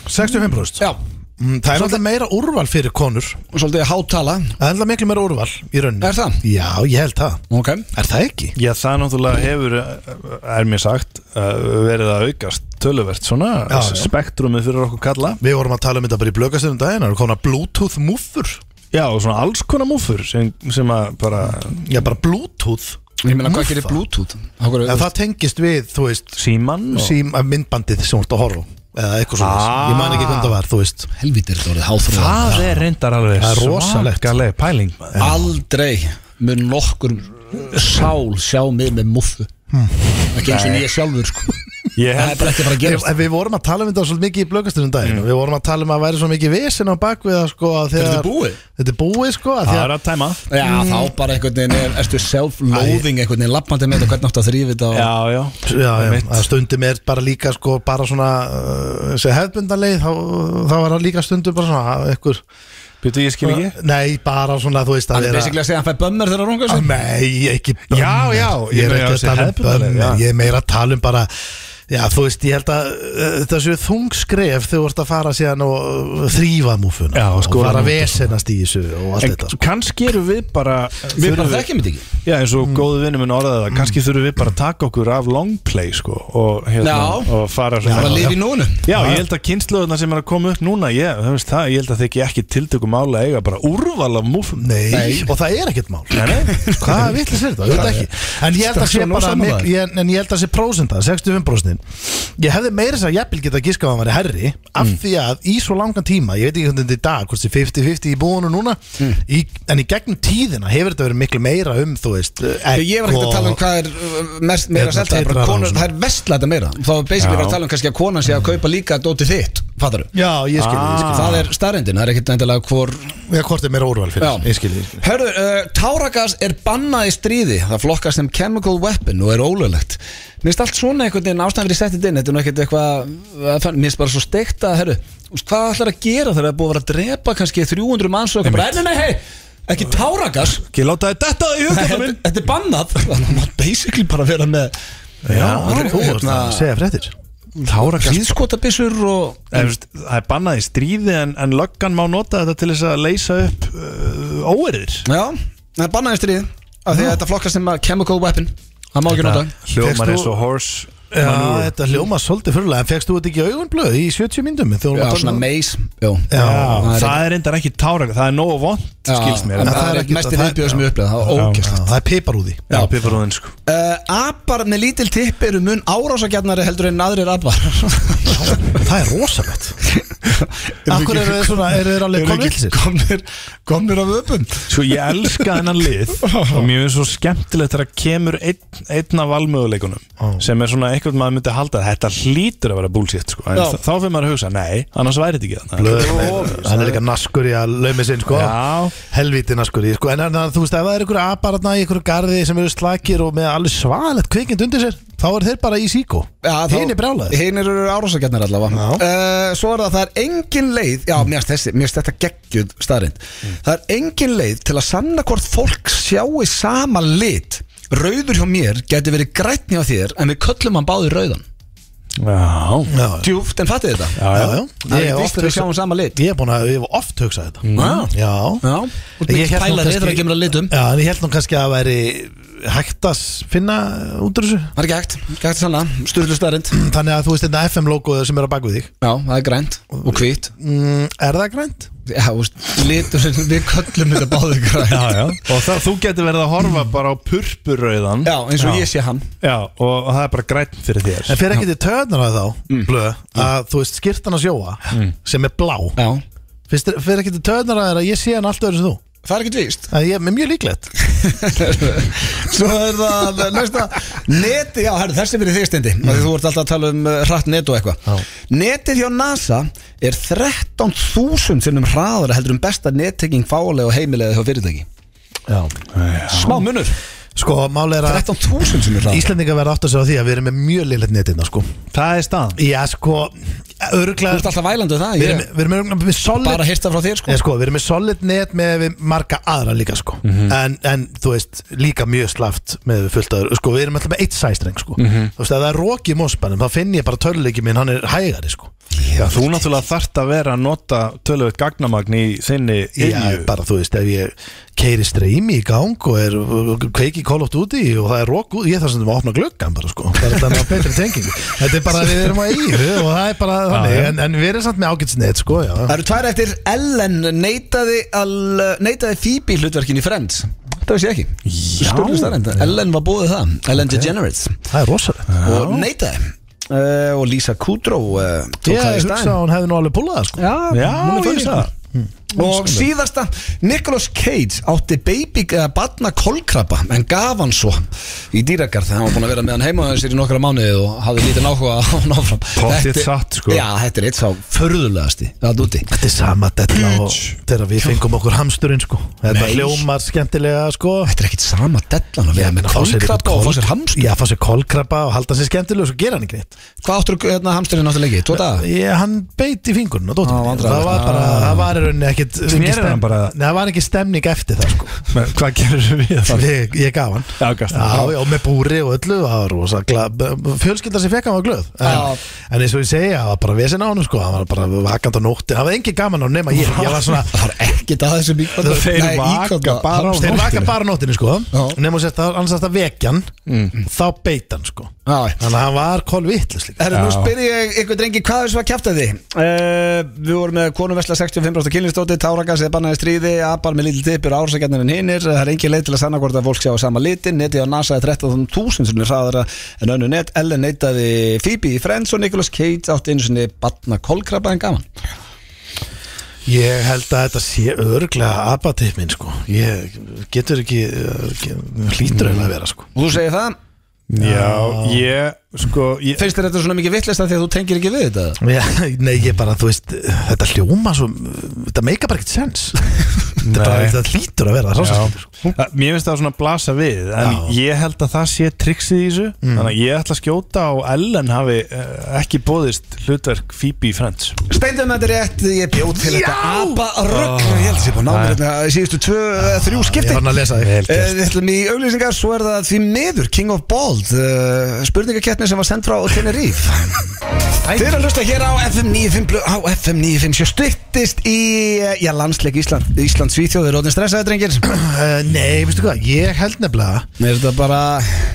B: 65 brúst
A: Já,
B: Mm, Það er alltaf meira úrval fyrir konur
A: og svolítið hátala
B: Það er alltaf miklu meira úrval í rauninni
A: Er það?
B: Já, ég held það
A: Ok
B: Er það ekki?
C: Já, það náttúrulega hefur, eh, er mér sagt, uh, verið að aukast töluvert svona
B: Já, já.
C: spektrumið fyrir okkur kalla.
B: Við vorum að tala um þetta bara í blökastunum daginn Það eru konar bluetooth múffur
C: Já, og svona alls konar múfur sem, sem að bara
B: Já, bara bluetooth
A: Ég meina, hvað
B: Múffa.
A: gerir bluetooth? Akkur,
B: En það tengist við, þú veist
C: símann og...
B: sím, að myndbandið sem þú ert að horfa á, eða eitthvað svona
C: Ah.
B: ég man ekki hvernig það var, þú veist
A: Helvítir, þetta voruð háþróð
C: Það er reyndar alveg
B: Það er rosalegt.
C: svakaleg pæling maður.
A: Aldrei mun nokkur sál sjá mig með muffu
B: Hmm.
A: ekki eins og ég sjálfur sko.
C: Ég
A: Það er
C: held
A: bara ekki að fara að
B: Ég,
A: gerast
B: en við vorum að tala um þetta svolítið mikið í blökastunum daginn og við vorum að tala um að væri svo mikið vesen á bakviða sko, að þegar,
A: Þetta er búið?
B: þetta er búið sko, að
C: það
B: þegar,
C: er að tæma.
A: Já, þá bara einhvern veginn er, erstu self-loathing einhvern veginn lappandi með þetta, hvernig áttu að þrýfa þetta og...
C: Já, já.
B: já, já,
C: Mitt.
B: að stundum er bara líka sko, bara svona uh, þessi hefðbundanleið, þá, þá var það líka stundum bara svona að einhver,
C: Býtu, ég skil ekki.
B: nei, bara svona þú veist
A: Hann
B: að
A: er basically að segja að hann fæ bömmur þegar hann rungar
B: að,
A: sig
B: nei, ekki bömmur
C: Já, já,
B: ég
C: ég
B: er
C: meina,
B: ekki að
C: þessi
B: tala um
C: hefðbundanleið,
B: bömmur,
C: já.
B: ég er meira að tala um bara Já, þú veist, ég held að uh, þetta séu þung skref þegar þú ert að fara síðan og uh, þrýfa múfuna
C: Já,
B: og
C: skora
B: fara
C: múfuna.
B: að vesenast í þessu og allt
C: En
B: þetta sko.
C: kannski eru við bara
A: Við bara þekkjum þetta ekki
C: Já, eins og mm. góðu vinnum minn orðaði það
B: Mm.
C: Kannski þurfum við bara að taka okkur af long play sko, og, hérna,
A: Já.
C: og fara
A: Það var
C: svona
A: að lifa í núinu
C: Já, ég held að kynnslóðuna sem er að koma upp núna ég, það veist það, ég held að þykja ekki tiltöku mála eiga bara úrval af múfum
B: Nei, og það er ekkert mál
C: nei.
B: Hvað vitlis er þetta? Ég veit ekki En ég held að
A: Strax
B: sé
A: var
B: bara
A: nóg
B: mik-
A: saman
B: ég, En ég held að sé prósenda, 65% Ég hefði meira þess að jafnvel geta giskað að hann væri herri
A: Mm.
B: Af því að í svo langan tíma Ég veit ekki hvernig þetta er í dag, hvort þið 50-50 í búinu núna
A: Mm.
B: í, En í gegnum tíðina hefur þetta verið miklu meira um, þú veist
A: Ég ég var ekkert að tala um hvað er uh, mest meira að
B: sko- Hérna,
A: selta Það er bara
B: tetra-
A: konur- það er vestla þetta meira Þá er basically
C: Já.
A: bara að tala um kannski að konan sé að kaupa líka dóti þitt Fattar
B: Já, ég skil, ég skil.
A: Það er starrendin, það er ekkert endilega hvor
B: Já, hvort er meira úrval fyrir
A: Já.
B: þessu. Ég skil, ég skil
A: Hörðu, uh, táragas er bannað í stríði Það flokkast sem chemical weapon og er ólöglegt Mér finnst allt svona einhvern veginn ástæðan fyrir settið inn Þetta er nú ekkert eitthvað að fann- Mér finnst bara svo steikt að, hörru þú veist, Hvað ætlar að gera þegar það er búið að vera að drepa kannski 300 manns og eitthvað bara, Nei, nei, nei, hei, ekki táragas
C: Ekki láta þið þetta í
A: Þetta
C: hugkvæmum minn
A: þetta er bannað Þannig að maður basically bara vera með
B: Já,
A: þetta er-
B: þú varst
A: hérna-
B: að segja fréttir
C: Táragas
A: Hlýðskotabissur og
B: Eh.
C: Það er bannað í stríði en, en löggan má nota þetta til þess að leysa upp uh, óerir
A: Já, það er bannað í stríði af Því að þetta flokkast sem að chemical weapon Það má ekki nota
C: Hljómar
B: Fékkst
C: eins
B: þú-
C: og horse
B: Já, þetta hljóma svolítið fyrirlega En fegstu þetta ekki augunblöð í 70 myndum
A: Já, svona meis Já,
B: Já,
C: Já,
A: það er-
C: það er reyndar ekki táragas Það er nógu vond, skilst mér
A: en
B: En
A: það,
B: það er
A: er
B: ekki-
A: mest í
B: það-
A: viðbjöð sem ég upplega Það
C: Já.
A: var ógæst
B: Það er pipar úr því
C: Já, piparúðin sko
A: Uh, apar með lítil tipp eru mun árásagjarnari heldur en aðrir apar
B: Það er rosalegt Akkur eru þeir svona, eru þeir alveg komið til sér?
A: komnir, komnir af öpum
C: Sko ég elska þennan lið og mér finnst svo skemmtilegt þegar kemur einn, einn af valmöguleikunum sem er svona eitthvað maður myndi halda að þetta hlýtur að vera búlsitt sko. en
A: Já.
C: þá fyrir maður að hugsa, nei, annars væri þetta ekki þannig
B: Hann er líka naskur í að laumi sinn sko
C: Já.
B: Helvíti naskur í sko En en, þú veist, ef það er ykkur aparatna í ykkur garði sem eru slakir og með alveg svalett kvikind undir sér þá eru þeir bara í síkó Hinn er brjálaður
A: Hinn eru árásagjarnari allavega uh, Svo er það að það er engin leið Já, mér finnst þessi- mér finnst þetta geggjöð staðrind
C: Mm.
A: Það er engin leið til að sanna hvort fólk sjáu sama lit Rauður hjá mér geti verið grætni á þér En við köllum hann báði rauðan
C: Já,
B: Já, já,
A: Djúft, en fattu þetta?
C: já, já.
B: já
A: Það
B: Ég
A: er víst
B: hef oft
A: að um- við sjáum
B: hugsað-
A: sama lit
B: Ég hef búin að, ég hef oft hugsað þetta
A: Já.
B: Já
A: Já, og
B: Ég
A: mikið
B: hélt nú
A: pælar
B: kannski-
A: reyður að kemur að litum
B: Já, en ég held nú kannski að það væri hægt að s- finna út úr þessu
A: Það er ekki hægt, ekki hægt að sanna Sturlu starrend Já,
B: Þannig að þú veist þetta FM logoðu sem er á bakvið þig
A: það er grænt og hvít
B: mm, Er það grænt?
A: Já, þú veist, litur Við köllum þetta báðir grænt
C: já, já. og það, þú getur verið að horfa bara á purpurrauðan
A: Já, eins og ég sé hann
C: já, og það er bara græn fyrir þér
B: En fyrir ekki til töðnar að þá
A: Mm.
B: blöð, að þú veist skirtan að sjóa sem er blá
A: Já
B: Fyrst, fyrir ekki til töðnar að þér að ég sé hann allt öðru sem þú
A: Það er ekki víst
B: Það er mjög líklegt
A: Svo er það eh, næsta Neti, já, herri, þessi fyrir þig stendi mm. Þú ert alltaf að tala um eh, hratt net og eitthvað Netið hjá NASA er 13.000 sinnum hraðara heldur um besta netteking fálega og heimilega hjá fyrirtæki
B: Já.
A: Smá munur
B: Sko, máli er að
A: 13.000 sinnum hraðara
B: Íslendingar verða átt að segja því að við erum með mjög liðlegt netina sko.
C: það er staðan
B: Já, sko,
A: Þú ert
B: öruglega
A: alltaf vælandu það
B: Við
A: ég,
B: erum, við erum örugglega með solid
A: Bara hýrta frá þér sko
B: Eða, sko, við erum með solid net með við marga aðra líka sko.
A: Mhm.
B: en, en þú veist, líka mjög slaft með við fullt aður, sko, við erum alltaf með eitt sæstreng sko.
A: Mhm.
B: þú veist, ef það er róki í mósbænum þá finn ég bara töluleiki minn, hann er hægari sko.
C: já, þú náttúrulega þarft að vera að nota tölvöld gagnamagn í sinni
B: Já,
C: iðju.
B: bara þú veist, ef ég keiri streymi í gang og er og kveiki kólátt úti og það er rók út, ég þarf sem að opna gluggan bara sko, bara þannig að betri tenging þetta er bara, við erum á eigu og það er bara þannig, en, en við erum samt með ágætsneitt sko, já,
A: Það eru tvær eftir Ellen neitaði, al, neitaði Phoebe hlutverkin í Friends Það veist ég ekki Sturlu starrend Ellen var búið það Ellen DeGeneres
B: það er rosalegt
A: Og neitaði uh, Og Lisa Kudrow uh, tók það
B: Ég
A: í
B: hugsa
A: stæðin
B: að hún hefði nú alveg púlað það, sko.
C: já,
A: hún er
C: ég
A: fyrir
C: sagði það.
A: Og síðasta, Nicolas Cage átti baby eða batna kolkrabba en gaf hann svo í dýragarð hann var búin að vera með hann heima þessir í nokkra mánuði og hafði lítið náhuga á hann áfram
C: Pottþétt
A: Þetta-
C: satt, sko.
A: Já, þetta er eitt sá förðulegasti að úti
B: Þetta er sama della og þegar við fengum okkur hamsturinn sko Þetta
A: Nei.
B: hljómar skemmtilega sko
A: Þetta er ekkit sama dellan að vera með kolkrabba og fá sér hamstur
B: Já, fá sér kolkrabba og halda sér skemmtilega og svo gera hann ekki neitt
A: Hvað áttur hérna, hamsturinn átturleiki? Tvo daga?
B: Ég, Hann beit í fingurinn og dóttir
A: Á,
B: mín.
A: vandræðalegt.
B: Það var bara, það var í rauninni ekkit engin
C: hann
B: stem-
C: bara?
B: Nei, það var ekki stemning eftir það sko
C: Men hvað gerir við það?
B: Ég, ég gaf hann
C: Já, gafst hann.
B: Já, já, og með búri og öllu það var rosa glað, fjölskylda sem fekk hann var glöð
A: Já.
B: en, en eins og ég segi, það var bara vesen á hann sko, hann var bara vakand á nóttin það var engin gaman á hann nema ég, ég var svona
A: Það var ekkit að þessu bíkvölda
C: Þeir vaka bara á
B: Þeir vaka bara á nóttinni sko
A: Já.
B: Nefnum að setja annars að það vekjan Þá beita hann sko
A: bara
B: Þannig að hann var kolvitlis líka
A: Herru, nú spyr ég ykkur drengi, hvað er svo að kjæfta því? Uh, við vorum með konumvesla 65. kynlistóti, tárakas eða bannaði stríði, apar með lítil tippur, ársakarnir en hinnir, það er engin leið til að sanna hvort að fólk sjá á sama litin, neti á NASA er 13.000 sem er hraðara en önnu net, Ellen neitaði Phoebe í Friends og Nicolas Cage átti einu sinni batna kolkrabba en gaman.
B: Ég held að þetta sé örglega abatipp minn sko Ég getur ekki uh, ge- Hlýtur auðvitað að vera sko
A: Og þú segir það,
C: Já, ég, sko ég,
A: finnst þér þetta svona mikið vittlist að því að þú tengir ekki við þetta?
B: Já, Nei, ég bara, þú veist Þetta hljóma svo Þetta meika bara ekkert sens Þetta er bara-
C: Nei.
B: þetta hlýtur að vera sko. það er svo
C: Já,
B: sem-
C: Það- mér finnst það svona blasa við en
B: Já.
C: ég held að það sé trixið í þessu
A: Mm.
C: þannig að ég ætla að skjóta á Ellen hafi eh, ekki bóðist hlutverk Phoebe Friends
A: Steindum þetta rétt, ég bjóð til þetta apa rögg, ég held að sé búin að ná mér hérna í síðustu tvö, eða þrjú
B: Ég
A: skipti
B: var hann að lesa þig
A: Eh, Við ætlum í auglýsingar, svo er það því miður King of Bold, uh, spurningakettni sem var sendt frá Tenerife Þið eru að hlusta hér á FM 95 blu- á FM 957 styrtist í, eh, já, landsleik Ísland Ísland Svíþjóð, þeir eru orðin stressaði, drengir Mér
B: Uh, Nei, veistu hvað, ég held nefnilega
A: er þetta bara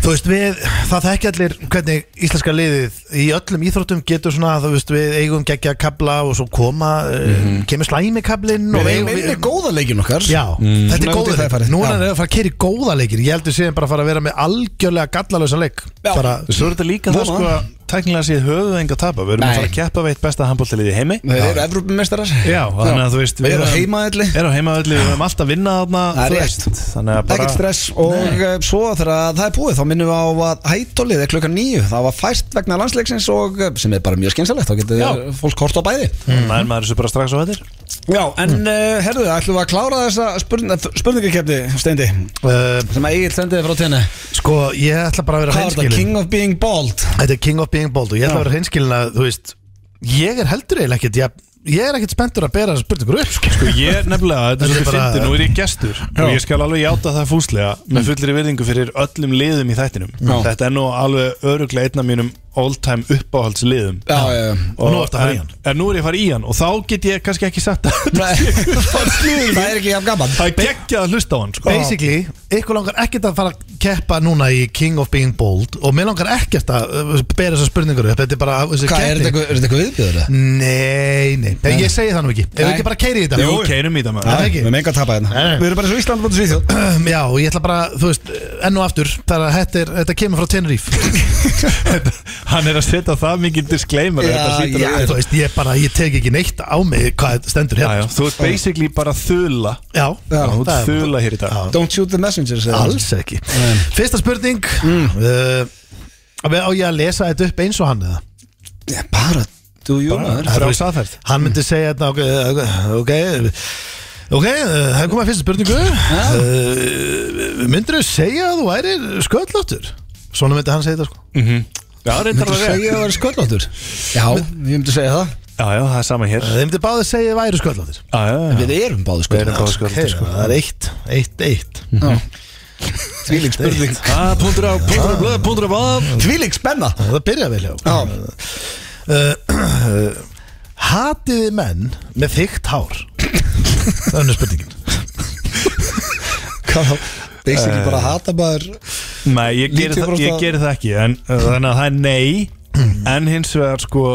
B: Þú veist við, það þekki allir hvernig íslenska liðið í öllum íþróttum getur svona, þú veist við eigum geggja kabla og svo koma, uh, kemur slæmi kablin og
A: Við erum einnig góða leikjum okkar
B: Já, þetta
A: Mm. Svona út
B: er
A: í
B: góður
A: það er farið.
B: leik. Nú er
A: Já.
B: hann að fara að keri góða leikir Ég heldur síðan bara að fara að vera með algjörlega gallalösa leik
A: Já.
B: bara,
C: Svo er þetta líka það
A: Vona.
C: sko að tæknilega séð höfðu enga að tapa við erum
A: Nei.
C: að fara að keppa veitt besta handbóltalið í heimi
A: Þeir eru Evrópumeistarar
C: Já, þannig að þú veist
A: Við erum heimaðalli
C: Erum heimaðalli, við erum alltaf að vinna þarna
A: Það er
C: þú
A: rétt.
C: veist, Þannig að
A: Ekkert
C: bara
A: stress og Nei. svo þegar að það er búið þá minnum við á að hætólið er klukkan nýju það var fæst vegna landsleiksins og eh, sem er bara mjög skynsalegt þá getur
C: Já.
A: fólk hort á bæði
C: Það er Mm. maður þessu bara strax á hættir
A: Já, en mm. herðu, ætlum við að klára þessa spurning, spurningakefni, Steindi
B: uh,
A: sem að Egil sendiði frá tenni
B: Sko, ég ætla bara að vera
A: Hvað er þetta?
B: hreinskilin
A: King of being bald
B: Þetta er King of Being Bold og ég ætla að vera hreinskilin að, þú veist Ég er heldur eiginlega ekkert Ég, ég er ekkert spenntur að bera spurningur upp sko.
C: Sko ég nefnilega, þetta er
B: Þetta er
C: svolítið
B: bara-
C: fyndið, nú er ég gestur og ég skal alveg játa það Mm. fúslega með fullri virðingu fyrir öllum liðum í þættinum Þetta er nú alveg öruglega einn af mínum all time uppáhaldsliðum
A: Já, já, já.
B: Og nú ertu að fara í
C: en-
B: hann.
C: En nú er ég að fara í hann og þá get ég kannski ekki sagt að
A: Nei, það er ekki jafn gaman
C: Það er geggjað að hlusta á hann sko.
B: Basically, ykkur langar ekkert að fara að keppa núna í King of Being Bold og mér langar ekkert að uh, bera þessar spurningar upp Þetta er bara uh, þessi
A: Hvað, er
B: keppni.
A: þetta eitthvað- er þetta eitthvað viðbjöður?
B: Nei, nei, nei, ég segi það nú ekki Ef við
A: Nei.
B: ekki bara keiri í þetta
C: Jú, keirum í það maður
B: Já. ekki.
A: Við erum enga að tapa hérna
B: Nei.
A: Við erum bara svo Ísland bótið Svíþjóð
B: Já, og ég ætla bara, þú veist, enn og aftur Það er að þetta, er, þetta kemur frá Tenerife
C: Hann er að setja það mikið disclaimer
A: Já,
C: þetta hlýtur að
A: já.
C: vera.
B: Þú veist, ég bara, ég tek ekki neitt á mig hvað stendur
C: Já, já,
B: hérna
C: Þú ert basically bara þula
B: Já,
A: Já,
C: Þú ert
B: það er
C: þula hér í dag
A: Don't shoot the messenger segir hann.
B: alls ekki Fyrsta spurning uh, Á ég að lesa þetta upp eins og hann eða?
A: Já, Bara, do you maður
B: Það er á saðferð Hann myndi segja þetta ok, ok, ok, uh, það er komað fyrsta spurningu uh, Myndirðu segja að þú værir sköllóttur? Svona myndi hann segja þetta sko
C: Já, reyndar
A: Þú
C: að
A: segja að það er sköllóttur Já, ég myndi segja það
C: Já, já, það er sama hér
B: Þeir myndi báði segja að þú værir sköllóttur
C: Já, já, já.
A: Við erum báði
C: Við erum
A: sköllóttur
C: góð
B: okay,
C: sköldið sko
B: Það er eitt, eitt, eitt
A: Mm. Tvílík spurning
C: Ah, Pundur á, pundur á blöð, pundur á báð
A: Tvílík spenna
B: Það byrja vel hjá
A: Já.
B: uh, Hatiði menn með þykkt hár Það er önnur spurningin
A: Hvað þá? Basically bara hata maður
C: Nei, ég geri, það,
A: 90%
C: ég geri það ekki en, uh, Þannig að það er
A: Mm.
C: nei En hins vegar sko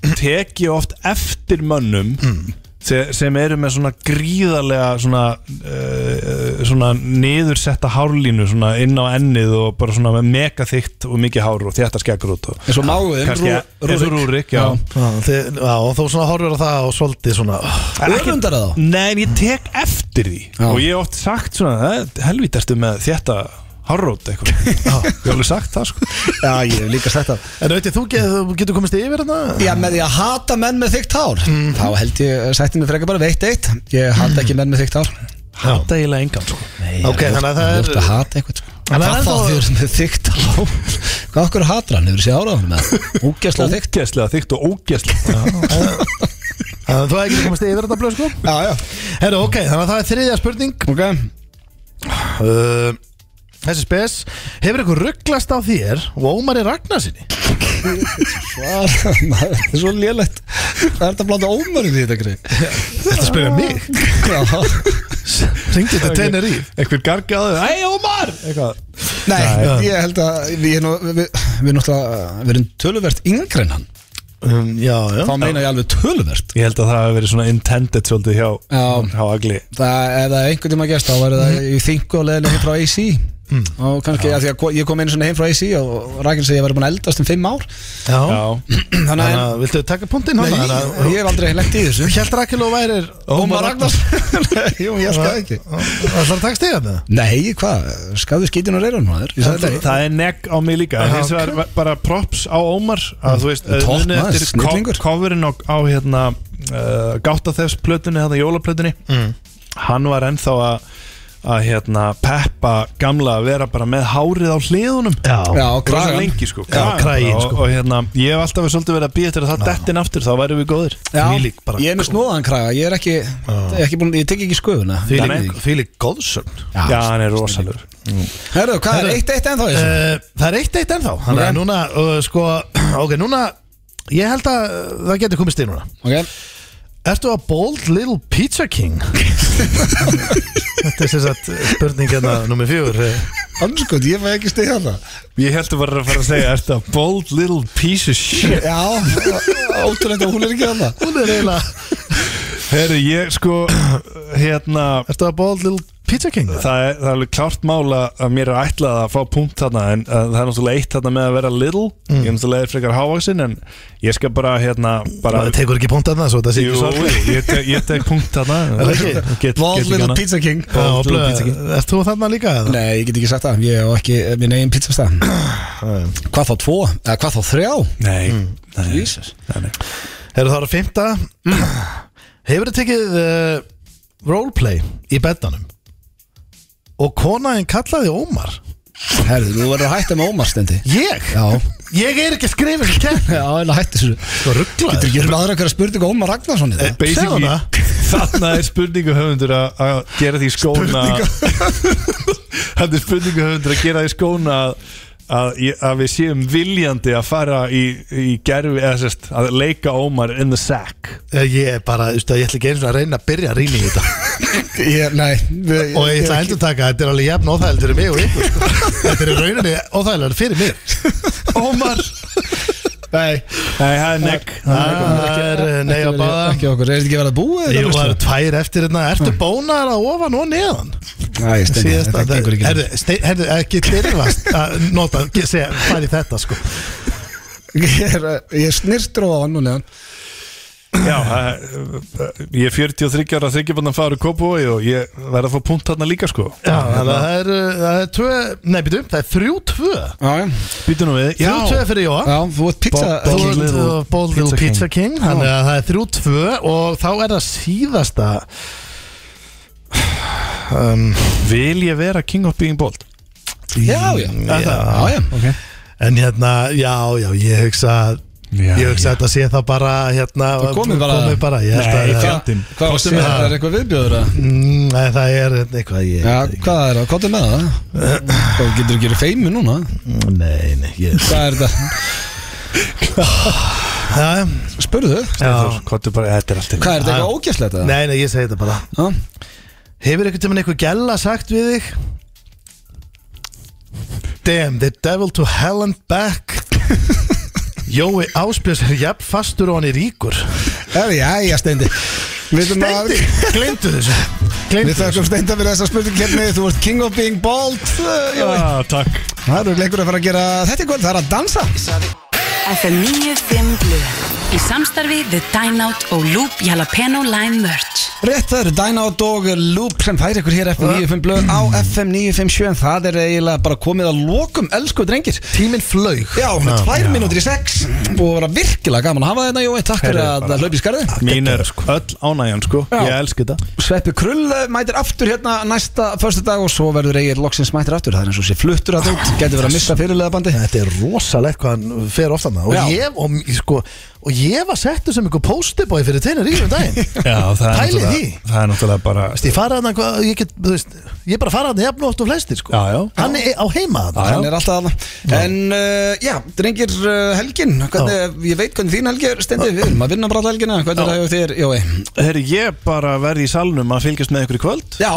C: Tek ég oft eftir mönnum
A: Mm.
C: se- sem eru með svona gríðarlega svona, uh, svona niðursetta hárlínu svona inn á ennið og bara svona með mega þykkt og mikið hár og þetta skekkur út og
A: eins og máuðum
C: kannski e-, eins og Rúrik, já,
B: Já, þið, já, og þú svona horfir á það og svolítið svona
A: Örundar það þá?
C: Nei, en ég tek eftir því
A: Já.
C: Og ég hef oft sagt svona "Eh, Helvít ertu með þetta hárrót eitthvað Já, Ég hef alveg sagt það sko
A: Já, ég hef líka sett það
B: En veitir, þú get, þú getur komist yfir þarna?
A: Já, með því að hata menn með þykkt hár Þá held ég, sætti mig frekar bara veitt eitt Ég hata ekki menn með þykkt hár
C: Hata eiginlega engan sko
A: Nei,
B: Ok,
A: ég
B: þannig að það er-
A: ljótt að hata eitthvað sko. Hvað
B: Þannig að
A: þá
B: það
A: þau
B: er-
A: eru með þykkt hár? Hvað okkur hatra hann? Hefur séð árað hann með það? Úgjastlega þykkt
C: Ógæslega þykkt og ógæslega
B: Þannig að Þú hefði ekki komast yfir þetta blöð sko
A: Já, já
B: Herra, ok, þannig að það er þriðja spurning
A: Ok
B: uh, Þessi spes Hefur ykkur rugglast á þér og Ómari Ragnarsinni?
A: Hvað, maður, þetta er svo lélegt Það er þetta að blanda ómar í því þetta greið
B: Þetta spyrja mig
A: Já
B: Ringdi þetta tennir í
C: Einhver gargaðu Æ, Ómar Eitthvað
A: Nei,
C: Nei.
A: ég held að við, nú- við, við, við náttúrulega við erum töluvert yngri en hann
B: um, Já, já
A: Þá meina ég alveg töluvert
C: Ég held að það hefur verið svona intended svolítið hjá
A: Já.
C: Hjá Agli
A: Það, ef það er einhvern tíma gæst þá væri það í þingu og leðinu heim frá AC og kannski að því að ko- ég kom einu svona heim frá AC og Rakin segi að ég væri búin að eldast um fimm ár
B: Já
C: Já
A: þannig
B: Þannig
A: að
B: að viltu taka punktinn
A: Nei,
B: hann?
A: ég, ég hef aldrei lent í þessu
B: Hjælt Rakel og værir
A: Ómar Ragnars Jú, ég held það ekki
B: Það þarf að taka stiga með
A: Nei, hvað, skafðu skítinu reyra nú aður Ég sagði það
C: Það er negg á mig líka
B: Já,
C: En hins vegar bara props á Ómar Að þú veist
A: Mm. Topp
C: muni
A: maður,
C: eftir co-
A: snillingur.
C: Coverin á, á hérna uh, Gáttaþefs plötunni Þetta jólaplötunni
A: Mm.
C: Hann var ennþá að að hérna peppa gamla að vera bara með hárið á hliðunum
B: Já
A: Já,
C: Rosa
A: kragan
C: lengi sko,
B: Já, kraginn,
C: og,
B: sko.
C: og hérna, ég hef alltaf svolítið verið að býja til að það dettin aftur, þá værum við góðir
A: Já,
B: Þvílík bara-
A: ég er með snóðan kraga Ég er ekki, ekki búin, ég tek ekki sköfuna
B: Fílík fílík góðsögn
C: Já, hann er rosalur
A: Herðu, hvað er eitt eitt ennþá í þessu?
C: Eh,
B: Uh, það er eitt eitt ennþá
A: Ok.
B: Þannig að núna, uh, sko Ok, núna Ég held að uh, það getur komist inn núna
A: Ok,
B: Ertu að bold little pizza king? Þetta er sem sagt spurning hérna nummið fjögur
A: anskot, ég fæ ekki stegja það
C: Ég held að bara að fara að segja, er þetta bold little piece of shit
A: Já, ótrúlega, hún er ekki annað
B: Hún er eiginlega
C: Herri, ég sko, hérna
B: Ertu að bold little pizza king?
C: Það er, það er alveg klárt mála að mér er ætlað að fá punkt þarna en uh, það er náttúrulega eitt þarna með að vera little ég er náttúrulega frekar hávaksin en ég skal bara hérna bara,
B: Það tekur ekki punkt að það svo Það sé
C: jú,
B: ekki sorglega
C: ég, tek, ég tek punkt þarna
B: það ekki?
C: Get- get
A: Bold
C: ekki
A: little
C: annað.
A: pizza king
B: Já,
C: Bold little
B: blöð,
C: pizza king.
B: Ert þú þarna líka? eða?
A: Nei, ég get ekki sagt það, ég á ekki eh, minn eigin pizzastað Hvað þá tvo, eða hvað þá þrjá
C: Nei, nei,
A: Jesus
C: nei, nei.
B: Eru það á fymta Hefur þið tekið uh, roleplay í beddanum og konaðin kallaði Ómar
A: Herðu, þú verður að hætta með Ómar stendi
B: Ég?
A: Já,
B: Ég er ekki að skrifa þessu kemni
A: já, en að hætta þessu
B: Sko rugglaður
A: Getur ekki verið aðra hverja spurningu Ómar Ragnarsson
C: Eh,
A: í það?
B: Segðu
C: Basically,
B: hana.
C: þarna er spurningu höfundur að að gera því skóna Þarna er spurningu höfundur að gera því skóna að að, ég- að við séum viljandi að fara í, í gerfi eða sérst að leika Ómar in the sack
B: Eh, Ég er bara, þú veist að ég ætla ekki einu svona að reyna að byrja að rýna í þetta
A: Ég, nei, við,
B: Og ég ætla að endur taka, þetta er alveg jafn óþægild fyrir mig og ykkur sko. Þetta er í rauninni óþægild fyrir mig
C: Ómar
A: Nei,
C: Nei, það er negg
B: Það er eh, nei á báða
A: ekki okkur, er þetta ekki verið að búið?
B: Jú, það eru tvær eftir hérna Ertu bónar að ofan og neðan?
A: Nei, steini,
B: Síðasta,
A: þetta gengur ekki
B: herðu, stein- herðu, eh, ekki lirfast að nota, ge- segja, fara í þetta sko
A: Ég er, eh, ég er snirtur á hann núna
C: Já, það- ég er 43 ára þryggjabann að fara úr Kópavogi og ég verð að fá punkt þarna líka sko
B: Já, þannig að það er, það er tvö, nei, býtum, það er þrjú tvö
A: Já, já,
C: Býtu nú við
B: Þrjú tvö fyrir Jóa
A: já, þú ert pizza
C: Bob-
A: þú-
C: Bob- King Little
B: Bold Little Pizza King Þannig að það er þrjú tvö og þá er það síðasta um,
C: Vil ég vera King of Being Bold?
A: Já, já,
B: Já,
A: já, já, ok
B: En hérna, já, já, ég hugsa að
C: Já,
B: Ég hugsa að þetta sé það bara hérna
A: Þú komið bara-
B: komið bara ég held
C: Nei,
B: að-
C: fjall- Fjandinn.
A: Hvað áttu með það? Er eitthvað viðbjöður að?
B: Mm, Nei, það er eitthvað ég
A: Já, hvað er það? Hvað áttu með það? Hvað getur þú að gera feimu núna?
B: Nei, nei, ég
A: Hvað er þetta?
B: Já,
A: Spurðu
B: já.
C: Kottu bara, þetta er alltaf
A: Hvað er þetta eitthvað ógæslegt eða?
B: Ah. Nei, nei, ég segi þetta bara
A: Já.
B: Hefur einhvern tímann eitthvað gælla sagt við þig? Damn, the devil to hell and back Jói Áspjörs er jafn fastur og hann er ríkur
A: Er, já, já, Steindi Steindi?
B: Gleimdu þessu Gleimdu
A: Við
B: þessu
A: þakkum Steinda fyrir þessa spurningkeppni Þú ert king of being bold uh, Jói.
C: Ah, takk
A: Það eru leikur að fara að gera þetta í kvöld Það er að dansa
F: FM 95 Blu Í samstarfi við Dine Out og Loop Jalapeno Lime Merch
A: Rétt, það eru Dynout og Loop sem færi ykkur hér FM 95 blöð á FM 957 en það er eiginlega bara komið að lokum elsku drengir
B: Tíminn flaug
A: Já, hún er tvær mínútur í sex Búið að vera virkilega gaman að hafa þetta Jói Takk fyrir
C: Heyrðu,
A: að
C: bara-
A: hlaupa í skarði
C: Mín er öll ánægjan sko
A: Já.
C: Ég elski þetta
A: Sveppi Krull eh, mætir aftur hérna næsta förstu dag og svo verður Egil loksins mætir aftur það er eins og sé fluttur að út, getur verið að missa fyrirlega bandi
B: Þetta er rosalegt hvað hann fer ofta með
A: Já.
B: og ég, og, sko, og ég var settur sem einhver post-it-boy fyrir teinar ríkur um daginn
C: Já, það
B: Pælið
C: er, náttúrulega-
B: því.
C: það er náttúrulega bara
B: Þú veist, ég fara hann hvað, ég get, þú veist, ég bara fara hann jafn og oft og flestir, sko.
C: Já, já.
B: Hann er á heima hann.
A: hann er alltaf aðna en uh, já, drengir uh, helgin hvernig, ég veit hvernig þín helgi er stendur við erum að vinna bara alla helgina, hvernig er það hjá þér Jói?
C: Herri, ég bara verði í salnum að fylgjast með ykkur í kvöld
A: Já,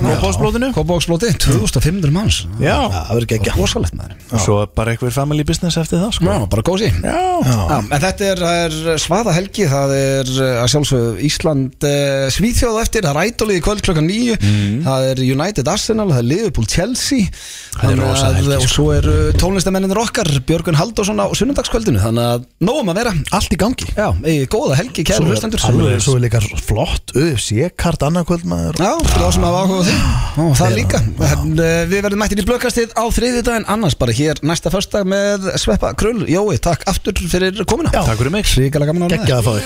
C: Blóðbóðsblóðinu
A: Kópavóksblóti 2500 manns,
C: Já,
B: Það verður ekki ekki.
A: rosalegt maður
C: og svo bara eitthvað family business eftir það sko
A: Já, bara kósi
C: Já.
A: Já, en þetta er, það er svaða helgi, það er eh, að sjálfsög Ísland uh, svíþjóð á eftir, það er ædolið í kvöld klokkan nýju, það er United Arsenal, það er Liverpool Chelsea,
C: Mhm. Það er sko.
A: Þannig
C: rosa
A: að-
C: helgi,
A: og svo eru tónlistamennir okkar, Björgun Halldórsson á sunnundagskvöldinu, þannig að nógum að vera,
B: Allt í gangi.
A: já, eigi góða helgi, kæru hlustendur.
B: Alveg, svo er líka flott UFC-kart annað kvöld maður.
A: Já, fyrir þá sem hafa áhuga á því Ó, Það líka en, uh, Við verðum mættir í blökkastið á þriðjudaginn Annars bara hér næsta förstak með Sveppa Krull Jói, takk aftur fyrir komuna
B: Já.
C: Takk fyrir mig
A: Ríkilega gaman að vera með þér.
B: Ekki að fá þig.